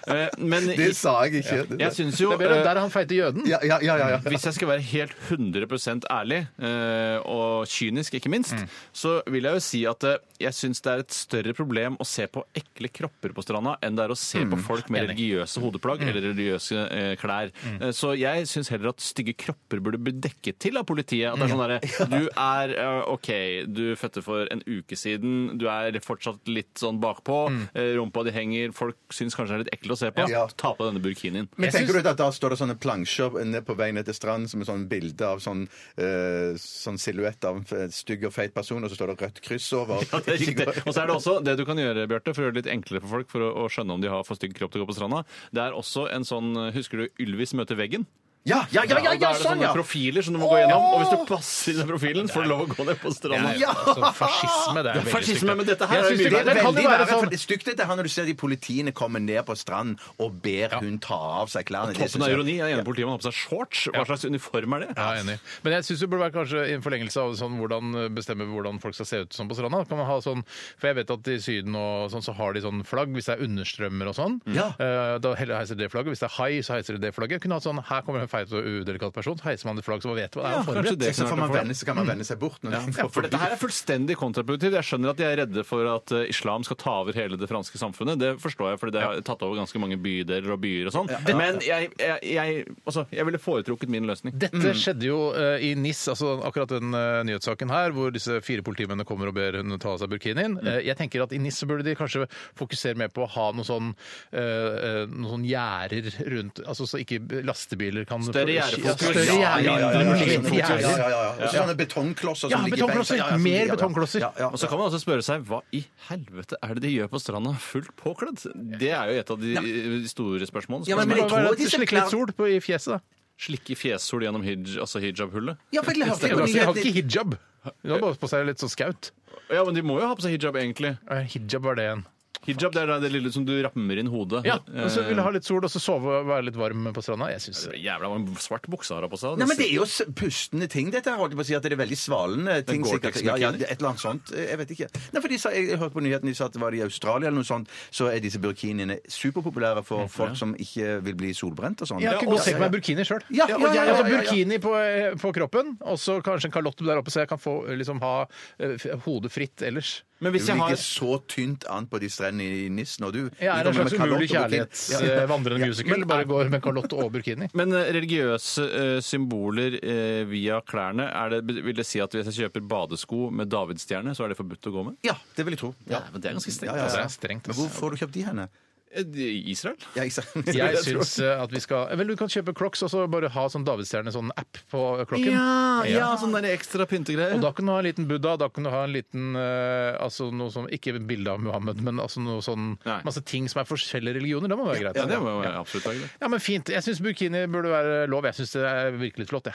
Speaker 2: Eh, Men
Speaker 3: Det sa jeg ikke.
Speaker 2: Ja. Jeg syns jo eh,
Speaker 1: Det er bedre, der er han feite jøden.
Speaker 3: Ja, ja, ja, ja, ja.
Speaker 2: Hvis jeg skal være helt 100 ærlig, eh, og kynisk ikke minst, så vil jeg jo si at eh, jeg syns det er et større problem å se på ekle kropper på stranda enn det er å se på folk med
Speaker 1: Enig.
Speaker 2: religiøse hodeplagg eller religiøse eh, klær. Eh, Så jeg syns heller at stygge kropper burde bli dekket til av politiet. At det er sånn derre Du er eh, OK, du fødte for en uke siden, du er fortsatt litt sånn bakpå, eh, rumpa di henger, folk syns kanskje det er litt ekkelt å se på.
Speaker 3: Ja.
Speaker 2: Ta på denne burkinien.
Speaker 3: Men
Speaker 1: Jeg
Speaker 3: tenker
Speaker 1: syns-
Speaker 3: du at da står det sånne plansjer ned på vei ned til stranden som er sånn bilde av sånn, eh, sånn silhuett av en f- stygg og feit person, og så står det rødt kryss over?
Speaker 2: Ja, det er riktig. Og så er det også det du kan gjøre, Bjarte, for å gjøre det litt enklere for folk for å, å skjønne om de har for stygg kropp til å gå på stranda. Det er også en sånn Husker du Ylvis møter veggen?
Speaker 3: Ja, ja, ja, ja,
Speaker 2: og
Speaker 3: ja,
Speaker 2: da er det
Speaker 3: sånn,
Speaker 2: sånne
Speaker 3: ja!
Speaker 2: profiler som du må gå gjennom. Og hvis du passer i den profilen, får du lov å gå ned på stranda.
Speaker 3: Ja.
Speaker 1: Så fascisme, det er
Speaker 2: Ja,
Speaker 1: veldig
Speaker 2: fascisme,
Speaker 1: stygt.
Speaker 2: men dette her
Speaker 1: Jeg
Speaker 2: er
Speaker 1: syns
Speaker 2: mye
Speaker 1: det,
Speaker 3: Det
Speaker 2: verre.
Speaker 3: er
Speaker 1: det kan
Speaker 3: veldig
Speaker 1: jo være
Speaker 3: verre, for
Speaker 1: sånn
Speaker 3: det stygt dette her når du ser de politiene komme ned på stranden og ber hun ta av seg klærne. Det
Speaker 2: Toppen
Speaker 3: synes
Speaker 2: av
Speaker 3: jeg-
Speaker 2: ironi er ene politiet man har på seg shorts. Hva slags uniform er det?
Speaker 1: Ja, jeg er enig. Men jeg syns det burde være kanskje i en forlengelse av sånn hvordan bestemme hvordan folk skal se ut sånn på stranda. Kan man ha sånn, For jeg vet at i Syden og sånn så har de sånn flagg hvis det er understrømmer og sånn.
Speaker 3: Ja.
Speaker 1: Eh, Da heller heiser de det flagget. Hvis det er hai, så heiser de det flagget. Kunne hatt sånn her kommer en feit og udelikat person, så heiser man det flagget så man vet hva det er.
Speaker 2: Ja,
Speaker 1: og forberedt.
Speaker 2: kanskje det
Speaker 3: Så
Speaker 2: kunne
Speaker 3: får
Speaker 2: vært
Speaker 3: man
Speaker 2: noe for
Speaker 3: vende, så kan man vende seg bort. Når de
Speaker 2: Ja,
Speaker 3: går
Speaker 2: for dette
Speaker 3: forbi.
Speaker 2: her er fullstendig kontraproduktivt. Jeg skjønner at de er redde for at eh, islam skal ta over hele det franske samfunnet. Det forstår jeg, fordi det har tatt over ganske mange bydeler og byer og sånn. Men jeg, jeg, jeg, altså, jeg ville foretrukket min løsning.
Speaker 1: Dette skjedde jo eh, i NIS, altså akkurat den eh, nyhetssaken her, hvor disse fire politimennene kommer og ber hun ta av seg burkinien. Eh, jeg tenker at i NIS så burde de kanskje fokusere mer på å ha noen sånn, eh, eh, noen sånn gjerder rundt, altså så ikke lastebiler kan...
Speaker 2: Større gjerdefokus.
Speaker 1: Ja, større
Speaker 2: Ja, ja,
Speaker 1: gjerder.
Speaker 2: ja, ja, ja, ja.
Speaker 1: Mindre
Speaker 3: Ja, ja, ja,
Speaker 1: gjerder.
Speaker 3: ja. Og så sånne betongklosser som
Speaker 1: Ja,
Speaker 3: ligger i benken.
Speaker 1: betongklosser.
Speaker 3: Ja, ja, som
Speaker 1: Mer
Speaker 3: ligger- ja, ja.
Speaker 1: betongklosser.
Speaker 3: Ja, ja,
Speaker 2: Og så kan man også spørre seg hva i helvete er det de gjør på stranda fullt påkledd? Det er jo et av de eh, store spørsmålene.
Speaker 3: Ja, men-
Speaker 1: Men
Speaker 3: jeg
Speaker 1: det
Speaker 3: tror
Speaker 1: var et
Speaker 3: disse
Speaker 1: slikkelig
Speaker 3: klær-
Speaker 1: sol på, i fjeset da.
Speaker 2: Slikke fjeshol gjennom hij, altså hijab-hullet?
Speaker 3: Ja, for jeg hørte
Speaker 1: Jeg
Speaker 3: på
Speaker 1: har
Speaker 3: nyhetene-
Speaker 1: ikke hijab. Hun har bare på seg litt sånn skaut.
Speaker 2: Ja, men de må jo ha på seg hijab, egentlig.
Speaker 1: Eh, Hijab var det igjen.
Speaker 2: Hijab det er da det lille som du rammer inn hodet.
Speaker 1: Ja, og så vil jeg ha litt sol, og så sove og være litt varm på stranda. Jeg synes
Speaker 2: Eh, Jævla mange svart bukser har hun på seg.
Speaker 3: Nei, men Det er jo s- pustende ting, dette. her, holdt jeg på å si at Det er veldig svalende ting.
Speaker 2: Gore-Tex
Speaker 3: sikkert. Ja, ja,
Speaker 2: bikini.
Speaker 3: et eller annet sånt. Eh, Jeg vet ikke. Nei, for de sa, jeg, jeg hørte på nyheten de sa at var det i Australia eller noe sånt, så er disse burkiniene superpopulære for folk som ikke vil bli solbrent og sånn.
Speaker 1: Jeg har ikke
Speaker 3: Ja,
Speaker 1: godt tenkt
Speaker 3: ja,
Speaker 1: meg burkini sjøl.
Speaker 3: Ja, ja, ja, ja, ja,
Speaker 1: altså
Speaker 3: ja, ja.
Speaker 1: burkini på, eh, på kroppen, og så kanskje en kalott der oppe, så jeg kan få, eh, liksom, ha eh, f- hodet fritt ellers.
Speaker 2: Men
Speaker 3: Du
Speaker 2: hvis jeg
Speaker 3: ligger
Speaker 2: har
Speaker 3: så tynt an på de strendene i Nis når du
Speaker 1: Jeg er
Speaker 3: du
Speaker 1: en
Speaker 3: kommer
Speaker 1: slags
Speaker 3: Liksom med
Speaker 1: umulig eh,
Speaker 3: kalott og burkini. Ja.
Speaker 1: kjærlighetsvandrende musical. Bare går med kalott og burkini.
Speaker 2: Men eh, religiøse eh, symboler eh, via klærne, er det, vil det si at hvis jeg kjøper badesko med davidsstjerne, så er det forbudt å gå med?
Speaker 3: Ja, det vil jeg tro. Ja.
Speaker 2: Nei, men det er ganske strengt.
Speaker 3: Ja, ja,
Speaker 1: Altså,
Speaker 3: ja.
Speaker 1: det er strengt,
Speaker 3: Men
Speaker 1: altså.
Speaker 3: hvor får du kjøpt de henne?
Speaker 2: Eh, de- Israel?
Speaker 3: Ja, ikke sant? <laughs>
Speaker 1: Jeg
Speaker 3: tror-
Speaker 1: syns eh, at vi skal Vel, du kan kjøpe Crocs og så bare ha sånn davidsstjerne sånn app på klokken.
Speaker 2: sånn der ekstra pyntegreier.
Speaker 1: Og da kan du ha en liten Buddha, da kan du ha en liten eh, altså noe som, Ikke bilde av Muhammed, men altså noe sånn
Speaker 2: Nei.
Speaker 1: masse ting som er forskjellige religioner. Det må være greit.
Speaker 2: ja, det må jo absolutt være greit.
Speaker 1: Ja, men fint. Jeg syns burkini burde være lov. Jeg syns det er virkelig flott, jeg.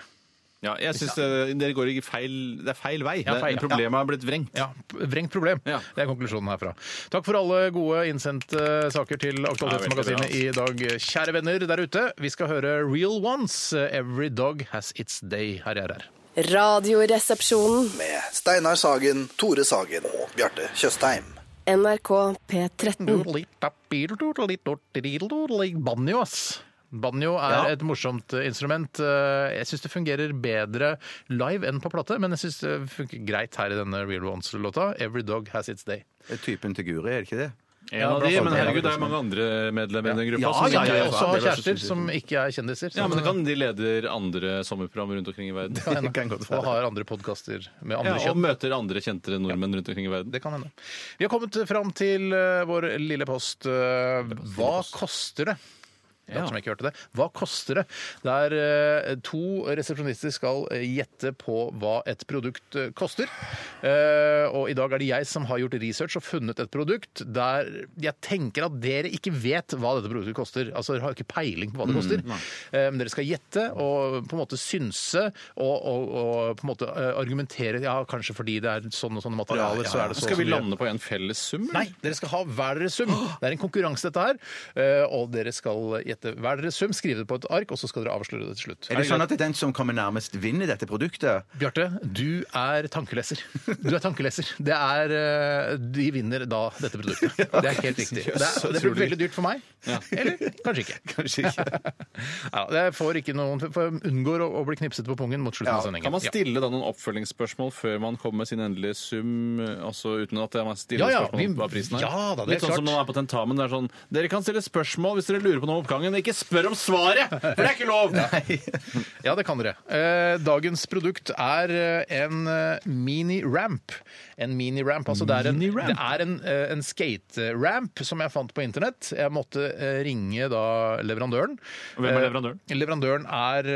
Speaker 2: Ja, jeg synes eh, dere går ikke feil, det er feil vei.
Speaker 1: Ja,
Speaker 2: Det-
Speaker 1: feil, ja.
Speaker 2: Problemet har blitt vrengt.
Speaker 1: Ja, Vrengt problem.
Speaker 2: Ja.
Speaker 1: Det er konklusjonen herfra. Takk for alle gode innsendte saker til Aktualitetsmagasinet i
Speaker 2: Ja,
Speaker 1: dag, kjære venner der ute. Vi skal høre Real Ones, Every Dog Has Its Day, her jeg er her.
Speaker 8: Radioresepsjonen.
Speaker 7: Med Steinar Sagen, Tore Sagen og Bjarte Tjøstheim.
Speaker 2: Mm.
Speaker 8: NRK P13.
Speaker 1: Banjo, ass. Banjo er et morsomt eh, instrument. Eh, Jeg syns det fungerer bedre live enn på plate, men jeg syns det funker greit her i denne Real Ones-låta. Every dog has its day.
Speaker 3: Typen til Guri, er det ikke det?
Speaker 1: Ja,
Speaker 2: En av de,
Speaker 1: blant
Speaker 2: men
Speaker 1: annet.
Speaker 2: herregud, det er mange andre medlemmer i den gruppa.
Speaker 1: Ja,
Speaker 2: som
Speaker 1: Ah, ja,
Speaker 2: ikke-
Speaker 1: jeg også har
Speaker 2: Det var så
Speaker 1: kjærester
Speaker 2: sinnssykt.
Speaker 1: som ikke er kjendiser.
Speaker 2: Ja,
Speaker 1: så-
Speaker 2: men det kan de leder andre sommerprogram rundt omkring i verden.
Speaker 3: <laughs>
Speaker 1: kan hende. Og har andre podkaster med andre
Speaker 2: ja, og
Speaker 1: kjønn.
Speaker 2: møter andre kjente nordmenn rundt omkring i verden.
Speaker 1: Det kan hende. Vi har kommet fram til eh, vår lille post. eh, hva koster det? Ja. Som jeg ikke hørte det. Hva koster det? Der eh, to resepsjonister skal eh, gjette på hva et produkt eh, koster. Eh, og i dag er det jeg som har gjort research og funnet et produkt der jeg tenker at dere ikke vet hva dette produktet koster. Altså dere har ikke peiling på hva
Speaker 2: Mm,
Speaker 1: det koster. Eh, men dere skal gjette og på en måte synse og, og, og på en måte eh, argumentere. Ja, kanskje fordi det er sånn og sånne materialer, så er det så og
Speaker 2: Skal
Speaker 1: så
Speaker 2: vi
Speaker 1: mye.
Speaker 2: lande på en felles sum?
Speaker 1: Nei, dere skal ha hver deres sum. Det er en konkurranse, dette her. Eh, Og dere skal gjette hver deres sum, skrive det på et ark, og så skal dere avsløre det til slutt.
Speaker 3: Er det sånn at det er den som kommer nærmest, vinner dette produktet?
Speaker 1: Bjarte, du er tankeleser. Du er tankeleser. Det er eh, De vinner da dette produktet. Det er helt riktig. Det, er, det blir veldig dyrt for meg.
Speaker 2: <laughs>
Speaker 1: Eller kanskje ikke.
Speaker 3: Kanskje ikke.
Speaker 1: Ja, jeg får ikke noen får unngår å, å bli knipset på pungen mot slutten av sendingen.
Speaker 2: Kan man
Speaker 1: Ja.
Speaker 2: stille da noen oppfølgingsspørsmål før man kommer med sin endelige sum? Altså uten at man
Speaker 1: Ja,
Speaker 2: stiller
Speaker 1: ja,
Speaker 2: spørsmål om
Speaker 1: vi-
Speaker 2: hva prisen er?
Speaker 1: ja da, det er
Speaker 2: Litt sånn
Speaker 1: klart.
Speaker 2: som når man er på tentamen. det er sånn, Dere kan stille spørsmål hvis dere lurer på noe om oppgangen. men Ikke spør om svaret! For det er ikke lov!
Speaker 1: Ja, det kan dere. Eh, Dagens produkt er eh, en eh, mini-ramp. En mini-ramp, altså det er en,
Speaker 2: Mini-ramp?
Speaker 1: det er en, eh, en skate-ramp som jeg fant på internett. Jeg måtte eh, ringe da leverandøren.
Speaker 2: Hvem er
Speaker 1: Eh,
Speaker 2: leverandøren?
Speaker 1: Leverandøren er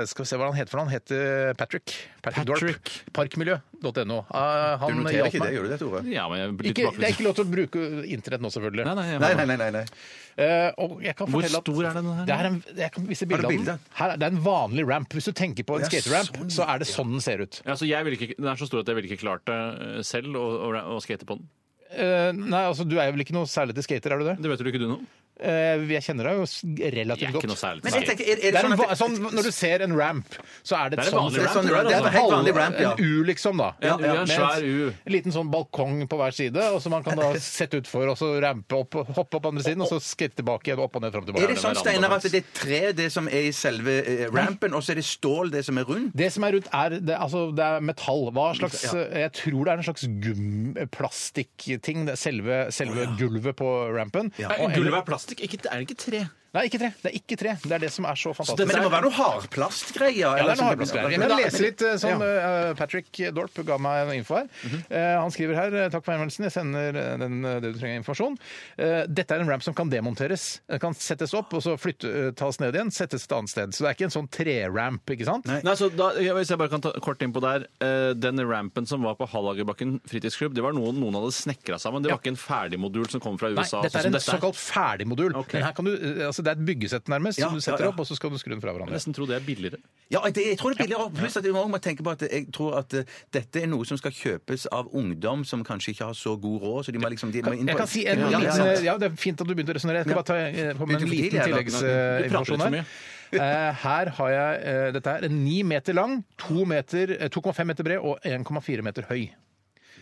Speaker 1: eh, Skal vi se hva han heter for noe. Han heter Patrick. Patrick, Dorp.
Speaker 2: Patrick.
Speaker 1: Parkmiljø.no. Eh,
Speaker 3: Du
Speaker 1: han
Speaker 3: noterer
Speaker 1: hjalp
Speaker 3: ikke det,
Speaker 1: meg.
Speaker 3: gjør du det, Tore?
Speaker 2: Ja, men jeg blir
Speaker 1: Ikke, det er
Speaker 2: tilbake.
Speaker 1: ikke lov til å bruke internett nå, selvfølgelig.
Speaker 2: Nei, nei, jeg-
Speaker 3: Nei, nei, nei. nei, nei.
Speaker 1: Eh, og jeg kan
Speaker 2: Hvor
Speaker 1: fortelle at
Speaker 2: stor er den her?
Speaker 1: Det er en, jeg kan vise bilde
Speaker 3: du
Speaker 1: av den.
Speaker 3: bilde?
Speaker 1: Her, er- det er en vanlig ramp. Hvis du tenker på en
Speaker 3: Ja,
Speaker 1: skateramp,
Speaker 3: sånn,
Speaker 1: så er det sånn den ser ut.
Speaker 2: Ja, så jeg vil ikke, den er så stor at jeg ville ikke klart det eh, selv å, å, å skate på den.
Speaker 1: Eh, nei, altså Du er jo vel ikke noe særlig til skater, er du det?
Speaker 2: Det vet vel ikke du noe?
Speaker 1: Eh, jeg kjenner deg jo s-
Speaker 2: Jeg
Speaker 1: relativt
Speaker 2: er
Speaker 1: godt.
Speaker 2: ikke noe særlig.
Speaker 3: Men jeg tenker, er,
Speaker 1: Det
Speaker 3: er
Speaker 1: er
Speaker 3: det
Speaker 1: en,
Speaker 3: sånn at
Speaker 1: va- sånn, når du ser en ramp, så er det,
Speaker 2: Det er en
Speaker 1: sånn,
Speaker 2: vanlig ramp,
Speaker 1: sånn-
Speaker 2: det er det,
Speaker 3: det er en helt vanlig ramp, ja.
Speaker 1: En U, liksom, da.
Speaker 2: Ja, ja, en
Speaker 1: Med
Speaker 2: svær U.
Speaker 1: En liten sånn balkong på hver side, og så man kan
Speaker 3: <laughs>
Speaker 1: da sette utfor og så rampe opp, og hoppe opp andre siden, og så skate tilbake igjen, opp og ned, fram og tilbake.
Speaker 3: Er det sånn, Steinar, at det er tre det som er i selve eh, rampen, og så er det stål det som er rundt?
Speaker 1: Det som er rundt, er, det, altså, det er metall. Hva slags, eh, Jeg tror det er en slags gum, plastikkting. det er Selve, selve gulvet på rampen. Og-
Speaker 2: Gulvet er plastikk, ikke, er det ikke tre?
Speaker 1: Nei, ikke tre. Det er ikke tre. Det er det som er så fantastisk.
Speaker 3: Men det må være noe hardplastgreier?
Speaker 1: Ja, det
Speaker 3: eller
Speaker 1: er noe
Speaker 3: sånn-
Speaker 1: hardplastgreier.
Speaker 3: Men
Speaker 1: Men
Speaker 3: da-
Speaker 1: jeg leser litt eh, sånn eh, Patrick Dorp ga meg en info her. Eh, Han skriver her Takk for henvendelsen. Jeg sender eh, den, eh, det du trenger av informasjon. Eh, Dette er en ramp som kan demonteres. Den kan settes opp, og så flytte, eh, tas ned igjen. Settes et annet sted. Så det er ikke en sånn treramp, ikke sant?
Speaker 2: Nei, så da, ja, Hvis jeg bare kan ta kort innpå der. eh, Den rampen som var på Hallagerbakken fritidsklubb, det var noe noen hadde snekra sammen. Det
Speaker 1: Ja.
Speaker 2: var ikke en ferdigmodul som kom fra
Speaker 1: Nei,
Speaker 2: USA.
Speaker 1: dette
Speaker 2: sånn
Speaker 1: er
Speaker 2: som
Speaker 1: en såkalt ferdigmodul.
Speaker 2: Ok.
Speaker 1: Men her kan du, eh, altså, det er et byggesett nærmest,
Speaker 3: Ja,
Speaker 1: som du
Speaker 3: ja,
Speaker 1: setter
Speaker 3: ja.
Speaker 1: opp, og så skal du skru den fra
Speaker 2: Jeg
Speaker 1: hverandre.
Speaker 2: nesten tror det er billigere.
Speaker 3: Ja, det, jeg tror det er billigere. og Pluss at jeg må tenke på at jeg tror at eh, dette er noe som skal kjøpes av ungdom som kanskje ikke har så god råd, så de må liksom de må inn på
Speaker 1: Jeg kan si en
Speaker 3: Ja, ja,
Speaker 1: liten,
Speaker 3: ja.
Speaker 1: ja, Det er fint at du begynte å resonnere. Jeg skal
Speaker 3: Ja.
Speaker 1: bare ta eh, på med
Speaker 3: Begynte
Speaker 1: en
Speaker 3: for
Speaker 1: liten
Speaker 3: tidlig, jeg, da.
Speaker 2: Du prater litt
Speaker 1: tilleggsinformasjon
Speaker 2: for
Speaker 1: her. <laughs> Eh, Her har jeg eh, Dette er ni meter lang, to meter- eh, 2,5 meter bred og 1,4 meter høy.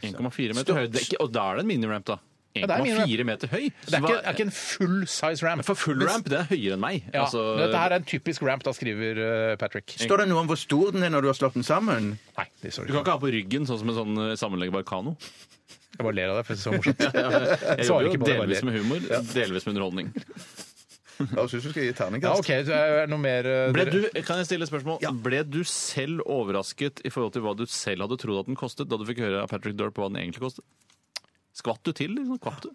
Speaker 2: 1,4 meter høy. Det er ikke, og da er det en miniramp, da.
Speaker 1: det er en miniramp.
Speaker 2: 1,4 meter høy.
Speaker 1: Det er ikke, det er ikke en full size ramp.
Speaker 2: For full ramp, det er høyere enn meg.
Speaker 1: Ja,
Speaker 2: Altså,
Speaker 1: dette her er en typisk ramp, da skriver eh, Patrick.
Speaker 3: Står det noe om hvor stor den er når du har slått den sammen?
Speaker 1: Nei, det står
Speaker 2: du kan
Speaker 1: ikke.
Speaker 2: ikke ha på ryggen sånn som en sånn eh,
Speaker 1: <laughs>
Speaker 2: sammenleggbar kano.
Speaker 1: Jeg bare ler av deg, for det er så morsomt. Svarer
Speaker 2: <laughs> Jeg jobber
Speaker 1: ikke
Speaker 2: jo
Speaker 1: på det, bare
Speaker 2: delvis
Speaker 1: ler.
Speaker 2: med humor, delvis med underholdning.
Speaker 3: Jeg syns du skal gi
Speaker 1: Ja,
Speaker 3: terningkast.
Speaker 1: OK. så Er det noe mer eh,
Speaker 2: Ble
Speaker 1: dere-
Speaker 2: du, kan jeg stille et spørsmål? Ble du selv overrasket i forhold til hva du selv hadde trodd at den kostet, da du fikk høre av Patrick Dorp hva den egentlig kostet? Skvatt du til? Liksom? Kvapp du?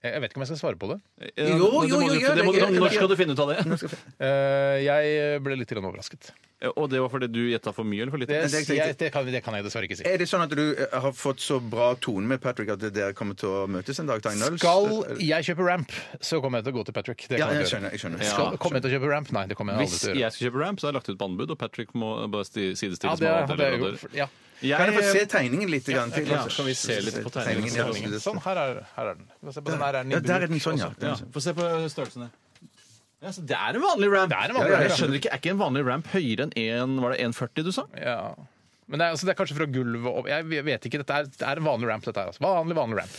Speaker 1: Jeg jeg vet ikke om jeg skal svare på det.
Speaker 2: Eh,
Speaker 3: jo,
Speaker 2: det må
Speaker 3: jo,
Speaker 2: du-
Speaker 3: jo,
Speaker 2: det må du-
Speaker 3: jeg- jeg-
Speaker 2: Når skal du finne ut av det?
Speaker 1: Eh, Jeg ble litt grann overrasket.
Speaker 2: Eh, Og det var fordi du gjetta for mye eller for lite?
Speaker 1: Det,
Speaker 3: Men det-
Speaker 1: sier jeg, det, kan, det kan jeg dessverre ikke si.
Speaker 3: Er det sånn at du eh, har fått så bra tone med Patrick at dere kommer til å møtes en dag? Eh, Ta en øl?
Speaker 1: Skal jeg kjøpe ramp, så kommer jeg til å gå til Patrick. Det
Speaker 3: Ja,
Speaker 1: kan jeg
Speaker 3: jeg
Speaker 1: gjøre.
Speaker 3: skjønner. jeg skjønner.
Speaker 2: Ja.
Speaker 1: Skal, kommer jeg til å kjøpe ramp? Nei, det kommer jeg aldri
Speaker 2: Hvis
Speaker 1: til å gjøre.
Speaker 2: jeg skal kjøpe ramp, så har jeg lagt ut på anbud, og Patrick må bare sti-
Speaker 1: Ja,
Speaker 2: sidestilles
Speaker 1: det hadde
Speaker 2: med
Speaker 1: jeg gjort.
Speaker 2: leverandører.
Speaker 1: Ja.
Speaker 3: Kan jeg få se
Speaker 2: Jeg,
Speaker 3: tegningen litt grann til?
Speaker 2: ja, kan vi se litt på tegningen?
Speaker 3: ja.
Speaker 1: Sånn, her er, her er den. Vi må se på den her, er den i
Speaker 3: Ja, der er den
Speaker 1: bruk
Speaker 3: sånn, ja.
Speaker 1: også.
Speaker 2: ja, Liksom. Få se på størrelsen her. Ja, så det er en vanlig ramp!
Speaker 1: Det er en vanlig ramp.
Speaker 2: Jeg skjønner ikke, Er ikke en vanlig ramp høyere enn en- var det 1,40 du sa?
Speaker 1: Ja. Men det er, altså, det er kanskje fra gulvet opp Jeg vet ikke. Dette er, det er en vanlig ramp, dette her. Altså. Vanlig, vanlig ramp.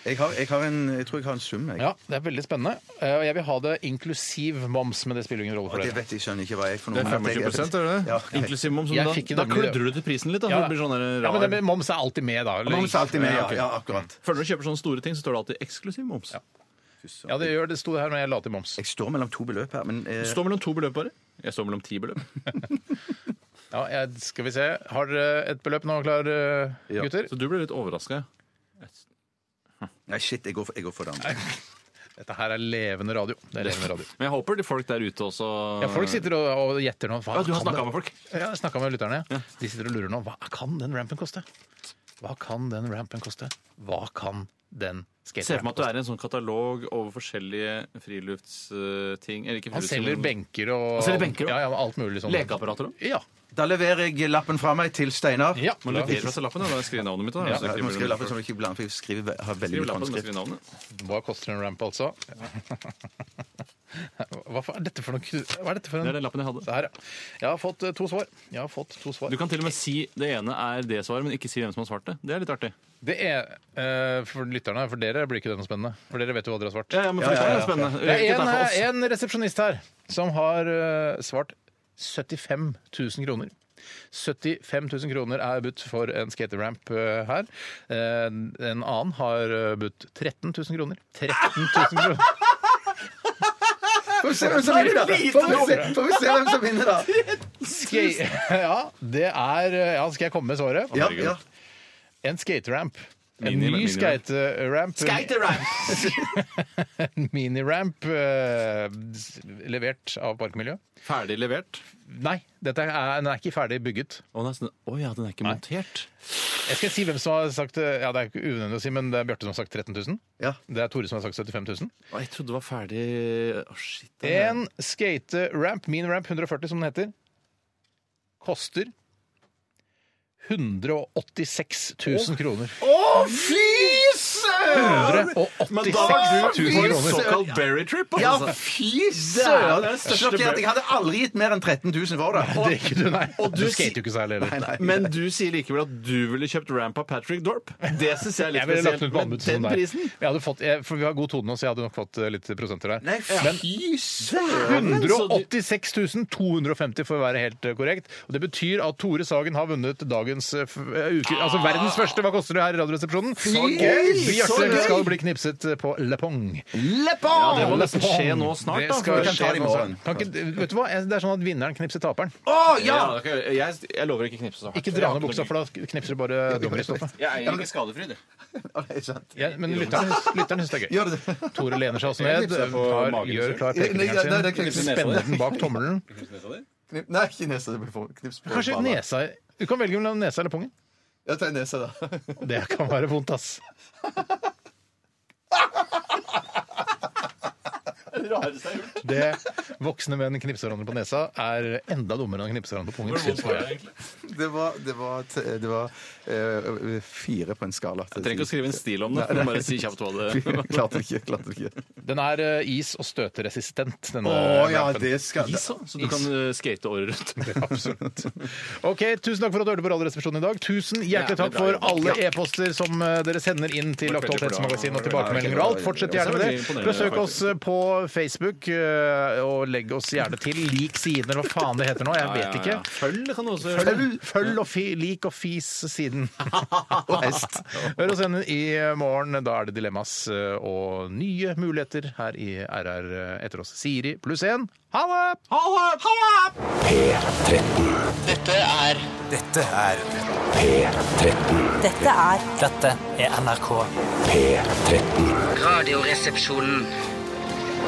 Speaker 3: Jeg, har, jeg, har en, jeg tror jeg har en sum, jeg.
Speaker 1: Ja, Det er veldig spennende. Eh, Og jeg vil ha det inklusiv moms, men det spiller ingen rolle
Speaker 3: Og
Speaker 1: for
Speaker 3: det
Speaker 1: dere.
Speaker 3: vet jeg skjønner ikke hva jeg er for
Speaker 1: Det
Speaker 3: noe.
Speaker 1: er 25%, er det det?
Speaker 3: Ja.
Speaker 2: <laughs> Inklusiv moms.
Speaker 1: Jeg
Speaker 2: Da,
Speaker 1: fikk en
Speaker 2: da
Speaker 1: daglig-
Speaker 2: kludrer du til prisen litt. da,
Speaker 1: Ja.
Speaker 2: for det blir sånn der
Speaker 1: Ja, men det
Speaker 2: rar.
Speaker 1: med moms er alltid med, da. eller
Speaker 3: Moms er alltid med, ja,
Speaker 1: ikke?
Speaker 3: ja, akkurat.
Speaker 2: Før du kjøper sånne store ting, så står det alltid eksklusiv moms.
Speaker 1: Ja, det gjør det. sto det her, men jeg la til moms.
Speaker 3: Jeg står mellom to beløp her, men eh,
Speaker 2: Det står mellom to beløp bare. Jeg står mellom ti <laughs> beløp.
Speaker 1: Ja, jeg, skal vi se. Har dere et beløp nå klar, eh, gutter?
Speaker 2: Så du ble litt overraska.
Speaker 3: Nei, shit, jeg går for, jeg går for det andre.
Speaker 1: Dette her er levende radio. Det er levende
Speaker 2: <laughs>
Speaker 1: radio.
Speaker 2: Men jeg håper de folk der ute også
Speaker 1: Ja, folk sitter og, og gjetter nå. Hva
Speaker 2: Ja, du har
Speaker 1: kan
Speaker 2: snakka
Speaker 1: det-
Speaker 2: med folk.
Speaker 1: Ja, jeg snakket med lytterne. De sitter og lurer nå. Hva kan den rampen koste? Hva kan den rampen koste? Hva kan den
Speaker 2: Se for
Speaker 1: skaterampen
Speaker 2: meg at du
Speaker 1: koste?
Speaker 2: er i en sånn katalog over forskjellige friluftsting. Eller ikke
Speaker 1: Han
Speaker 2: frilufts-
Speaker 1: selger benker og
Speaker 2: Han selger benker også?
Speaker 1: Ja, ja, alt mulig sånn.
Speaker 2: Lekeapparater òg?
Speaker 1: Ja.
Speaker 3: Da leverer jeg lappen fra meg til Steinar.
Speaker 1: ja.
Speaker 2: Man leverer fra seg lappen og da skriver navnet mitt. Da.
Speaker 1: Ja,
Speaker 2: Så
Speaker 3: Ja,
Speaker 2: klipper
Speaker 3: du må
Speaker 2: du
Speaker 3: skrive
Speaker 2: den
Speaker 3: lappen som du ikke blander, for jeg skriver, ve- har veldig
Speaker 2: Skriv
Speaker 3: mye
Speaker 2: lappen, men
Speaker 3: håndskrift.
Speaker 2: skriv navnet.
Speaker 1: Hva koster en ramp, altså? <laughs> Hva faen er dette for noe ku- Hva er dette for
Speaker 2: Det er
Speaker 1: en
Speaker 2: den lappen jeg hadde.
Speaker 1: Se her, ja. Jeg har fått eh, to svar. Jeg har fått to svar.
Speaker 2: Du kan til og med si det ene er det svaret, men ikke si hvem som har svart det. Det er litt artig.
Speaker 1: Det er eh, for lytterne, for dere blir ikke det noe spennende. For dere vet jo hva dere har svart.
Speaker 2: Ja, ja, men for lytterne er eh, det spennende.
Speaker 1: Det er en,
Speaker 2: Ikke
Speaker 1: eh,
Speaker 2: derfor oss.
Speaker 1: en resepsjonist her som har eh, svart 75 000 kroner. 75 000 kroner er budt for en skateramp eh, her. Eh, en annen har eh, budt 13 000 kroner. 13 000
Speaker 2: <laughs>
Speaker 1: kroner.
Speaker 3: Får vi se hvem som vinner, da! Får vi se, får vi se hvem som vinner, da!
Speaker 1: Skate, <laughs> ja, det er eh, Ja, skal jeg komme med svaret?
Speaker 3: Ja, ja.
Speaker 1: En skateramp. En
Speaker 2: Mini-
Speaker 1: ny
Speaker 2: miniramp.
Speaker 1: skateramp. <laughs> en miniramp eh, s- levert av Parkmiljø.
Speaker 2: Ferdig levert.
Speaker 1: Nei, dette er, den er ikke ferdig bygget.
Speaker 2: Å nei, sånn- å ja, den er ikke montert.
Speaker 1: Jeg skal si hvem som har sagt eh, Ja, det er ikke unødvendig å si, men det er Bjarte som har sagt 13 000.
Speaker 3: Ja.
Speaker 1: Det er Tore som har sagt 75 000.
Speaker 2: Å, Jeg trodde det var ferdig Å, shit. det er-
Speaker 1: En skateramp, miniramp 140 som den heter, koster 186 000 kroner.
Speaker 3: Å, fy søren!
Speaker 1: 186
Speaker 3: du
Speaker 1: 000
Speaker 3: på en
Speaker 1: kroner.
Speaker 2: Såkalt berry trip,
Speaker 3: Ja,
Speaker 2: altså.
Speaker 3: fy
Speaker 2: Det er
Speaker 3: søren!
Speaker 2: det største
Speaker 3: Sjokkert. Jeg hadde aldri gitt mer enn 13 000 for det.
Speaker 1: Det er ikke du, nei.
Speaker 2: Og
Speaker 1: du
Speaker 2: du si-
Speaker 1: skater jo ikke særlig heller.
Speaker 2: Men du sier likevel at du ville kjøpt ramp av Patrick Dorp. Det syns jeg er litt
Speaker 1: Jeg ville lagt den
Speaker 2: spesielt.
Speaker 1: ut på anbud
Speaker 2: Men
Speaker 1: som
Speaker 2: den
Speaker 1: deg.
Speaker 2: prisen
Speaker 1: Jeg hadde fått, jeg, for vi har god tone nå, så jeg hadde nok fått eh, litt prosenter der.
Speaker 3: Nei, fy søren!
Speaker 1: 186 250 for å være helt eh, korrekt. Og Det betyr at Tore Sagen har vunnet dagens eh, f- eh, uke, altså verdens første Hva koster det her i Radioresepsjonen? Og
Speaker 3: Så
Speaker 1: Bjarte
Speaker 3: gøy!
Speaker 1: skal bli knipset eh, på Le Pong.
Speaker 2: Ja, det må
Speaker 1: Le
Speaker 2: nesten
Speaker 1: Pong.
Speaker 2: skje nå snart, da.
Speaker 1: Det skal
Speaker 3: Vi kan ta
Speaker 1: skje
Speaker 3: det i
Speaker 1: nå
Speaker 3: morgen.
Speaker 1: snart. Kan ikke, vet du hva? Jeg- Det er sånn at vinneren knipser taperen.
Speaker 3: Å, ja!
Speaker 2: Ja, det kan jeg, gjøre. jeg, jeg lover ikke å knipse så hardt.
Speaker 1: Ikke dra ned buksa, for da knipser du bare dommerstoffet.
Speaker 2: Jeg er ikke skadefri, du.
Speaker 3: Ja, det er sant.
Speaker 1: Ja, men lytteren, lytteren syns det er gøy.
Speaker 3: Gjør det det?
Speaker 1: Tore lener seg også ned,
Speaker 2: knipser på
Speaker 1: tar,
Speaker 2: magen,
Speaker 1: gjør
Speaker 2: ser
Speaker 1: klar
Speaker 3: Nei, ja, nei, det
Speaker 1: pekefingeren
Speaker 3: er
Speaker 1: sin,
Speaker 3: knips-
Speaker 1: spenner den bak tommelen.
Speaker 3: knip- Nei, ikke nesa. Det blir for knips på
Speaker 1: Kanskje
Speaker 3: banen.
Speaker 1: nesa Du kan velge mellom nesa eller pungen.
Speaker 3: Ja, ta nesa, da. <laughs>
Speaker 1: Det kan være vondt, ass. Det voksne menn knipser hverandre på nesa, er enda dummere enn å knipse hverandre på pungen.
Speaker 2: Sånn
Speaker 1: synes jeg.
Speaker 3: Det var, det var, t- det var eh, fire på en skala.
Speaker 2: Jeg trenger ikke å skrive en stil om det. Du må bare si kjapt hva
Speaker 3: <laughs>
Speaker 2: det
Speaker 3: Klarte ikke. klarte ikke.
Speaker 1: Den er eh, is- og støteresistent, denne
Speaker 3: Å ja,
Speaker 1: rappen.
Speaker 3: det skal
Speaker 2: Is, så du kan eh, skate året rundt.
Speaker 1: Absolutt. Ok, Tusen takk for at du hørte på Radioresepsjonen i dag. Tusen hjertelig
Speaker 2: Jævlig
Speaker 1: takk
Speaker 2: bra
Speaker 1: for
Speaker 2: jobba.
Speaker 1: alle e-poster som eh, dere sender inn til
Speaker 2: Vært veldig
Speaker 1: Aktualitetsmagasinet og
Speaker 2: bra.
Speaker 1: tilbakemeldinger og alt. Fortsett gjerne med
Speaker 2: Også
Speaker 1: det.
Speaker 2: veldig
Speaker 1: Besøk
Speaker 2: imponerende,
Speaker 1: oss eh, på Facebook, eh, og legg oss gjerne til. Lik siden, eller hva faen det heter nå. Jeg vet ikke.
Speaker 2: Følg kan du også gjøre.
Speaker 1: Følg, følg og fi, lik og fis
Speaker 2: <laughs>
Speaker 1: siden. og hest. Hør oss igjen i morgen. Da er det dilemmas eh, og nye muligheter her i RR etter oss. Siri pluss én. Ha det!
Speaker 11: Dette er
Speaker 12: Dette er
Speaker 11: Dette er NRK.
Speaker 12: Radioresepsjonen.